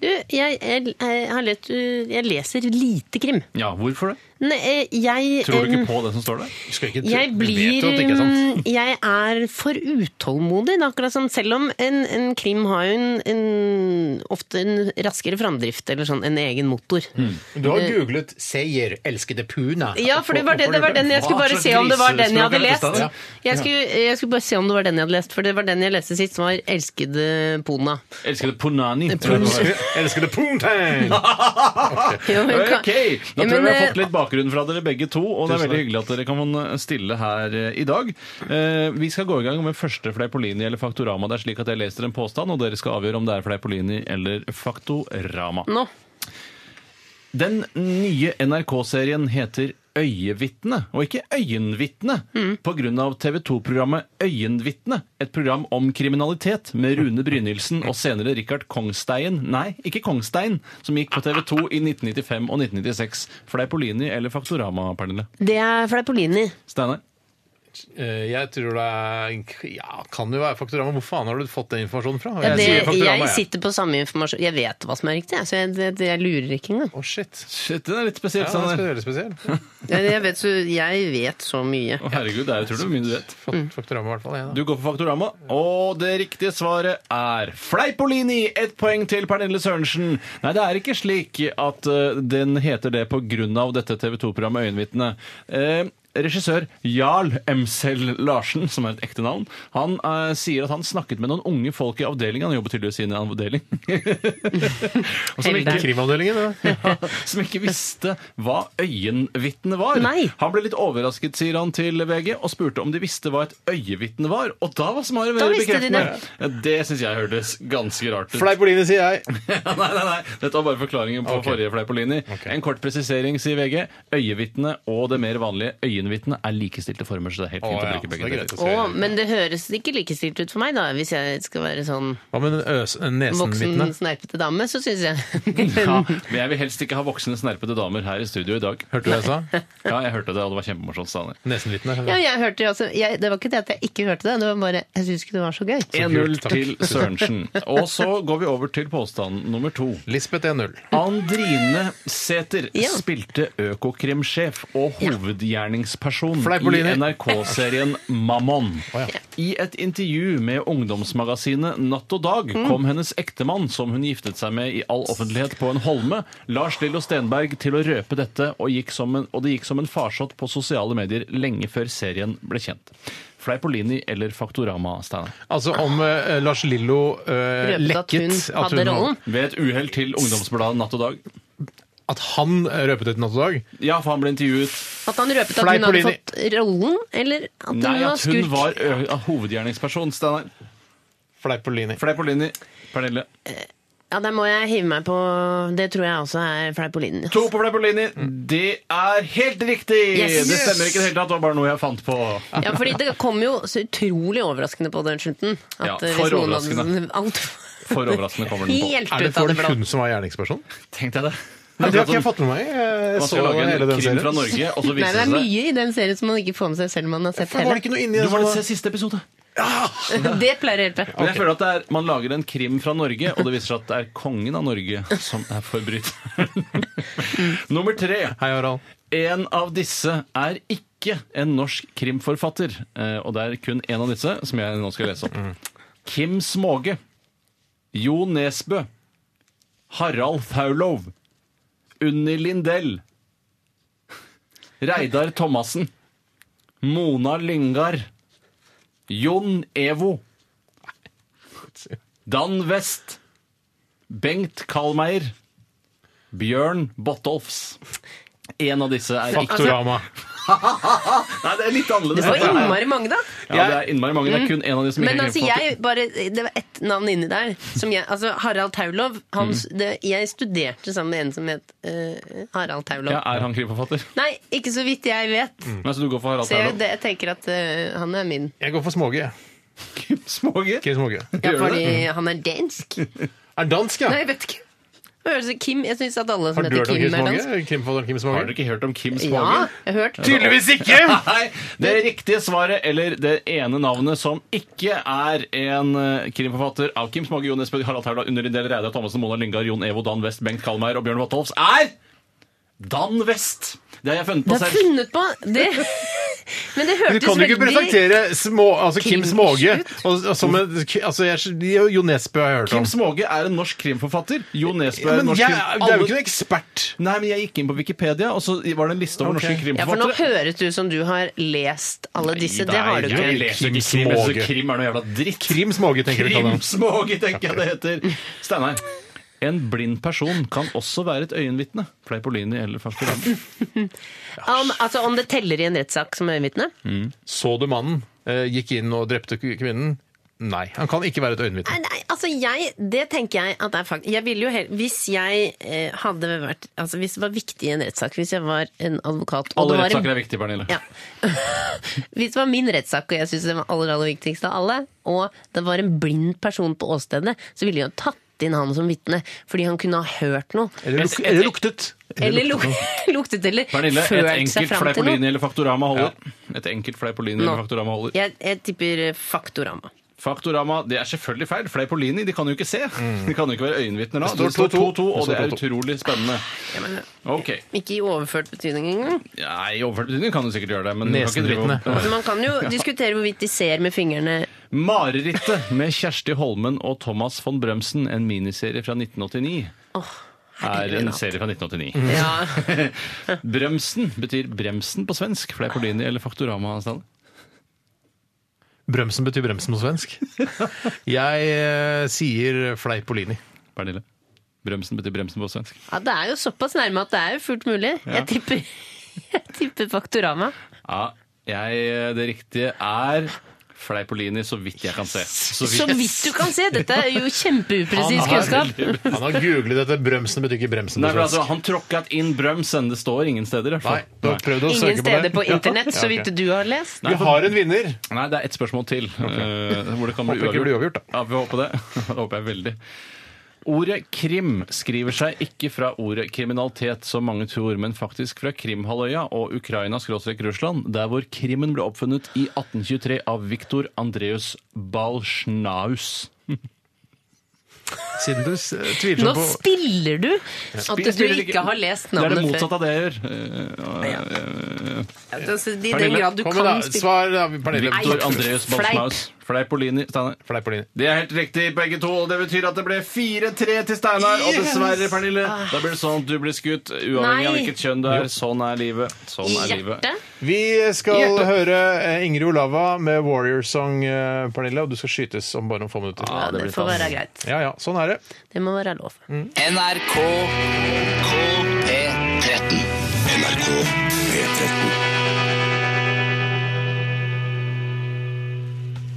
Speaker 3: Du, jeg, jeg, jeg, har lett, jeg leser lite krim.
Speaker 2: Ja, hvorfor det?
Speaker 3: Nei, eh, jeg
Speaker 2: Tror du
Speaker 3: eh,
Speaker 2: ikke på det som står der?
Speaker 1: Du skal ikke tro-
Speaker 3: Jeg
Speaker 1: du vet
Speaker 3: blir
Speaker 1: jo at det ikke er sant.
Speaker 3: mm, Jeg er for utålmodig. det er Akkurat som, selv om en, en krim har jo en, en, ofte en raskere framdrift eller sånn, en egen motor.
Speaker 1: Du har googlet 'Seier, elskede Puna'.
Speaker 3: Ja, for det var, det, det var den jeg skulle
Speaker 2: Hva
Speaker 3: bare
Speaker 2: slags
Speaker 3: se om det var den jeg hadde
Speaker 2: grisespråk er
Speaker 3: lest.
Speaker 2: dette, da?
Speaker 3: Jeg skulle, jeg skulle bare se om det var den jeg hadde lest, for det var den jeg leste sist, som var 'Elskede Pona'. [laughs]
Speaker 2: Elskede Ponani. tror jeg det var.
Speaker 1: Elskede, elskede Poontang!
Speaker 3: Jo, men kan-
Speaker 2: Ok, Da
Speaker 3: Ja,
Speaker 2: tror jeg
Speaker 3: men,
Speaker 2: vi har
Speaker 3: eh,
Speaker 2: fått litt bakgrunn fra dere begge to, og det er
Speaker 1: Tusen
Speaker 2: veldig
Speaker 1: takk.
Speaker 2: hyggelig at dere kan stille her eh, i dag. Eh, Vi skal gå i gang med første Fleipolini eller Faktorama. Det er slik at jeg leser en påstand, og dere skal avgjøre om det er Fleipolini eller Faktorama.
Speaker 3: Nå.
Speaker 2: Den nye NRK-serien heter Øyevitne, og ikke Øyenvitne, på grunn av TV 2-programmet Øyenvitne. Et program om kriminalitet med Rune Brynildsen og senere Richard Kongstein. Nei, ikke Kongstein, som gikk på TV 2 i 1995 og 1996. Fleipolini eller Faktorama, Pernille?
Speaker 3: Det er Fleipolini.
Speaker 2: Steinar?
Speaker 1: Eh, Jeg tror det er Ja, kan jo være Faktorama. Hvor faen har du fått den informasjonen fra?
Speaker 3: Ja, det,
Speaker 1: sier Faktorama,
Speaker 3: jeg sitter på samme informasjon. Jeg vet hva som er riktig, jeg, så jeg, det, det, jeg lurer ikke engang.
Speaker 1: Å, shit. sånn,
Speaker 2: Shit, den er litt spesiell,
Speaker 1: Ja, det
Speaker 2: Steinar.
Speaker 1: skal være [laughs] spesiell.
Speaker 3: Jeg, jeg, vet så, jeg vet så mye.
Speaker 2: Å, herregud, det er utrolig mye du vet.
Speaker 1: Fått Faktorama, i hvert fall. Jeg, da.
Speaker 2: Du går for Faktorama, og det riktige svaret er Fleipolini! Ett poeng til Pernille Sørensen. Nei, det er ikke slik at eh, den heter det pga. dette TV 2-programmet Øyenvitne. Eh, Regissør Jarl Emsel Larsen, som er et ekte navn, han eh, sier at han snakket med noen unge folk i avdelingen. Han jobber tydeligvis i en avdeling. [laughs] og
Speaker 1: sånn
Speaker 2: som ikke,
Speaker 1: Krimavdelingen, da. [laughs]
Speaker 2: [laughs] som ikke visste hva øyenvitne var.
Speaker 3: Nei.
Speaker 2: Han ble litt overrasket, sier han til VG, og spurte om de visste hva et øyevitne var. Og da var svaret
Speaker 3: Da
Speaker 2: veldig
Speaker 3: visste de
Speaker 2: bekreftende. Det, det syns jeg hørtes ganske rart ut. [laughs]
Speaker 1: Fleipolini, sier jeg.
Speaker 2: nei, nei, nei. Dette var bare forklaringen på
Speaker 1: Ok.
Speaker 2: forrige Fleipolini.
Speaker 1: Ok.
Speaker 2: En kort presisering, sier VG. Øyevitne og det mer vanlige øyenvitne er likestilte former, så det er helt
Speaker 1: Å,
Speaker 2: fint
Speaker 1: ja,
Speaker 2: å bruke
Speaker 1: så det er
Speaker 2: begge
Speaker 1: greit
Speaker 2: deler.
Speaker 1: å
Speaker 3: Å,
Speaker 1: si.
Speaker 3: men det høres ikke likestilt ut for meg, da, hvis jeg skal være sånn
Speaker 1: Hva med den øs-
Speaker 3: voksen,
Speaker 1: nesenvitne?
Speaker 3: snerpete dame, så syns jeg [laughs]
Speaker 2: [laughs] Ja, men jeg vil helst ikke ha voksne, snerpete damer her i studio i dag.
Speaker 1: Hørte du hva jeg
Speaker 3: [laughs]
Speaker 1: sa?
Speaker 2: Ja, jeg hørte det, og det var kjempemorsomt. Steinar.
Speaker 1: Nesenvitne.
Speaker 3: Ja, jeg hørte jo altså, jeg, Det var ikke det at jeg ikke hørte det, det var bare Jeg syns ikke det var så gøy.
Speaker 2: 1-0
Speaker 1: kult, takk.
Speaker 2: til Sørensen. Og så går vi over til påstand nummer to.
Speaker 1: Lisbeth 1-0.
Speaker 2: Andrine Sæther
Speaker 3: Ja.
Speaker 2: spilte Økokrim-sjef og hovedgjerningsperson
Speaker 1: Fleipolini.
Speaker 2: i NRK-serien Mammon.
Speaker 1: Å, ja.
Speaker 2: I et intervju med ungdomsmagasinet Natt og Dag kom hennes ektemann, som hun giftet seg med i all offentlighet på en holme, Lars Lillo Stenberg, til å røpe dette, og, gikk som en, og det gikk som en farsott på sosiale medier lenge før serien ble kjent. Fleipolini eller Faktorama, Steinar?
Speaker 1: Altså om eh, Lars Lillo
Speaker 3: Røpet
Speaker 1: eh,
Speaker 3: at hun
Speaker 1: lekket
Speaker 3: hadde rollen.
Speaker 2: Ved et uhell til Ungdomsbladet Natt og Dag.
Speaker 1: At han eh, røpet et natt og dag?
Speaker 2: Ja, for han ble intervjuet.
Speaker 3: At han røpet at hun hadde
Speaker 1: Fleipolini.
Speaker 3: fått rollen, eller at hun
Speaker 2: Nei,
Speaker 3: var
Speaker 2: at hun
Speaker 3: skurk.
Speaker 2: var ø- hovedgjerningsperson. Steinar.
Speaker 1: Fleipolini.
Speaker 2: Fleipolini. Pernille.
Speaker 3: Ja, der må jeg hive meg på Det tror jeg også er altså. Fleipolini.
Speaker 2: To på Fleipolini. Det er helt riktig!
Speaker 3: Yes.
Speaker 2: Det stemmer ikke i det hele tatt. Det var bare noe jeg fant på.
Speaker 3: Ja, fordi det kom jo så utrolig overraskende på den slutten.
Speaker 2: Ja,
Speaker 3: eh, hvis
Speaker 2: for
Speaker 3: noen
Speaker 2: overraskende.
Speaker 3: hadde- [laughs] alt,
Speaker 2: For overraskende kommer den på.
Speaker 3: Helt
Speaker 1: Er
Speaker 3: ut
Speaker 1: det
Speaker 3: av
Speaker 1: for
Speaker 3: det blå.
Speaker 1: hun som var gjerningsperson?
Speaker 2: Tenkte jeg det. Altså,
Speaker 1: Det har ikke jeg fått med meg. Jeg
Speaker 2: Man
Speaker 1: så
Speaker 2: skal lage
Speaker 1: hele
Speaker 2: en
Speaker 1: den
Speaker 2: krim
Speaker 1: serien.
Speaker 2: fra Norge, og så
Speaker 3: Nei, det
Speaker 2: viser
Speaker 3: er
Speaker 2: det seg
Speaker 3: mye i den serien som man ikke får med seg selv om man har sett
Speaker 1: Var det
Speaker 3: hele.
Speaker 1: ikke noe inni
Speaker 2: Du
Speaker 1: det
Speaker 2: må
Speaker 1: som
Speaker 2: litt se
Speaker 1: var
Speaker 2: siste episode.
Speaker 3: Det pleier å hjelpe.
Speaker 2: Men jeg føler at det er, Man lager en krim fra Norge, og det viser seg at det er kongen av Norge som er
Speaker 3: [laughs]
Speaker 2: forbryteren. Nummer tre.
Speaker 1: Hei, Harald.
Speaker 2: En av disse er ikke en norsk krimforfatter. Eh, Og det er kun en av disse som jeg nå skal lese opp. Kim Småge. Jo Nesbø. Harald Faulov. Unni Lindell. Reidar Thomassen. Mona Lyngar. Jon Evo. Dan West. Bengt Kalmeier. Bjørn Bottolfs. En av disse
Speaker 1: Altså-
Speaker 2: er ikke
Speaker 1: Faktorama.
Speaker 2: Nei, det er litt annerledes.
Speaker 3: Det var
Speaker 2: dette her.
Speaker 3: innmari mange, da.
Speaker 2: Ja, det er innmari mange. Det er kun en av de som ikke
Speaker 3: Men
Speaker 2: er
Speaker 3: altså,
Speaker 2: krimforfatter.
Speaker 3: jeg bare, det var ett navn inni der. Som jeg, altså Harald Taulov. Han,
Speaker 2: Mm.
Speaker 3: det, jeg studerte sammen med en som het eh, Harald Taulov.
Speaker 2: Ja, er han krimforfatter?
Speaker 3: Nei, ikke så vidt jeg vet.
Speaker 1: Mm.
Speaker 2: Nei, så du går for Harald
Speaker 3: Så jeg,
Speaker 2: Taulov?
Speaker 3: det, jeg tenker at eh, han er min.
Speaker 1: Jeg går for Småge.
Speaker 2: Kim Småge?
Speaker 1: Kim Småge.
Speaker 3: Ja,
Speaker 2: Gjør du
Speaker 3: fordi [laughs] han er dansk.
Speaker 1: Mm. Er dansk, ja?
Speaker 3: Nei, jeg vet ikke. Høres det Kim, Jeg syns at alle som
Speaker 1: Har du
Speaker 3: heter
Speaker 1: hørt om
Speaker 3: Kim,
Speaker 1: Kim
Speaker 3: er dansk.
Speaker 1: Småge? Krimfadderen Kim
Speaker 2: Har dere
Speaker 1: Småge?
Speaker 2: ikke hørt om Kim
Speaker 3: Ja,
Speaker 2: Småge?
Speaker 3: jeg har hørt.
Speaker 1: Tydeligvis ikke!
Speaker 2: [laughs] Nei, Det riktige svaret, eller det ene navnet som ikke er en eh, krimforfatter av Kim Småge, Jon Espen, Harald Taula, Underindel, Reidar Thomassen, Mona Lyngar, Jon Evo, Dan West, Bengt Kalmeier og Bjørn Wattolfs, er Dan West! Det har jeg funnet
Speaker 3: Det
Speaker 2: på
Speaker 3: er
Speaker 2: selv.
Speaker 3: funnet på! Det.
Speaker 1: [laughs]
Speaker 3: Men det
Speaker 1: Du
Speaker 3: hørtes
Speaker 1: kan jo ikke
Speaker 3: veldig
Speaker 1: presentere små, altså Kim
Speaker 3: Kim
Speaker 1: Småge og, og som en altså jeg, Jo Nesbø har jeg hørt om.
Speaker 2: Kim Småge er en norsk krimforfatter. Jo Nesbø
Speaker 1: Ja,
Speaker 2: er en
Speaker 1: men
Speaker 2: norsk
Speaker 1: jeg,
Speaker 2: krim-
Speaker 1: det er jo
Speaker 2: Alle-
Speaker 1: ikke noen ekspert.
Speaker 2: Nei, men jeg gikk inn på Wikipedia, og så var det en liste over
Speaker 1: Ok.
Speaker 2: norske
Speaker 3: ja, for Nå
Speaker 2: krimforfattere.
Speaker 3: høres det ut som du har lest alle disse. Det har du
Speaker 2: Nei, jeg
Speaker 3: ikke.
Speaker 2: leser
Speaker 1: Kim
Speaker 2: ikke krim, jeg synes
Speaker 1: Småge.
Speaker 2: krim er noe jævla dritt.
Speaker 1: Krim Småge, tenker vi
Speaker 2: Krim
Speaker 1: kaller han.
Speaker 2: Småge, tenker jeg det heter. Steinar. En blind person kan også være et øyenvitne. Fleipolini eller
Speaker 3: Mm.
Speaker 2: Faktorama.
Speaker 3: Om, altså, om det
Speaker 1: Mm.
Speaker 3: teller i en rettssak som øyenvitne?
Speaker 1: Så du mannen? eh, Gikk inn og drepte k- kvinnen? Nei, han kan ikke være et øyenvitne.
Speaker 3: Nei, nei, altså jeg, det tenker jeg at det er faktisk jeg ville jo hel, Hvis jeg eh, hadde vært altså Hvis det var viktig i en rettssak, hvis jeg var en advokat og
Speaker 2: Alle
Speaker 3: det var en-
Speaker 2: rettssaker er viktige, Pernille.
Speaker 3: Ja. [laughs] Hvis det var min rettssak, og jeg syns den var aller, aller viktigst av alle, og det var en blind person på åstedet, så ville jeg jo tatt inn han som vitne, fordi han kunne ha hørt noe.
Speaker 1: Eller, luk, eller luktet.
Speaker 3: Eller luk [laughs] luktet, eller
Speaker 2: Pernille, et
Speaker 3: følt seg
Speaker 2: enkelt
Speaker 3: fram til
Speaker 2: Fleipolini
Speaker 3: noe.
Speaker 2: eller Faktorama holder. Et enkelt Fleipolini eller Faktorama holder.
Speaker 3: Jeg, jeg tipper eh, Faktorama.
Speaker 2: Faktorama, det er selvfølgelig feil. Fleipolini, de kan jo ikke se. De kan jo ikke være øyenvitner da.
Speaker 1: Mm. Det står
Speaker 2: Det står
Speaker 1: 2-2,
Speaker 2: 2-2, og det er
Speaker 1: det står
Speaker 2: utrolig spennende. Ok.
Speaker 3: Ikke i overført betydning engang.
Speaker 2: Nei, i overført betydning kan du sikkert gjøre det, men du kan ikke drive
Speaker 1: Nesenvitne.
Speaker 2: opp-
Speaker 3: Men man kan jo diskutere hvorvidt de ser med fingrene.
Speaker 2: Marerittet med Kjersti Holmen og Thomas von Brømsen, en miniserie fra 1989,
Speaker 3: Åh,
Speaker 2: er
Speaker 3: herregud,
Speaker 2: en
Speaker 3: natt.
Speaker 2: serie fra 1989.
Speaker 3: [laughs] Ja.
Speaker 2: Brømsen betyr bremsen på svensk. Fleipolini eller Faktorama? Stanley?
Speaker 1: Bremsen betyr bremsen på [laughs] svensk. Jeg eh, sier Fleipolini.
Speaker 2: Pernille. Brømsen betyr bremsen på svensk.
Speaker 3: ja, det er jo såpass nærme at det er jo fullt mulig. Jeg tipper, [laughs] jeg tipper Faktorama.
Speaker 2: Ja, jeg, det riktige er Fleipolini, så vidt jeg kan se. Så
Speaker 3: Så vidt du kan se! Dette er jo kjempeupresis kunnskap.
Speaker 1: Han har googlet dette. Bremsen betyr ikke bremsen
Speaker 2: Nei,
Speaker 1: på
Speaker 2: for altså,
Speaker 1: svensk.
Speaker 2: Han tråkket inn bremsen. Det står ingen steder. i hvert
Speaker 1: Nei,
Speaker 2: fall.
Speaker 1: du har prøvd å søke
Speaker 3: Ingen
Speaker 1: på det.
Speaker 3: steder
Speaker 1: [laughs]
Speaker 3: på internett, så vidt du har lest.
Speaker 1: Vi har en vinner.
Speaker 2: Nei, det er ett spørsmål til. eh, hvor det kan
Speaker 1: Håper
Speaker 2: bli
Speaker 1: ikke det
Speaker 2: uavgjort.
Speaker 1: blir uavgjort, da.
Speaker 2: Ja, vi håper det. [laughs] det håper jeg veldig. Ordet krim skriver seg ikke fra ordet kriminalitet, som mange tror, men faktisk fra Krimhalvøya og Ukraina-Russland, der hvor krimmen ble oppfunnet i 1823 av Viktor Andreus Balsjnaus.
Speaker 1: Siden du s- tviler
Speaker 3: Nå
Speaker 1: sånn på
Speaker 3: spiller du at du ikke har lest
Speaker 2: Det er det
Speaker 3: navnet
Speaker 2: motsatte
Speaker 3: før.
Speaker 2: av det jeg gjør. Eh, eh, eh,
Speaker 3: Altså, I den
Speaker 2: Pernille,
Speaker 3: grad du
Speaker 1: Kom igjen, da.
Speaker 3: kan spille
Speaker 1: Svar, da, Pernille.
Speaker 2: Viktor
Speaker 3: Nei.
Speaker 2: Andreus
Speaker 3: Fleip.
Speaker 2: Balsjnaus. Fleipolini. Steinar.
Speaker 1: Fleipolini.
Speaker 2: Det er helt riktig, begge to. og Det betyr at det ble 4-3 til Steinar. Og dessverre, Pernille, da blir det sånn at du blir skutt uavhengig av
Speaker 3: Ah. Nei.
Speaker 2: hvilket kjønn du er. Sånn er livet. Sånn er livet.
Speaker 3: hjertet.
Speaker 1: Vi skal høre eh, Ingrid Olava med Warrior Song, eh, Pernille, og du skal skytes om bare noen få minutter.
Speaker 3: Ja, det får være greit.
Speaker 1: Ja ja, sånn er det.
Speaker 3: Det må være lov.
Speaker 10: NRK P13.
Speaker 5: NRK P13.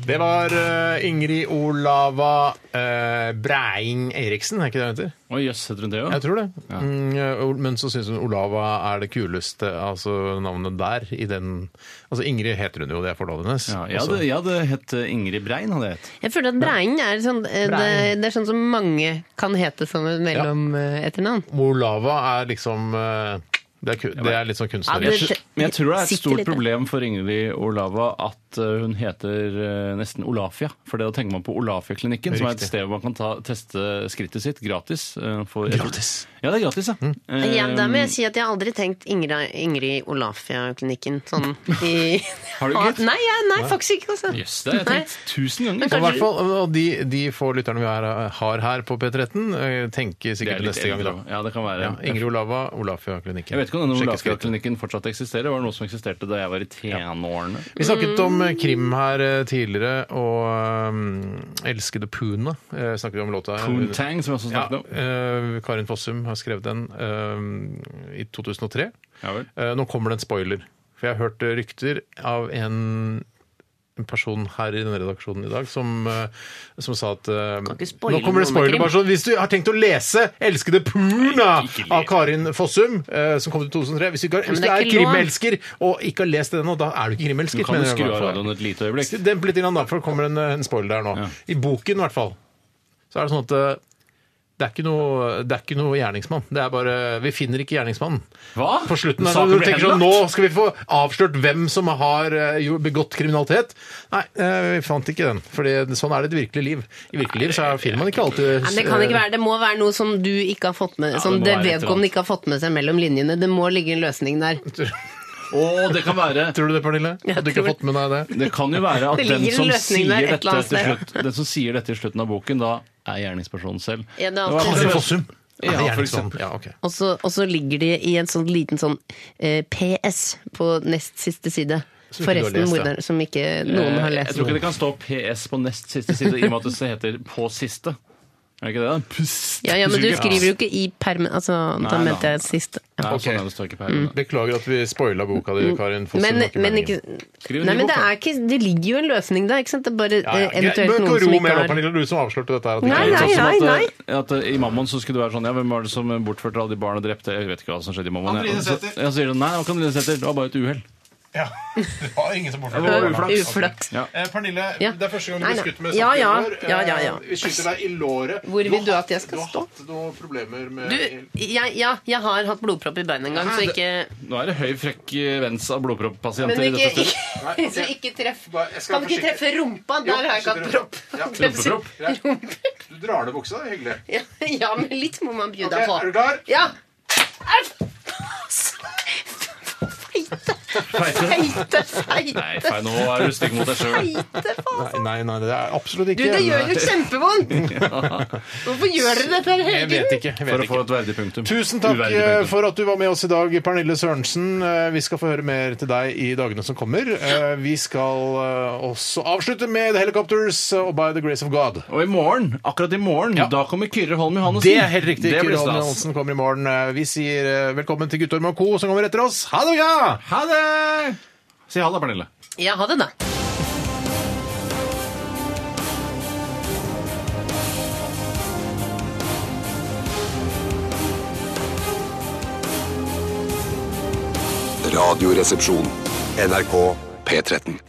Speaker 1: Det var eh, Ingrid Olava eh, Breing Eriksen, er ikke det hun heter?
Speaker 2: Oi, jøss, heter hun det
Speaker 1: Jeg
Speaker 2: òg?
Speaker 1: tror det. Mm, eh, Ol- men så syns hun Olava er det kuleste altså navnet der. I den, altså Ingrid heter hun jo, det er forloven hennes.
Speaker 2: Ja,
Speaker 1: Altså,
Speaker 2: jeg hadde, jeg hadde hett Ingrid Brein. hadde jeg hett.
Speaker 3: Jeg føler at Brein er sånn eh, det, det er sånn som mange kan hete som et eh, mellom-etternavn.
Speaker 1: Også Olava er liksom eh, det er, ku- det er litt sånn
Speaker 3: Ja,
Speaker 1: kunstnerisk.
Speaker 3: det-
Speaker 2: Men jeg tror det er et
Speaker 3: Sitter
Speaker 2: stort
Speaker 3: litt der.
Speaker 2: problem for Ingrid Olava at eh, hun heter eh, nesten Olafia. For det da tenker man på Olafia-klinikken, som er et
Speaker 1: Riktig.
Speaker 2: sted hvor man kan ta, teste skrittet sitt gratis. eh, For, gratis? Ja, det er gratis, ja. Eh,
Speaker 3: Ja, da må jeg si at jeg har aldri tenkt Ingrid, Ingrid Olafia-klinikken sånn i
Speaker 2: Har du ikke?
Speaker 3: [laughs] Nei, ja, nei, faktisk ikke, altså.
Speaker 2: Eh, Jøss, det har jeg tenkt tusen ganger.
Speaker 1: Så i hvert fall, og de, de få lytterne vi har, har her på P13, eh, tenker
Speaker 2: Det er
Speaker 1: sikkert
Speaker 2: litt
Speaker 1: neste gang, da.
Speaker 2: eldre. Ja, det kan være.
Speaker 1: Ja, Ingrid Olava, Olafia-klinikken.
Speaker 2: Jeg vet ikke om denne
Speaker 1: Sjekke skrittet.
Speaker 2: Olafia-klinikken fortsatt eksisterer. Det var noe som eksisterte da jeg var i tenårene.
Speaker 1: Vi snakket om eh, krim her eh, tidligere, og eh, elskede Puna eh, snakket vi om låta. her.
Speaker 2: Poontang, som jeg også
Speaker 1: Ja,
Speaker 2: snakket om.
Speaker 1: eh, Karin Fossum har skrevet den eh, i 2003.
Speaker 2: Ja vel.
Speaker 1: Eh, nå kommer det en spoiler, for jeg har hørt eh, rykter av en en person her i denne redaksjonen i dag som, eh, som sa at eh,
Speaker 3: ikke spoile
Speaker 1: Nå kommer det
Speaker 3: noe med
Speaker 1: spoiler,
Speaker 3: krim.
Speaker 1: bare sånn. Hvis du har tenkt å lese 'Elskede Puna' av Karin Fossum, eh, som kom ut i 2003 Hvis du, ikke har, hvis
Speaker 3: men
Speaker 1: du
Speaker 3: det er
Speaker 1: er
Speaker 3: ikke lov.
Speaker 1: krimelsker og ikke har lest den ennå, da er du ikke krimelsker.
Speaker 2: Du kan
Speaker 1: mener
Speaker 2: jo
Speaker 1: jeg i
Speaker 2: skru
Speaker 1: hvert
Speaker 2: av
Speaker 1: fall.
Speaker 2: radioen et lite øyeblikk.
Speaker 1: Demp litt innan da, for det kommer en, eh, en spoiler der nå. I boken, i hvert fall, så er det sånn at eh, det er, ikke noe, det er ikke noe gjerningsmann. Det er bare, Vi finner ikke gjerningsmannen.
Speaker 2: Hva?
Speaker 1: På slutten der,
Speaker 2: Saken
Speaker 1: når du
Speaker 2: blir
Speaker 1: tenker sånn,
Speaker 2: henlagt?
Speaker 1: Nå skal vi få avslørt hvem som har eh, jo- begått kriminalitet. Nei, eh, vi fant ikke den. For sånn er det i det virkelige liv. I virkelig liv så er- finner man ikke alltid
Speaker 3: Nei, det kan ikke være. Det må være noe som du ikke har fått med
Speaker 2: det
Speaker 3: Som
Speaker 2: må
Speaker 3: det
Speaker 2: være et eller
Speaker 3: vedkommende
Speaker 2: annet.
Speaker 3: ikke har fått med seg mellom linjene. Det må ligge en løsning der.
Speaker 2: Å, det kan være
Speaker 1: eh, Tror du det, Pernille? At du ikke
Speaker 3: tror-
Speaker 1: har fått med deg det?
Speaker 2: Det kan jo være at
Speaker 3: Det
Speaker 2: den
Speaker 3: ligger en
Speaker 2: som,
Speaker 3: løsning
Speaker 2: sier
Speaker 3: der et
Speaker 2: dette
Speaker 3: eller annet
Speaker 2: til
Speaker 3: sted.
Speaker 2: slutt, den som sier dette i slutten av boken, da er gjerningspersonen selv.
Speaker 3: Ja, det er
Speaker 2: var
Speaker 3: alltid
Speaker 2: akkurat-
Speaker 1: Karin Fossum.
Speaker 2: Ja,
Speaker 1: Er det
Speaker 2: for
Speaker 1: gjerningsmannen?
Speaker 2: eksempel.
Speaker 1: Ja, ok.
Speaker 3: Og så, og så ligger de i en sånn liten sånn eh, PS på nest siste side.
Speaker 1: Som ikke du har
Speaker 3: Forresten
Speaker 1: lest, ja.
Speaker 3: morderen som ikke noen har
Speaker 2: Eh, Jeg
Speaker 3: lest.
Speaker 2: tror ikke det kan stå PS på nest siste side, i og med at det heter På siste. Er det ikke det, da? Pust.
Speaker 6: Ja, ja, men du
Speaker 1: Suger.
Speaker 6: skriver jo ikke i permen Altså, da
Speaker 2: Nei,
Speaker 6: mente
Speaker 2: da.
Speaker 6: jeg siste. Ja.
Speaker 2: Nei, sånn er det står ikke
Speaker 3: Mm.
Speaker 2: på her.
Speaker 1: Beklager at vi spoila boka di, Karin. Fossum,
Speaker 3: Men,
Speaker 1: det var ikke
Speaker 3: men
Speaker 1: meningen.
Speaker 3: ikke
Speaker 2: Skriv en
Speaker 3: Nei,
Speaker 2: ny
Speaker 3: men
Speaker 2: bok,
Speaker 3: det,
Speaker 2: da.
Speaker 3: er ikke, det ligger jo en løsning der, ikke sant? Det er bare
Speaker 1: Ja, ja.
Speaker 3: eh, eventuelt
Speaker 1: Bør ikke
Speaker 3: noen
Speaker 1: ro
Speaker 3: som
Speaker 1: mer
Speaker 3: ikke
Speaker 1: nå,
Speaker 3: har
Speaker 1: Pernille, du som avslørte dette her. at det
Speaker 3: Nei,
Speaker 1: ikke er
Speaker 3: nei,
Speaker 1: sånn som-
Speaker 3: nei.
Speaker 2: At, at I Mammon så skulle det være sånn Ja, hvem var det som bortførte alle de barna og drepte? Jeg vet ikke hva som skjedde i Mammon.
Speaker 1: Anne Line
Speaker 2: jeg. Og så-
Speaker 1: Sæther.
Speaker 2: Ja, så sier de nei, det var ikke Anne Line Sæther. Det var bare et uhell.
Speaker 1: Ja. Det var ingen som bortførte
Speaker 2: Det var
Speaker 1: barna.
Speaker 2: uflaks.
Speaker 3: Uflaks.
Speaker 2: Ja.
Speaker 1: Eh, Pernille,
Speaker 3: Ja.
Speaker 1: det er første gang du
Speaker 3: Nei,
Speaker 1: blir
Speaker 3: nei.
Speaker 1: skutt med
Speaker 3: Ja, ja.
Speaker 1: sakkehumor. Eh,
Speaker 3: Ja, ja, ja.
Speaker 1: Vi skyter deg i låret.
Speaker 3: Hvor vil du
Speaker 1: har-
Speaker 3: at jeg skal
Speaker 1: Du
Speaker 3: stå?
Speaker 1: har hatt noen problemer med
Speaker 3: Du, jeg, ja, jeg har hatt blodpropp i beinet en gang, så ikke
Speaker 2: Nå er det høy frekk vens av blodproppasienter
Speaker 3: Men
Speaker 2: i
Speaker 3: ikke,
Speaker 2: dette stedet.
Speaker 1: Nei,
Speaker 3: ikke, [laughs]
Speaker 1: ok.
Speaker 3: så ikke treff
Speaker 1: Bare- jeg skal
Speaker 3: Kan du ikke
Speaker 1: forsikre-
Speaker 3: treffe rumpa?
Speaker 1: Jo,
Speaker 3: Der har jeg ikke hatt
Speaker 1: skyter
Speaker 3: propp. [laughs]
Speaker 1: rumpa. Ja.
Speaker 2: Rumpepropp.
Speaker 1: Greit. Du drar ned buksa, det er hyggelig.
Speaker 3: Ja, ja, men litt må man by
Speaker 1: Ok,
Speaker 3: deg på.
Speaker 1: er du klar?
Speaker 3: Ja. Au! Feite, feite, feite,
Speaker 2: Nei, feil, nå er du stygg mot deg sjøl.
Speaker 3: feite faen.
Speaker 1: Nei, nei, det er absolutt ikke
Speaker 3: Du, det gjør jo kjempevondt!
Speaker 1: [laughs]
Speaker 3: Hvorfor gjør dere dette her
Speaker 1: Jeg
Speaker 3: hele
Speaker 1: vet
Speaker 3: tiden?
Speaker 1: ikke. Jeg vet
Speaker 2: For å
Speaker 1: ikke.
Speaker 2: få et verdig punktum.
Speaker 1: Tusen takk
Speaker 2: Uverdig
Speaker 1: eh,
Speaker 2: punktum.
Speaker 1: for at du var med oss i dag, Pernille Sørensen. Eh, Vi skal få høre mer til deg i dagene som kommer. Eh, Vi skal eh, også avslutte med The Helicopters og By the Grace of God.
Speaker 2: Og i morgen, akkurat i morgen, da kommer Kyrre Holm Johannessen.
Speaker 1: Det er helt riktig.
Speaker 2: Det blir
Speaker 1: Kyrre Holm
Speaker 2: stas.
Speaker 1: Johansen kommer i morgen. Eh, Vi sier eh, velkommen til Guttorm og co. som kommer etter oss. Ha det bra!
Speaker 2: Ha det! Si ha det, Pernille.
Speaker 3: Ja, ha det, da.
Speaker 11: Radioresepsjon. NRK P13.